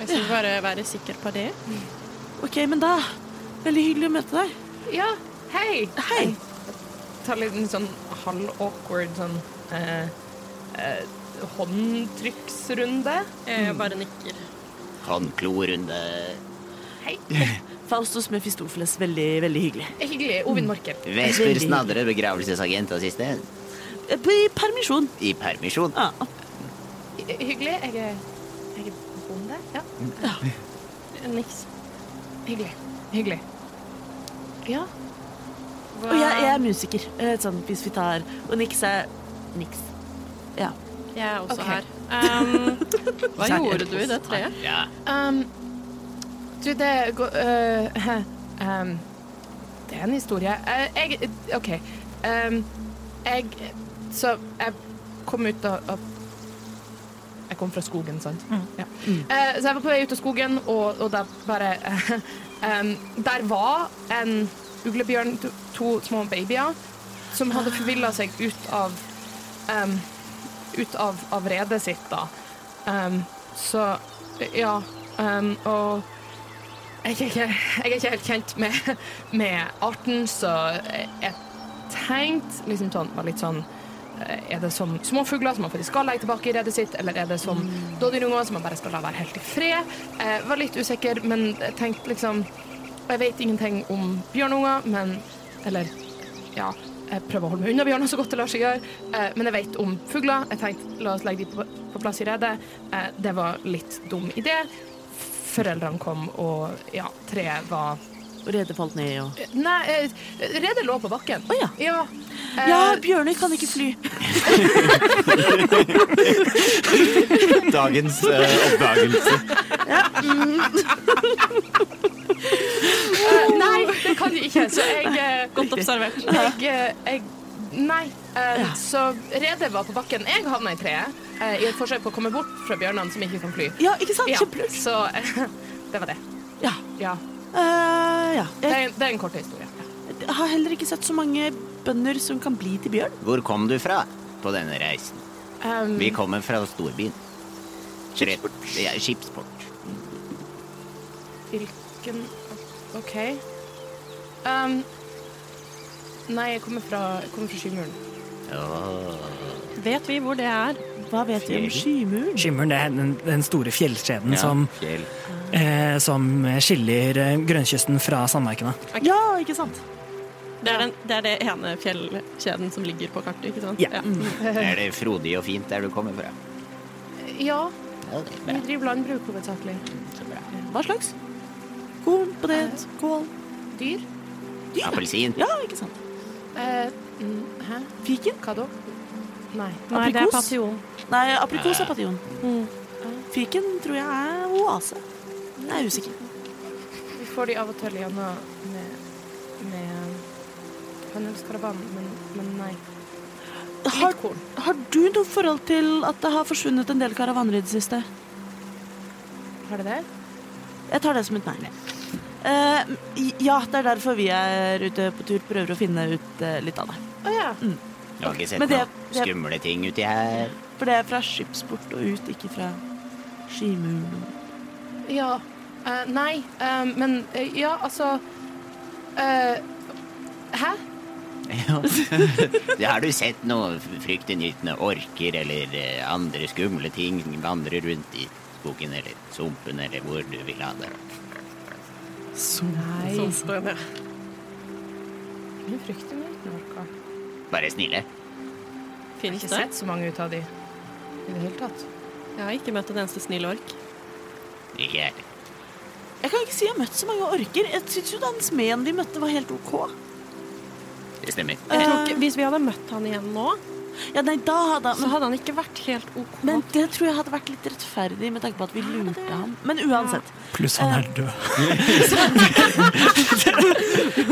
[SPEAKER 2] Jeg skal bare være sikker på det.
[SPEAKER 1] OK, men da Veldig hyggelig å møte deg.
[SPEAKER 7] Eh, Ja, hei!
[SPEAKER 1] Hei.
[SPEAKER 7] Ta litt en sånn halv-awkward sånn eh, eh, håndtrykksrunde.
[SPEAKER 2] Jeg bare nikker.
[SPEAKER 9] Håndklorunde.
[SPEAKER 7] Hei.
[SPEAKER 1] Faustus Mefistofeles, veldig, veldig hyggelig.
[SPEAKER 7] Det er Hyggelig. Ovin Marker.
[SPEAKER 9] Vesper Snadre, begravelsesagent assistent.
[SPEAKER 1] Eh, På i permisjon.
[SPEAKER 9] I permisjon.
[SPEAKER 1] Ah,
[SPEAKER 7] Hy- Hyggelig. Jeg er, jeg er bonde. Ja.
[SPEAKER 2] Niks.
[SPEAKER 7] Hyggelig. Hyggelig. Ja.
[SPEAKER 2] Hva-
[SPEAKER 1] og jeg, jeg er musiker. Eh, Sånn, hvis vi tar Og Nix er Nix. Ja.
[SPEAKER 2] Jeg er også
[SPEAKER 7] Ok.
[SPEAKER 2] her. Um, hva gjorde du i det treet?
[SPEAKER 9] Ja.
[SPEAKER 7] Um, du, det går øh, [laughs] um, Det er en historie. Eh, jeg OK. Um, jeg Så jeg kom ut av, av Jeg kom fra skogen, sant? Ja. Eh, så jeg var på vei ut av skogen, og, og der bare [laughs] um, Der var en uglebjørn, to, to små babyer, som hadde forvilla seg ut av um, Ut av, av redet sitt, da. Um, så ja. Um, og jeg er, ikke, jeg er ikke helt kjent med, med arten, så jeg- jeg tenkte liksom sånn, var litt sånn eh, Er det som småfugler som man faktisk skal legge tilbake i redet sitt, eller er det som dådyrunger som man bare skal la være helt i fred? Jeg var litt usikker, men jeg tenkte liksom Jeg vet ingenting om bjørnunger, men Eller ja, jeg prøver å holde meg unna bjørner så godt det lar seg gjøre. Eh, men jeg vet om fugler. Jeg tenkte la oss legge de på, på plass i redet. Eh, det var litt dum idé. Foreldrene kom, og ja, treet var
[SPEAKER 1] Og Redet falt ned og
[SPEAKER 7] Eh, Nei, eh, redet lå på bakken.
[SPEAKER 1] Å ja.
[SPEAKER 7] Eh,
[SPEAKER 1] Ja, bjørner kan ikke fly.
[SPEAKER 5] Dagens eh, oppdagelse.
[SPEAKER 7] eh, nei, det kan de ikke. Så jeg eh,
[SPEAKER 2] Godt observert.
[SPEAKER 7] Jeg, eh, jeg Nei. eh, Så redet var på bakken. Jeg havna i treet eh, i et forsøk på å komme bort fra bjørnene som ikke kan fly.
[SPEAKER 1] Ja, ikke sant?
[SPEAKER 7] Ja,
[SPEAKER 1] Kjempelurt.
[SPEAKER 7] så eh, [laughs] det var det.
[SPEAKER 1] Ja.
[SPEAKER 7] Ja.
[SPEAKER 1] Eh, ja.
[SPEAKER 7] Det
[SPEAKER 1] Jeg
[SPEAKER 7] er, det er en kort historie.
[SPEAKER 1] jeg har heller ikke sett så mange bønder som kan bli til bjørn.
[SPEAKER 9] Hvor kom du fra på denne reisen?
[SPEAKER 7] Um,
[SPEAKER 9] Vi kommer fra storbyen. Skipsport. Ja, skipsport.
[SPEAKER 7] Hvilken OK. Um, nei, jeg kommer fra, jeg kommer fra Skymuren.
[SPEAKER 9] Åh.
[SPEAKER 2] Vet vi hvor det er?
[SPEAKER 1] Hva vet vi om skymuren?
[SPEAKER 3] Skimmeren det er den, den store fjellskjeden
[SPEAKER 5] Ja,
[SPEAKER 1] sånn-
[SPEAKER 3] som,
[SPEAKER 5] fjell.
[SPEAKER 3] eh, som skiller eh, grønnkysten fra Sandmarkene.
[SPEAKER 1] Ja, ikke sant?
[SPEAKER 2] Det er, den, det er det ene fjellkjeden som ligger på kartet, ikke sant?
[SPEAKER 3] Ja.
[SPEAKER 9] Er det frodig og fint der du kommer fra?
[SPEAKER 7] Ja,
[SPEAKER 9] Ja, det er
[SPEAKER 7] vi
[SPEAKER 9] bra.
[SPEAKER 7] driver landbruk hovedsakelig.
[SPEAKER 9] Så bra.
[SPEAKER 1] Hva slags? Korn, potet,
[SPEAKER 2] Eh.
[SPEAKER 1] kål
[SPEAKER 7] Dyr?
[SPEAKER 9] Appelsin.
[SPEAKER 1] Ja, ikke sant?
[SPEAKER 7] Eh, mm, hæ?
[SPEAKER 1] Fiken?
[SPEAKER 7] Hva da?
[SPEAKER 2] Nei,
[SPEAKER 7] Nei.
[SPEAKER 2] det er
[SPEAKER 1] Aprikos?
[SPEAKER 2] passion.
[SPEAKER 1] Nei,
[SPEAKER 7] Mm.
[SPEAKER 1] aprikos er pation. Fiken tror jeg er oase. Jeg er usikker.
[SPEAKER 7] får de av og til gjennom med, med honningskarabanen, men, men nei.
[SPEAKER 1] Har,
[SPEAKER 7] Litt korn.
[SPEAKER 1] har du noe forhold til at det har forsvunnet en del karavaner i det siste?
[SPEAKER 7] Har de det?
[SPEAKER 1] Jeg tar det som et nei. Eh, ja, det er derfor vi er ute på tur. Prøver å finne ut eh, litt av det.
[SPEAKER 7] Å ja.
[SPEAKER 9] Jeg har ikke sett
[SPEAKER 1] Men det-
[SPEAKER 9] noen
[SPEAKER 1] det-
[SPEAKER 9] skumle ting uti her.
[SPEAKER 1] For det er fra skipsport og ut, ikke fra skimuren.
[SPEAKER 7] Ja. Eh, nei, eh, men eh, ja, altså eh, Hæ?
[SPEAKER 9] [laughs] Har du sett noen fryktinngytende orker eller eh, andre skumle ting vandre rundt i skogen eller sumpen eller hvor du vil ha det?
[SPEAKER 7] Sånn står det. Jeg frykter meg ikke noe.
[SPEAKER 9] Bare snille.
[SPEAKER 7] Jeg har
[SPEAKER 2] Finnes
[SPEAKER 7] ikke
[SPEAKER 2] det?
[SPEAKER 7] sett så mange ut av de i det hele tatt.
[SPEAKER 2] Jeg har ikke møtt en eneste snill ork.
[SPEAKER 9] Ikke jeg.
[SPEAKER 1] Jeg kan ikke si jeg har møtt så mange orker. Jeg syns jo den smeden vi møtte, var helt OK.
[SPEAKER 9] Det stemmer.
[SPEAKER 2] Jeg tror ikke, hvis vi hadde møtt han igjen nå,
[SPEAKER 1] Ja, nei, da hadde
[SPEAKER 2] så
[SPEAKER 1] han
[SPEAKER 2] hadde han ikke vært helt OK.
[SPEAKER 1] Men det tror jeg hadde vært litt rettferdig, med tanke på at vi lurte ham. Men uansett.
[SPEAKER 3] Pluss han er død.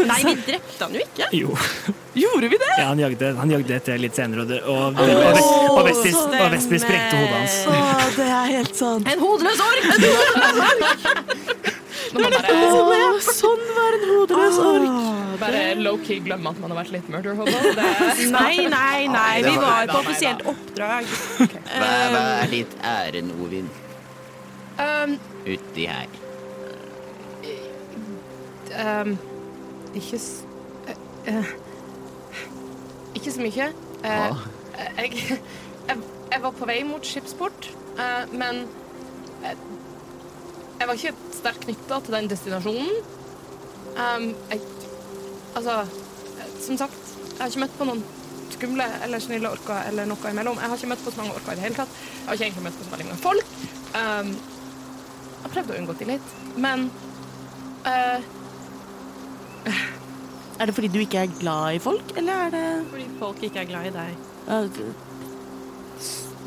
[SPEAKER 2] Nei, vi drepte han jo ikke.
[SPEAKER 3] Jo.
[SPEAKER 1] Gjorde vi det?
[SPEAKER 3] Ja, han jagde, han jagde etter litt senere, og, det, og, det, og, Vest- og, Vestby- og Vestby sprengte hodet hans.
[SPEAKER 1] Å, det er helt sant.
[SPEAKER 2] En hodeløs ork!
[SPEAKER 7] Når man bare,
[SPEAKER 1] Å, sånn var en hodeløs ork.
[SPEAKER 7] bare low-key glemmer at man har vært litt murder hobo. Det er
[SPEAKER 2] Nei, nei, nei.
[SPEAKER 9] det
[SPEAKER 2] Vi
[SPEAKER 9] var-
[SPEAKER 2] var på
[SPEAKER 7] nei, nei,
[SPEAKER 2] offisielt oppdrag.
[SPEAKER 9] Hva, hva
[SPEAKER 2] Ehm.
[SPEAKER 9] er ditt ærend, Ovin,
[SPEAKER 7] [laughs] Um,
[SPEAKER 9] uti her?
[SPEAKER 7] um, ikke s... eh, eh, ikke så mye. Eh,
[SPEAKER 9] Hva?
[SPEAKER 7] eh, jeg, jeg, jeg var på vei mot skipsport, eh, men eh, jeg var ikke sterkt knytta til den destinasjonen. Um, jeg, altså, eh, som sagt, jeg har ikke møtt på noen skumle eller snille orker eller noe imellom. Jeg har ikke møtt på så mange orker i det hele tatt. Jeg har ikke egentlig møtt på så veldig mange folk. Um, jeg har prøvd å unngå de litt, men eh,
[SPEAKER 1] Er det fordi du ikke er glad i folk, eller er det
[SPEAKER 2] Fordi folk ikke er glad i deg.
[SPEAKER 1] Ja, det-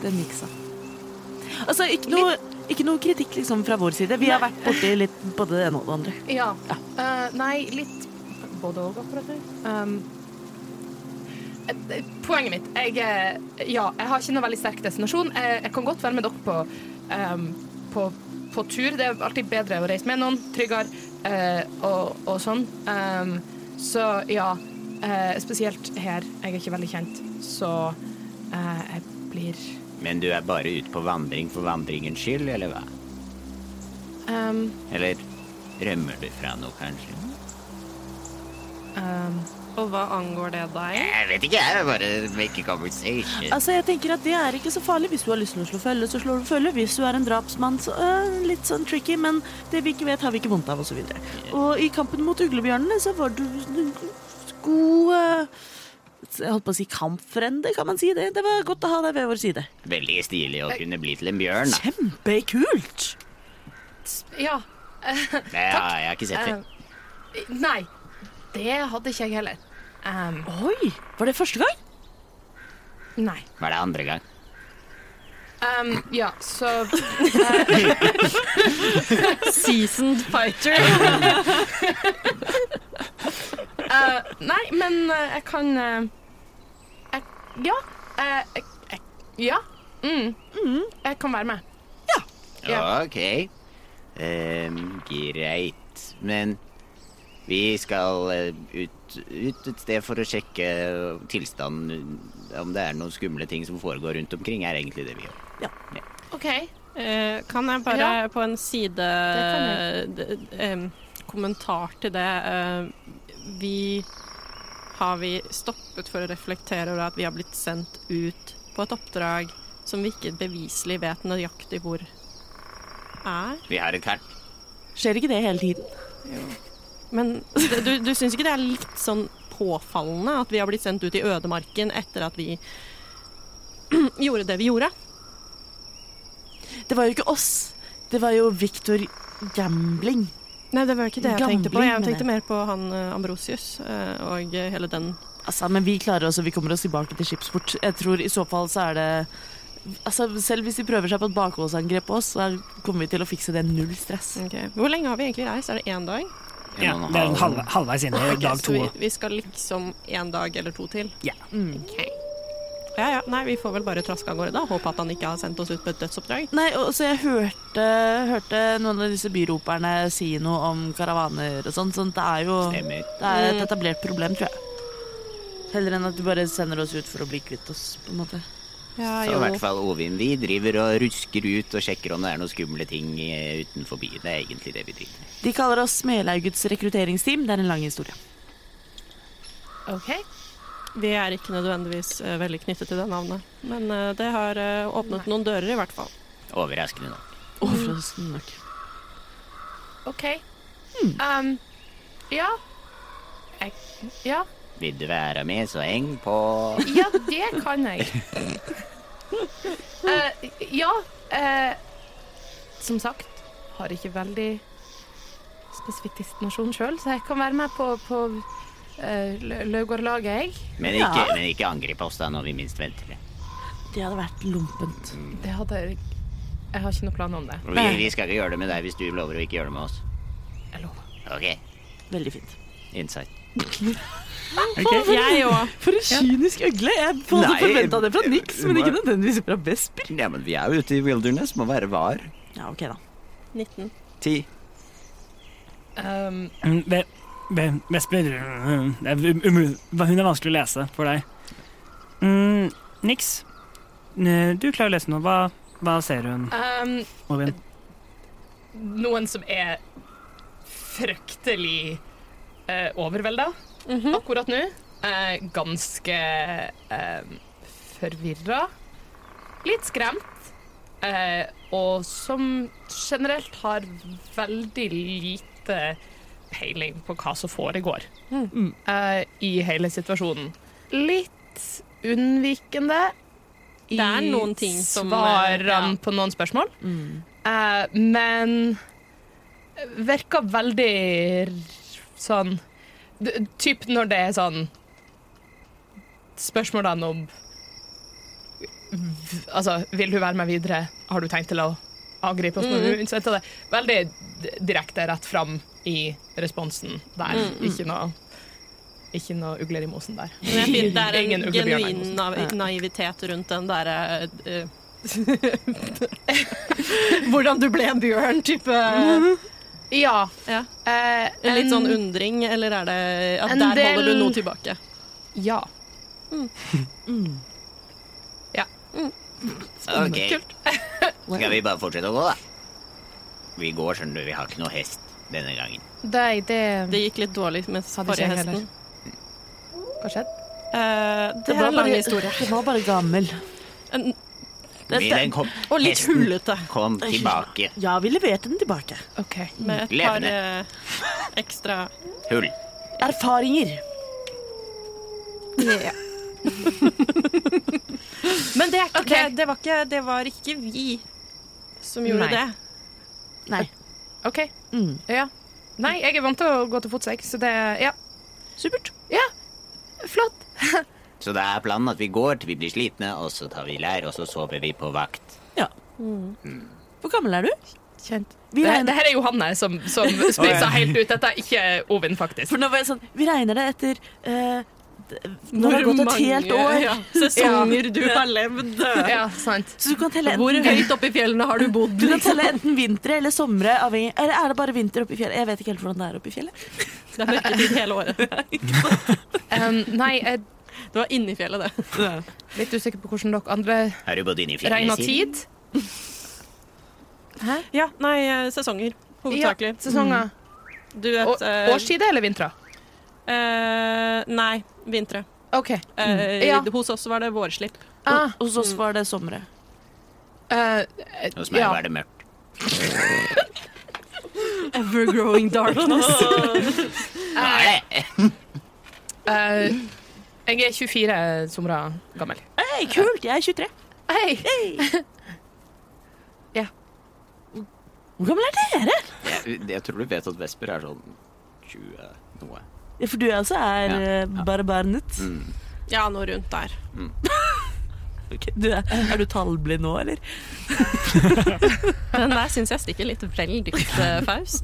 [SPEAKER 1] Den gikk sånn. Altså, ikke noe, ikke noe kritikk liksom fra vår side. Vi har vært borti litt både det ene og det andre.
[SPEAKER 7] Ja. Eh, nei, litt både òg, akkurat nå. Um, eh, poenget mitt jeg, eh, Ja, jeg har ikke noe veldig sterk destinasjon. Jeg, jeg kan godt være med dere på, ehm, på, på tur. Det er alltid bedre å reise med noen. Tryggere eh, og, og sånn. Ehm, så ja. eh, spesielt her. Jeg er ikke veldig kjent, så eh, jeg blir
[SPEAKER 9] Men du er bare ute på vandring for vandringens skyld, eller hva?
[SPEAKER 7] ehm,
[SPEAKER 9] Eller rømmer du fra noe, kanskje?
[SPEAKER 7] ehm,
[SPEAKER 2] Og hva angår det deg?
[SPEAKER 9] Jeg vet ikke, jeg. Bare make a conversation.
[SPEAKER 1] Altså, jeg tenker at Det er ikke så farlig. Hvis du har lyst til å slå følge, så slår du følge. Hvis du er en drapsmann, så øh, litt sånn tricky. Men det vi ikke vet, har vi ikke vondt av, osv. videre og i kampen mot uglebjørnene så var du god øh, Jeg holdt på å si kampfrende, kan man si det? Det var godt å ha deg ved vår side.
[SPEAKER 9] Veldig stilig å kunne bli til en bjørn,
[SPEAKER 2] [laughs]
[SPEAKER 9] da.
[SPEAKER 1] Kjempekult!
[SPEAKER 7] ja.
[SPEAKER 9] Det har jeg ikke sett før.
[SPEAKER 2] Ehm.
[SPEAKER 7] Eh, nei, det hadde ikke jeg heller. Ehm,
[SPEAKER 1] Oi! Var det første gang?
[SPEAKER 7] nei.
[SPEAKER 9] Var det andre gang?
[SPEAKER 7] Ehm, ja, så
[SPEAKER 2] Seasoned fighter.
[SPEAKER 7] [laughs] eh, Nei, men eh, jeg kan eh, jeg, Ja. eh, jeg, jeg, ja. Mm. Jeg kan være med. Ja.
[SPEAKER 9] Ok. Ehm, greit. Men vi skal eh, ut, ut et sted for å sjekke tilstanden. Om det er noen skumle ting som foregår rundt omkring, er egentlig det vi gjør.
[SPEAKER 7] OK.
[SPEAKER 2] Eh, kan jeg bare
[SPEAKER 7] Ja.
[SPEAKER 2] på en side
[SPEAKER 7] Det
[SPEAKER 2] d- em, kommentar til det eh, Vi har vi stoppet for å reflektere over at vi har blitt sendt ut på et oppdrag som vi ikke beviselig vet nøyaktig hvor er.
[SPEAKER 9] Vi har et kart.
[SPEAKER 1] Skjer ikke det hele tiden?
[SPEAKER 2] Men det, du, du syns ikke det er litt sånn påfallende at vi har blitt sendt ut i ødemarken etter at vi [clears throat] gjorde det vi gjorde?
[SPEAKER 1] Det var jo ikke oss. Det var jo Victor Gambling.
[SPEAKER 2] Nei, det var ikke det jeg
[SPEAKER 1] Gambling,
[SPEAKER 2] tenkte på. Jeg
[SPEAKER 1] mener jeg.
[SPEAKER 2] tenkte mer på han eh, Ambrosius eh, og eh, hele den
[SPEAKER 1] Altså, men vi klarer oss, og vi kommer oss tilbake til skipsport. Jeg tror i så fall så er det Altså, Selv hvis de prøver seg på et bakholdsangrep på oss, så kommer vi til å fikse det. Null stress.
[SPEAKER 2] Ok. Hvor lenge har vi egentlig reist? Er det én dag?
[SPEAKER 3] Ja,
[SPEAKER 9] en og en
[SPEAKER 3] det er
[SPEAKER 9] halv.
[SPEAKER 3] halv, halvveis inne i dag
[SPEAKER 2] Så
[SPEAKER 3] to.
[SPEAKER 2] vi, vi skal liksom en dag eller to til.
[SPEAKER 3] Ja.
[SPEAKER 2] Ok. Ja, ja. Nei, vi får vel bare traske av gårde, da. Håpe at han ikke har sendt oss ut på et dødsoppdrag.
[SPEAKER 1] Nei, og så jeg hørte, hørte noen av disse byroperne si noe om karavaner og sånn, sånn det er jo
[SPEAKER 9] Stemmer.
[SPEAKER 1] Det er et etablert problem, tror jeg. Heller enn at du bare sender oss ut for å bli kvitt oss, på en måte.
[SPEAKER 2] Ja,
[SPEAKER 9] Så i hvert fall Ovin, vi driver og rusker ut og sjekker om det er noen skumle ting eh, utenfor byen. Det er egentlig det vi driver med.
[SPEAKER 1] De kaller oss Smelaugets rekrutteringsteam. Det er en lang historie.
[SPEAKER 2] Ok. Vi er ikke nødvendigvis eh, veldig knyttet til det navnet, men eh, det har eh, åpnet noen dører, i hvert fall.
[SPEAKER 9] Overraskende nok.
[SPEAKER 1] Overraskende nok.
[SPEAKER 7] OK. Um, ja. Jeg, ja.
[SPEAKER 9] Vil du være med, så heng på.
[SPEAKER 7] Ja, det kan jeg. Eh, ja eh, Som sagt, har ikke veldig spesifikk destinasjon sjøl, så jeg kan være med på, på eh, Lø- Løvgårdlaget, jeg.
[SPEAKER 9] Men ikke, men ikke angrip oss da når vi minst venter det.
[SPEAKER 1] Det hadde vært lompent.
[SPEAKER 7] Det hadde jeg Jeg har ikke noen plan om det.
[SPEAKER 9] Vi, vi skal ikke gjøre det med deg hvis du lover å ikke gjøre det med oss.
[SPEAKER 7] Jeg lover.
[SPEAKER 9] Ok,
[SPEAKER 1] Veldig fint.
[SPEAKER 9] insight.
[SPEAKER 3] Ok.
[SPEAKER 2] Jeg [laughs] òg.
[SPEAKER 1] For en kynisk øgle! Jeg hadde
[SPEAKER 9] Nei,
[SPEAKER 1] forventa det fra Nix, men ikke
[SPEAKER 5] hva-
[SPEAKER 1] nødvendigvis fra Vesper.
[SPEAKER 5] Ja, men vi er jo ute i wilderness, må være var.
[SPEAKER 1] Ja, ok da.
[SPEAKER 2] 19.
[SPEAKER 5] Ti.
[SPEAKER 7] Um,
[SPEAKER 3] Mm, Ve- Ve- Vesper mm, det er um- umu- Hun er vanskelig å lese for deg. Mm, Niks, N- du klarer å lese noe. Hva, hva ser hun,
[SPEAKER 7] um,
[SPEAKER 3] Ovin?
[SPEAKER 7] noen som er fryktelig uh, overvelda akkurat nå. Eh, ganske uh, forvirra. Litt skremt. eh, og som generelt har veldig lite peiling på hva som foregår eh, i hele situasjonen. Litt unnvikende i
[SPEAKER 2] Det er noen ting som, eh,
[SPEAKER 7] svarene
[SPEAKER 2] ja. Mm.
[SPEAKER 7] på noen spørsmål. Eh, men virker veldig sånn d- Typ når det er sånn Spørsmålene om v- Altså, vil du være med videre? Har du tenkt til å angripe oss?
[SPEAKER 2] Mm.
[SPEAKER 7] når du unnsetter det? Veldig d- direkte rett fram i responsen der.
[SPEAKER 2] Mm,
[SPEAKER 7] Ikke noe ikke noe ugler i mosen der.
[SPEAKER 2] Men jeg finner det er
[SPEAKER 7] [laughs] Ingen
[SPEAKER 2] en
[SPEAKER 7] uglebjørn i
[SPEAKER 2] genuin
[SPEAKER 7] mosen.
[SPEAKER 2] na- naivitet rundt den derre
[SPEAKER 3] [laughs]
[SPEAKER 2] eh, [laughs] Hvordan du ble en bjørn, type.
[SPEAKER 7] Ja.
[SPEAKER 2] Ja.
[SPEAKER 7] eh,
[SPEAKER 2] En litt sånn
[SPEAKER 7] en-
[SPEAKER 2] undring, eller er det at
[SPEAKER 7] en
[SPEAKER 2] der holder
[SPEAKER 7] del-
[SPEAKER 2] du noe tilbake?
[SPEAKER 7] Ja. Mm.
[SPEAKER 9] Ok,
[SPEAKER 7] Kult.
[SPEAKER 9] [laughs] skal vi bare fortsette å gå da? Vi går, skjønner du, vi har ikke noe hest denne gangen.
[SPEAKER 7] Nei, det,
[SPEAKER 2] Det gikk litt dårlig med
[SPEAKER 7] Hadde ikke
[SPEAKER 2] forrige
[SPEAKER 7] jeg heller.
[SPEAKER 2] hesten.
[SPEAKER 7] Hva skjedde?
[SPEAKER 2] Eh, det,
[SPEAKER 1] var
[SPEAKER 2] er en lang
[SPEAKER 1] bare-
[SPEAKER 2] historie.
[SPEAKER 1] Det var bare gammel.
[SPEAKER 2] En,
[SPEAKER 9] Vi, den kom,
[SPEAKER 2] og litt
[SPEAKER 9] Hesten.
[SPEAKER 2] hullete.
[SPEAKER 9] kom tilbake.
[SPEAKER 1] Ja, vi leverte den tilbake.
[SPEAKER 7] OK.
[SPEAKER 2] Med et par eh, ekstra
[SPEAKER 9] Hull.
[SPEAKER 1] Erfaringer.
[SPEAKER 2] Men det, er ikke-
[SPEAKER 7] Ok.
[SPEAKER 2] det, det, var ikke, det var ikke vi som gjorde
[SPEAKER 7] Nei.
[SPEAKER 2] det.
[SPEAKER 1] Nei.
[SPEAKER 7] OK.
[SPEAKER 1] Mm.
[SPEAKER 7] Ja. Nei, jeg er vant til å gå til fots, jeg, så det Ja.
[SPEAKER 1] Supert.
[SPEAKER 7] Flott.
[SPEAKER 9] Så da er planen at vi går til vi blir slitne, og så tar vi lær, og så sover vi på vakt.
[SPEAKER 1] Hvor gammel er du?
[SPEAKER 7] Kjent.
[SPEAKER 1] Vi
[SPEAKER 7] Det,
[SPEAKER 1] regner,
[SPEAKER 7] det her er Johanne som, som spysa helt ut. Dette er ikke Ovin, faktisk.
[SPEAKER 1] for nå var jeg sånn, vi regner det etter eh, d- Når det har gått et helt år.
[SPEAKER 2] ja, sesonger du har levd.
[SPEAKER 7] Ja, sant.
[SPEAKER 1] Så du kan telle
[SPEAKER 2] Hvor
[SPEAKER 1] enten,
[SPEAKER 2] høyt oppe i fjellene har du bodd?
[SPEAKER 1] du kan telle enten vintre eller somre. Avhengig. Eller er det bare vinter oppe i fjellet? Jeg vet ikke helt hvordan det er oppe i fjellet.
[SPEAKER 2] Det er mørketid hele året.
[SPEAKER 7] Um, nei, jeg er
[SPEAKER 2] Det var inni fjellet, det.
[SPEAKER 7] [laughs] litt usikker på hvordan dere andre
[SPEAKER 9] Har du bodd inne i
[SPEAKER 7] regner
[SPEAKER 9] fjellet siden?
[SPEAKER 7] tid.
[SPEAKER 2] Ja, nei, eh, sesonger.
[SPEAKER 7] Ja,
[SPEAKER 2] Hovedsakelig.
[SPEAKER 7] sesonger.
[SPEAKER 2] Du vet
[SPEAKER 7] Og,
[SPEAKER 2] eh,
[SPEAKER 7] årstid eller vintre?
[SPEAKER 2] eh, Nei, vintre.
[SPEAKER 7] OK.
[SPEAKER 2] Eh,
[SPEAKER 7] Ja.
[SPEAKER 2] Hos oss var det vårslipp.
[SPEAKER 7] Ah,
[SPEAKER 1] Hos oss var det somre.
[SPEAKER 7] eh,
[SPEAKER 9] Hos meg
[SPEAKER 7] ja.
[SPEAKER 9] var det mørkt.
[SPEAKER 2] Ever growing darkness.
[SPEAKER 1] [laughs]
[SPEAKER 9] Nei,
[SPEAKER 7] Eh, jeg er 24 somre gammel.
[SPEAKER 1] Hei, kult! Jeg er 23.
[SPEAKER 7] Hei!
[SPEAKER 1] Hvor gammel er dere?
[SPEAKER 5] Jeg, jeg tror du vet at vesper er sånn 20 noe.
[SPEAKER 1] Ja, for du også er
[SPEAKER 5] Ja, Mm.
[SPEAKER 1] eh, bare barnet.
[SPEAKER 2] Ja, noe rundt der.
[SPEAKER 1] Ok, du er, er du tallblind nå, eller?
[SPEAKER 2] [laughs] Den der syns jeg stikker litt vel dypt, eh, Faust.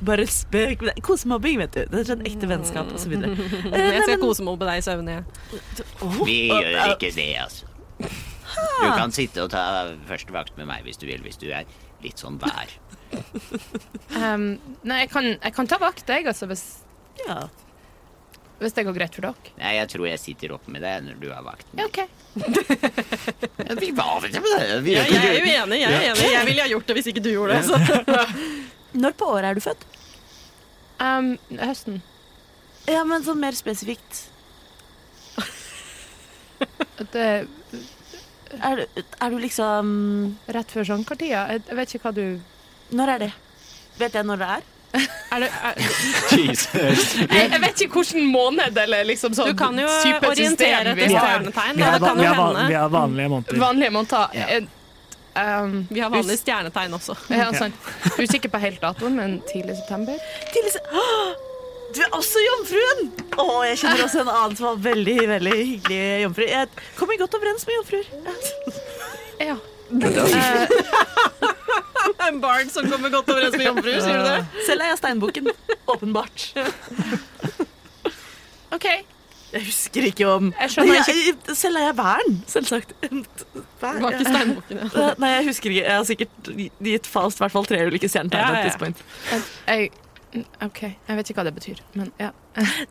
[SPEAKER 1] Bare spøk med det. Kosemobbing, vet du. Det er sånn ekte vennskap osv.
[SPEAKER 5] Mm. [laughs]
[SPEAKER 2] Jeg skal kose meg opp med deg i søvne. jeg.
[SPEAKER 9] Vi gjør ikke det, altså. Du kan sitte og ta første vakt med meg hvis du vil, hvis du er litt sånn vær.
[SPEAKER 7] Ehm, nei, jeg kan, jeg kan ta vakt, jeg, altså, hvis,
[SPEAKER 1] Ja.
[SPEAKER 7] hvis det går greit for dere.
[SPEAKER 9] Nei, jeg tror jeg sitter oppe med deg når du har vakten.
[SPEAKER 7] Ja, OK.
[SPEAKER 9] Vi var vel vi
[SPEAKER 2] Ja,
[SPEAKER 9] gjør ikke
[SPEAKER 2] jeg er
[SPEAKER 9] det.
[SPEAKER 2] jo enig. Jeg er enig. Jeg ville ha gjort det hvis ikke du gjorde det. Så.
[SPEAKER 1] Når på året er du født?
[SPEAKER 7] Ehm, høsten.
[SPEAKER 1] Ja, men sånn mer spesifikt.
[SPEAKER 7] Det er
[SPEAKER 1] Er du, er du liksom
[SPEAKER 7] rett før sangpartiet. Jeg, jeg vet ikke hva du
[SPEAKER 1] Når er det? Vet jeg når det er?
[SPEAKER 7] Er det [laughs] er,
[SPEAKER 5] Jesus.
[SPEAKER 7] jeg, jeg vet ikke hvilken måned eller liksom sånn
[SPEAKER 2] Du kan jo
[SPEAKER 7] supersystem
[SPEAKER 2] orientere
[SPEAKER 7] vi
[SPEAKER 2] etter
[SPEAKER 7] har.
[SPEAKER 2] stjernetegn.
[SPEAKER 3] Vi
[SPEAKER 2] da.
[SPEAKER 3] har,
[SPEAKER 2] Det kan jo
[SPEAKER 3] van- vi
[SPEAKER 2] hende.
[SPEAKER 3] har vanlige måneder.
[SPEAKER 7] Vanlige måneder. Jeg- ehm,
[SPEAKER 2] Vi har vanlige stjernetegn også. [laughs]
[SPEAKER 7] ja, sant. Usikker på helt datoen, men tidlig i september.
[SPEAKER 1] Til liksom Åh! [gasps] Du er også jomfruen! Å, jeg kjenner også en annen som var veldig veldig hyggelig jomfru. Jeg kommer godt overens med jomfruer.
[SPEAKER 7] Ja.
[SPEAKER 2] En bard som kommer godt overens med jomfruer, sier du det?
[SPEAKER 1] Selv er jeg steinbukken. Åpenbart.
[SPEAKER 7] OK.
[SPEAKER 1] Jeg husker ikke om
[SPEAKER 7] Jeg skjønner
[SPEAKER 1] Nei, jeg- Selv er jeg væren, selvsagt. Vær,
[SPEAKER 2] Det var ikke steinbukken. Ja.
[SPEAKER 1] ja. Eh, Nei, jeg husker ikke. Jeg har sikkert gitt Faust i hvert fall tre ulike stjernetegn.
[SPEAKER 2] Ja,
[SPEAKER 1] på et
[SPEAKER 2] ja.
[SPEAKER 1] tidspunkt.
[SPEAKER 7] Jeg, OK. Jeg vet ikke hva det betyr, men ja.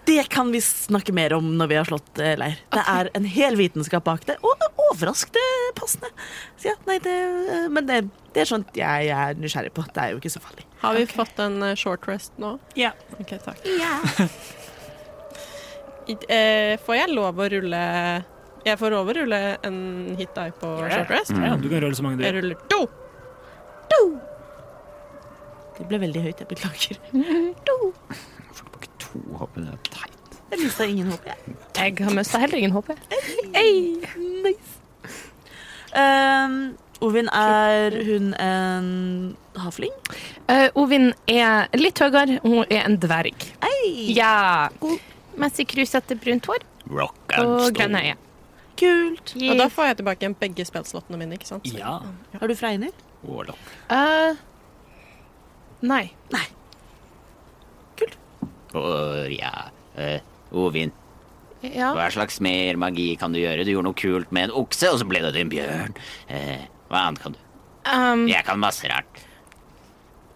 [SPEAKER 1] Det kan vi snakke mer om når vi har slått eh, leir. Det er en hel vitenskap bak det, og overraskende passende. Så ja, nei, det, eh, men det, det er sånt jeg er nysgjerrig på. Det er jo ikke så farlig.
[SPEAKER 2] Har vi fått en eh, short rest nå?
[SPEAKER 3] Ja.
[SPEAKER 2] Ok, takk. [laughs] I- eh, får jeg lov å rulle Jeg får lov å rulle en hit die på short rest?
[SPEAKER 3] Ja, du kan rulle så mange du
[SPEAKER 2] Jeg
[SPEAKER 3] vil.
[SPEAKER 2] ruller to.
[SPEAKER 1] Det ble veldig høyt, jeg beklager.
[SPEAKER 2] [laughs]
[SPEAKER 5] Får du ikke to hopp med det?
[SPEAKER 1] Jeg mista ingen håp. jeg.
[SPEAKER 7] Jeg har mista heller ingen håp, jeg.
[SPEAKER 1] Um, Ovin, er hun en hafling?
[SPEAKER 7] Eh, Ovin er litt høyere. Hun er en dverg.
[SPEAKER 1] Ei,
[SPEAKER 7] Ja. Mens i krusete brunt hår
[SPEAKER 9] Rock
[SPEAKER 7] og
[SPEAKER 9] and
[SPEAKER 7] grønne
[SPEAKER 9] stone.
[SPEAKER 7] øyne.
[SPEAKER 1] kult!
[SPEAKER 2] Og da får jeg tilbake igjen begge spillslottene mine, ikke sant?
[SPEAKER 3] Ja.
[SPEAKER 1] Har du fregner?
[SPEAKER 9] Mm. Warlock.
[SPEAKER 7] Eh, nei.
[SPEAKER 9] Og ja, eh, Ovin,
[SPEAKER 7] Ja.
[SPEAKER 9] hva slags mer magi kan du gjøre? Du gjorde noe kult med en okse, og så ble det til en bjørn. Eh, hva annet kan du?
[SPEAKER 7] ehm,
[SPEAKER 9] Jeg kan masse rart.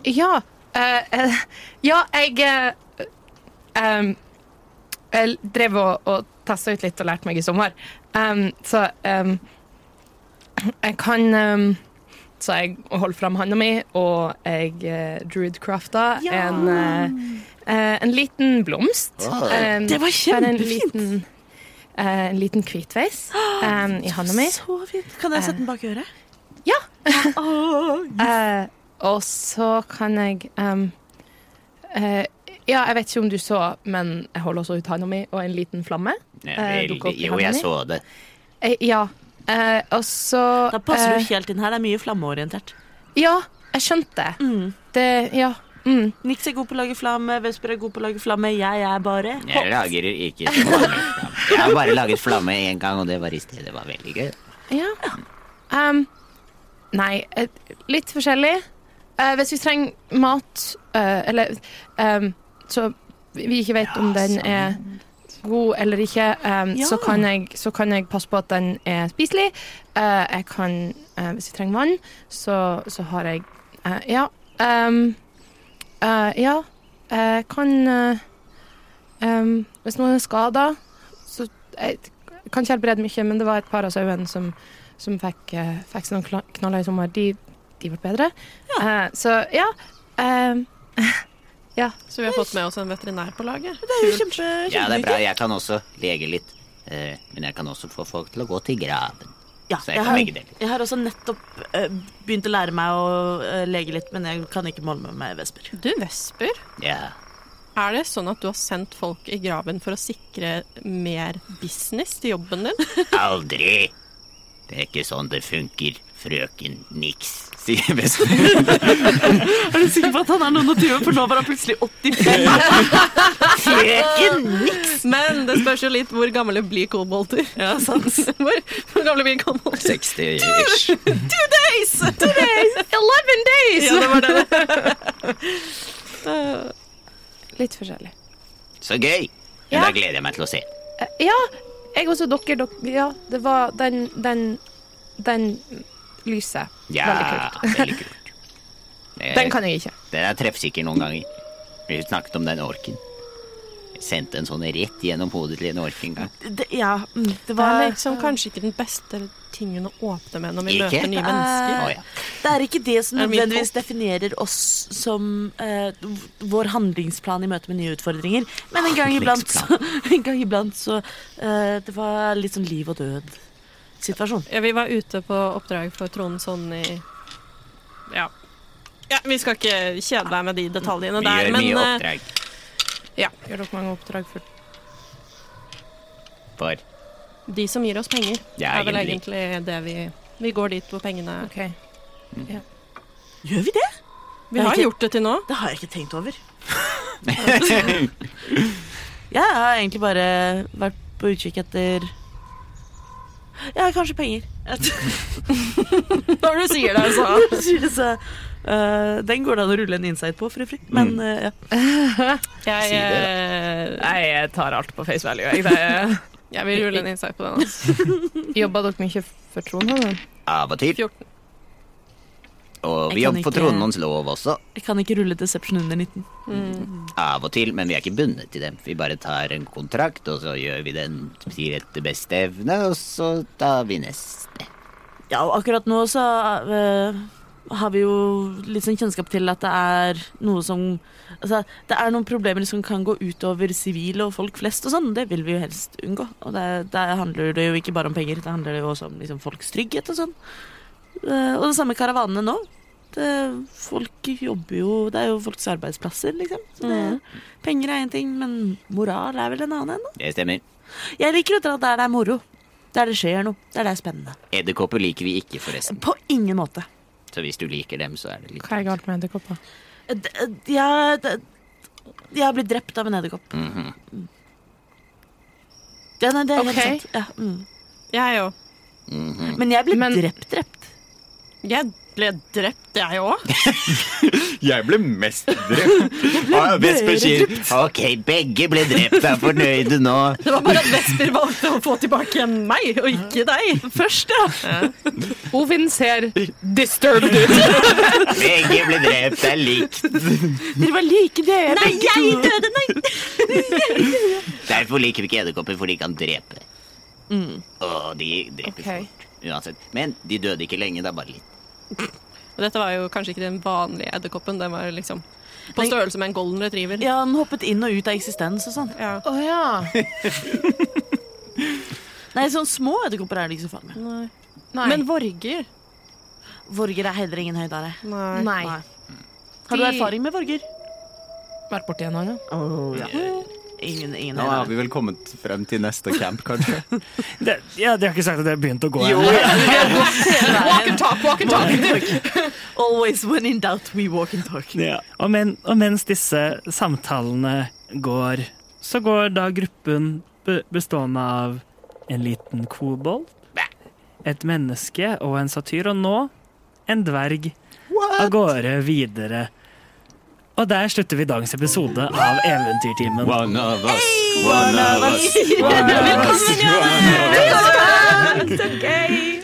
[SPEAKER 7] ja. eh, eh, ja, jeg eh, ehm, Jeg drev og, og testa ut litt og lærte meg i sommer. Ehm, så ehm, jeg kan ehm, Så jeg holder fram handa mi, og jeg eh, druidcrafta en, eh, eh, en liten blomst. Ehm,
[SPEAKER 1] Det var
[SPEAKER 7] bare en
[SPEAKER 1] kjempefint.
[SPEAKER 7] liten, eh, en liten hvitveis ehm, i handa mi.
[SPEAKER 1] [gasps] Så fint. Kan jeg sette den bak øret?
[SPEAKER 7] Ja.
[SPEAKER 1] Åh,
[SPEAKER 7] Eh, og så kan jeg em, eh, Ja, jeg vet ikke om du så, men jeg holder også ut handa mi og en liten flamme. Eh, dukker opp
[SPEAKER 9] Veldig.
[SPEAKER 7] i
[SPEAKER 9] Jo, jeg
[SPEAKER 7] hendene.
[SPEAKER 9] så det.
[SPEAKER 7] Eh, ja. Eh, og så
[SPEAKER 1] Da passer
[SPEAKER 7] eh,
[SPEAKER 1] du helt inn her. Det er mye flammeorientert.
[SPEAKER 7] Ja, jeg skjønte det. Det Ja. Mm.
[SPEAKER 1] Nix er god på å lage flamme, Vesper er god på å lage flamme, jeg er bare
[SPEAKER 9] Jeg lager ikke så mange flammer. Jeg har bare laget flamme én gang, og det var i sted. Det var veldig gøy.
[SPEAKER 7] Ja. Em, nei, eh, litt forskjellig. Eh, hvis vi trenger mat, eh, eller em, Så vi vi ikke vet om den er god eller ikke, em,
[SPEAKER 1] Ja.
[SPEAKER 7] så, kan jeg, så kan jeg passe på at den er spiselig. Eh, jeg kan, eh, hvis vi trenger vann, så, så har jeg eh, Ja. em, eh, ja. Jeg kan eh, em, Hvis noen er skada, så jeg kan ikke helbrede mye, men det var et par av sauene som, som fikk, eh, fikk seg noen kla- knaller i sommer. De, de ble bedre. Eh, så ja. eh, [laughs]
[SPEAKER 2] Så vi har fått med oss en veterinær på laget.
[SPEAKER 1] Kjempe,
[SPEAKER 9] Ja, det er bra. Jeg kan også lege litt. eh, Men jeg kan også få folk til å gå til graven.
[SPEAKER 1] Ja,
[SPEAKER 9] Så jeg
[SPEAKER 1] jeg,
[SPEAKER 9] kan
[SPEAKER 1] har,
[SPEAKER 9] legge det litt.
[SPEAKER 1] jeg har også nettopp eh, begynt å lære meg å eh, lege litt, men jeg kan ikke måle meg med vesper.
[SPEAKER 2] Du vesper.
[SPEAKER 9] Ja.
[SPEAKER 2] Er det sånn at du har sendt folk i graven for å sikre mer business til jobben din?
[SPEAKER 9] Aldri! Det er ikke sånn det funker, frøken Nix, sier Vesper.
[SPEAKER 1] Er du sikker på at han er noen og tjue, for nå var han plutselig 85?
[SPEAKER 2] [laughs] Men det spørs jo litt hvor gamle blir kobolter. Ja, sant. [laughs] Hvor, hvor gamle blir kobolter?
[SPEAKER 9] 60-ish.
[SPEAKER 2] Eleven days! Ja, det var det. Eh, litt forskjellig.
[SPEAKER 9] Så gøy! Men
[SPEAKER 15] Ja.
[SPEAKER 9] Da gleder jeg meg til å se.
[SPEAKER 15] Eh, Ja, jeg også dere, dere Ja, det var den Den, den lyset.
[SPEAKER 9] Ja,
[SPEAKER 15] Veldig kult.
[SPEAKER 9] veldig kult. Eh,
[SPEAKER 7] Den kan jeg ikke.
[SPEAKER 9] Den er treffsikker noen ganger. Vi snakket om den orken. Jeg sendte en sånn rett gjennom hodet til en ork en gang.
[SPEAKER 1] Det, ja, mm, det
[SPEAKER 2] Det
[SPEAKER 1] var
[SPEAKER 2] er liksom kanskje ikke den beste tingen å åpne med når vi
[SPEAKER 9] Ikke?
[SPEAKER 2] møter nye mennesker.
[SPEAKER 9] Å ja.
[SPEAKER 1] Det er ikke det som
[SPEAKER 2] Er Eh, det min
[SPEAKER 1] nødvendigvis definerer oss som eh, v- vår handlingsplan i møte med nye utfordringer, men en gang iblant så, [laughs] en gang iblant, så eh, Det var litt sånn liv og død-situasjon.
[SPEAKER 2] Ja, vi var ute på oppdrag for Trond sånn i Ja. ja vi skal ikke kjede deg med de detaljene
[SPEAKER 9] Vi
[SPEAKER 2] der,
[SPEAKER 9] gjør
[SPEAKER 2] men
[SPEAKER 9] mye
[SPEAKER 2] eh,
[SPEAKER 9] oppdrag
[SPEAKER 2] ja, gjør dere mange oppdrag for
[SPEAKER 9] for
[SPEAKER 2] de som gir oss penger.
[SPEAKER 9] Ja,
[SPEAKER 2] er vel
[SPEAKER 9] egentlig.
[SPEAKER 2] egentlig det vi Vi går dit hvor pengene er.
[SPEAKER 1] Gjør vi det?
[SPEAKER 2] Vi har
[SPEAKER 1] ikke-
[SPEAKER 2] gjort det til nå.
[SPEAKER 1] Det har jeg ikke tenkt
[SPEAKER 9] [laughs]
[SPEAKER 1] over. Jeg har egentlig bare vært på utkikk etter Ja, kanskje penger.
[SPEAKER 2] [laughs]
[SPEAKER 1] [laughs]
[SPEAKER 2] Når du sier det, altså.
[SPEAKER 1] Sier det så. Eh, den går det an å rulle en insight på, fru Fri.
[SPEAKER 9] Mm.
[SPEAKER 1] Men eh, ja.
[SPEAKER 7] Jeg,
[SPEAKER 9] Si det, da.
[SPEAKER 7] eh, nei, jeg tar alt på face value. Jeg, det, jeg vil rulle en insight på den. Altså. [laughs] Jobba dere mye for Trondheim?
[SPEAKER 9] av og til.
[SPEAKER 7] 14.
[SPEAKER 9] Og vi
[SPEAKER 1] Jeg kan
[SPEAKER 9] jobber for
[SPEAKER 1] ikke-
[SPEAKER 9] tronens lov også.
[SPEAKER 1] jeg kan ikke rulle deception under 19.
[SPEAKER 9] Av og til, men vi er ikke bundet til dem. Vi bare tar en kontrakt, og så gjør vi den til etter beste evne, og så tar vi neste.
[SPEAKER 1] Ja, og akkurat nå så eh, har vi jo litt sånn kjennskap til at det er noe som Altså, det er noen problemer som kan gå utover sivile og folk flest og sånn. Det vil vi jo helst unngå. Og det, det handler det jo ikke bare om penger, det handler jo også om liksom, folks trygghet og sånn. Eh, og det samme med karavanene nå. Det, folk jobber jo Det er jo folks arbeidsplasser, liksom. Så det, Penger er én ting, men moral er vel en annen ennå.
[SPEAKER 9] Det stemmer.
[SPEAKER 1] Jeg liker å dra der det er moro. Der det skjer noe. Der det er spennende.
[SPEAKER 9] Edderkopper liker vi ikke, forresten.
[SPEAKER 1] På ingen måte.
[SPEAKER 9] Så hvis du liker dem, så er det litt
[SPEAKER 7] Hva er galt med edderkopper?
[SPEAKER 1] D- d- Ja d- Jeg har blitt drept av en edderkopp. Mm.
[SPEAKER 9] Mhm.
[SPEAKER 1] Ja, nei, det er
[SPEAKER 7] Ok.
[SPEAKER 1] helt sant. Ja, mm.
[SPEAKER 2] Jeg òg.
[SPEAKER 5] Mm.
[SPEAKER 9] Mhm.
[SPEAKER 1] Men jeg ble
[SPEAKER 7] Men-
[SPEAKER 1] drept, drept.
[SPEAKER 2] Jeg ble drept, jeg òg.
[SPEAKER 8] Jeg ble
[SPEAKER 5] [laughs]
[SPEAKER 8] mest drept. Ah, Vesper sier
[SPEAKER 9] Ok, begge ble drept. Er fornøyde nå.
[SPEAKER 2] Det var bare at Vesper valgte å få tilbake igjen meg, og ikke deg. Først, ja.
[SPEAKER 7] Ovin ser disturbed [laughs] ut.
[SPEAKER 9] Begge ble drept. Det er likt.
[SPEAKER 1] Dere var like dere.
[SPEAKER 2] Nei, jeg døde, nei!
[SPEAKER 9] Derfor liker vi ikke edderkopper, for de kan drepe.
[SPEAKER 5] Mm.
[SPEAKER 9] Og de dreper
[SPEAKER 7] Ok.
[SPEAKER 9] fort. Uansett. Men de døde ikke lenge. Det er bare litt.
[SPEAKER 2] Og dette var jo kanskje ikke den vanlige edderkoppen. Den var liksom på størrelse med en golden retriever.
[SPEAKER 1] Ja, han hoppet inn og ut av eksistens og sånn.
[SPEAKER 2] Ja.
[SPEAKER 7] Å ja.
[SPEAKER 1] Nei, sånn små edderkopper er det ikke så farlig med.
[SPEAKER 7] Nei.
[SPEAKER 2] Men vorger?
[SPEAKER 1] Vorger er heller ingen høydare.
[SPEAKER 2] Nei.
[SPEAKER 7] Nei.
[SPEAKER 1] Nei. Har du
[SPEAKER 7] De-
[SPEAKER 1] erfaring med vorger?
[SPEAKER 7] Vært borti en annen.
[SPEAKER 1] Ingen, ingen
[SPEAKER 5] Oh, Nå har
[SPEAKER 1] høydare.
[SPEAKER 5] vi vel kommet frem til neste camp, kanskje.
[SPEAKER 3] Det, ja, de har ikke sagt at det har begynt å gå
[SPEAKER 8] Jo,
[SPEAKER 3] ennå.
[SPEAKER 7] Walk and talk, walk and talk.
[SPEAKER 1] Always when in doubt we walk and talk.
[SPEAKER 3] Og, men, og mens disse samtalene går, så går da gruppen be- bestående av en liten kobolt, et menneske og en satyr, og nå en dverg av gårde videre. Og der slutter vi dagens episode av Eventyrtimen.
[SPEAKER 5] One of us, one of us, one of us.
[SPEAKER 9] Velkommen,
[SPEAKER 15] Så gøy!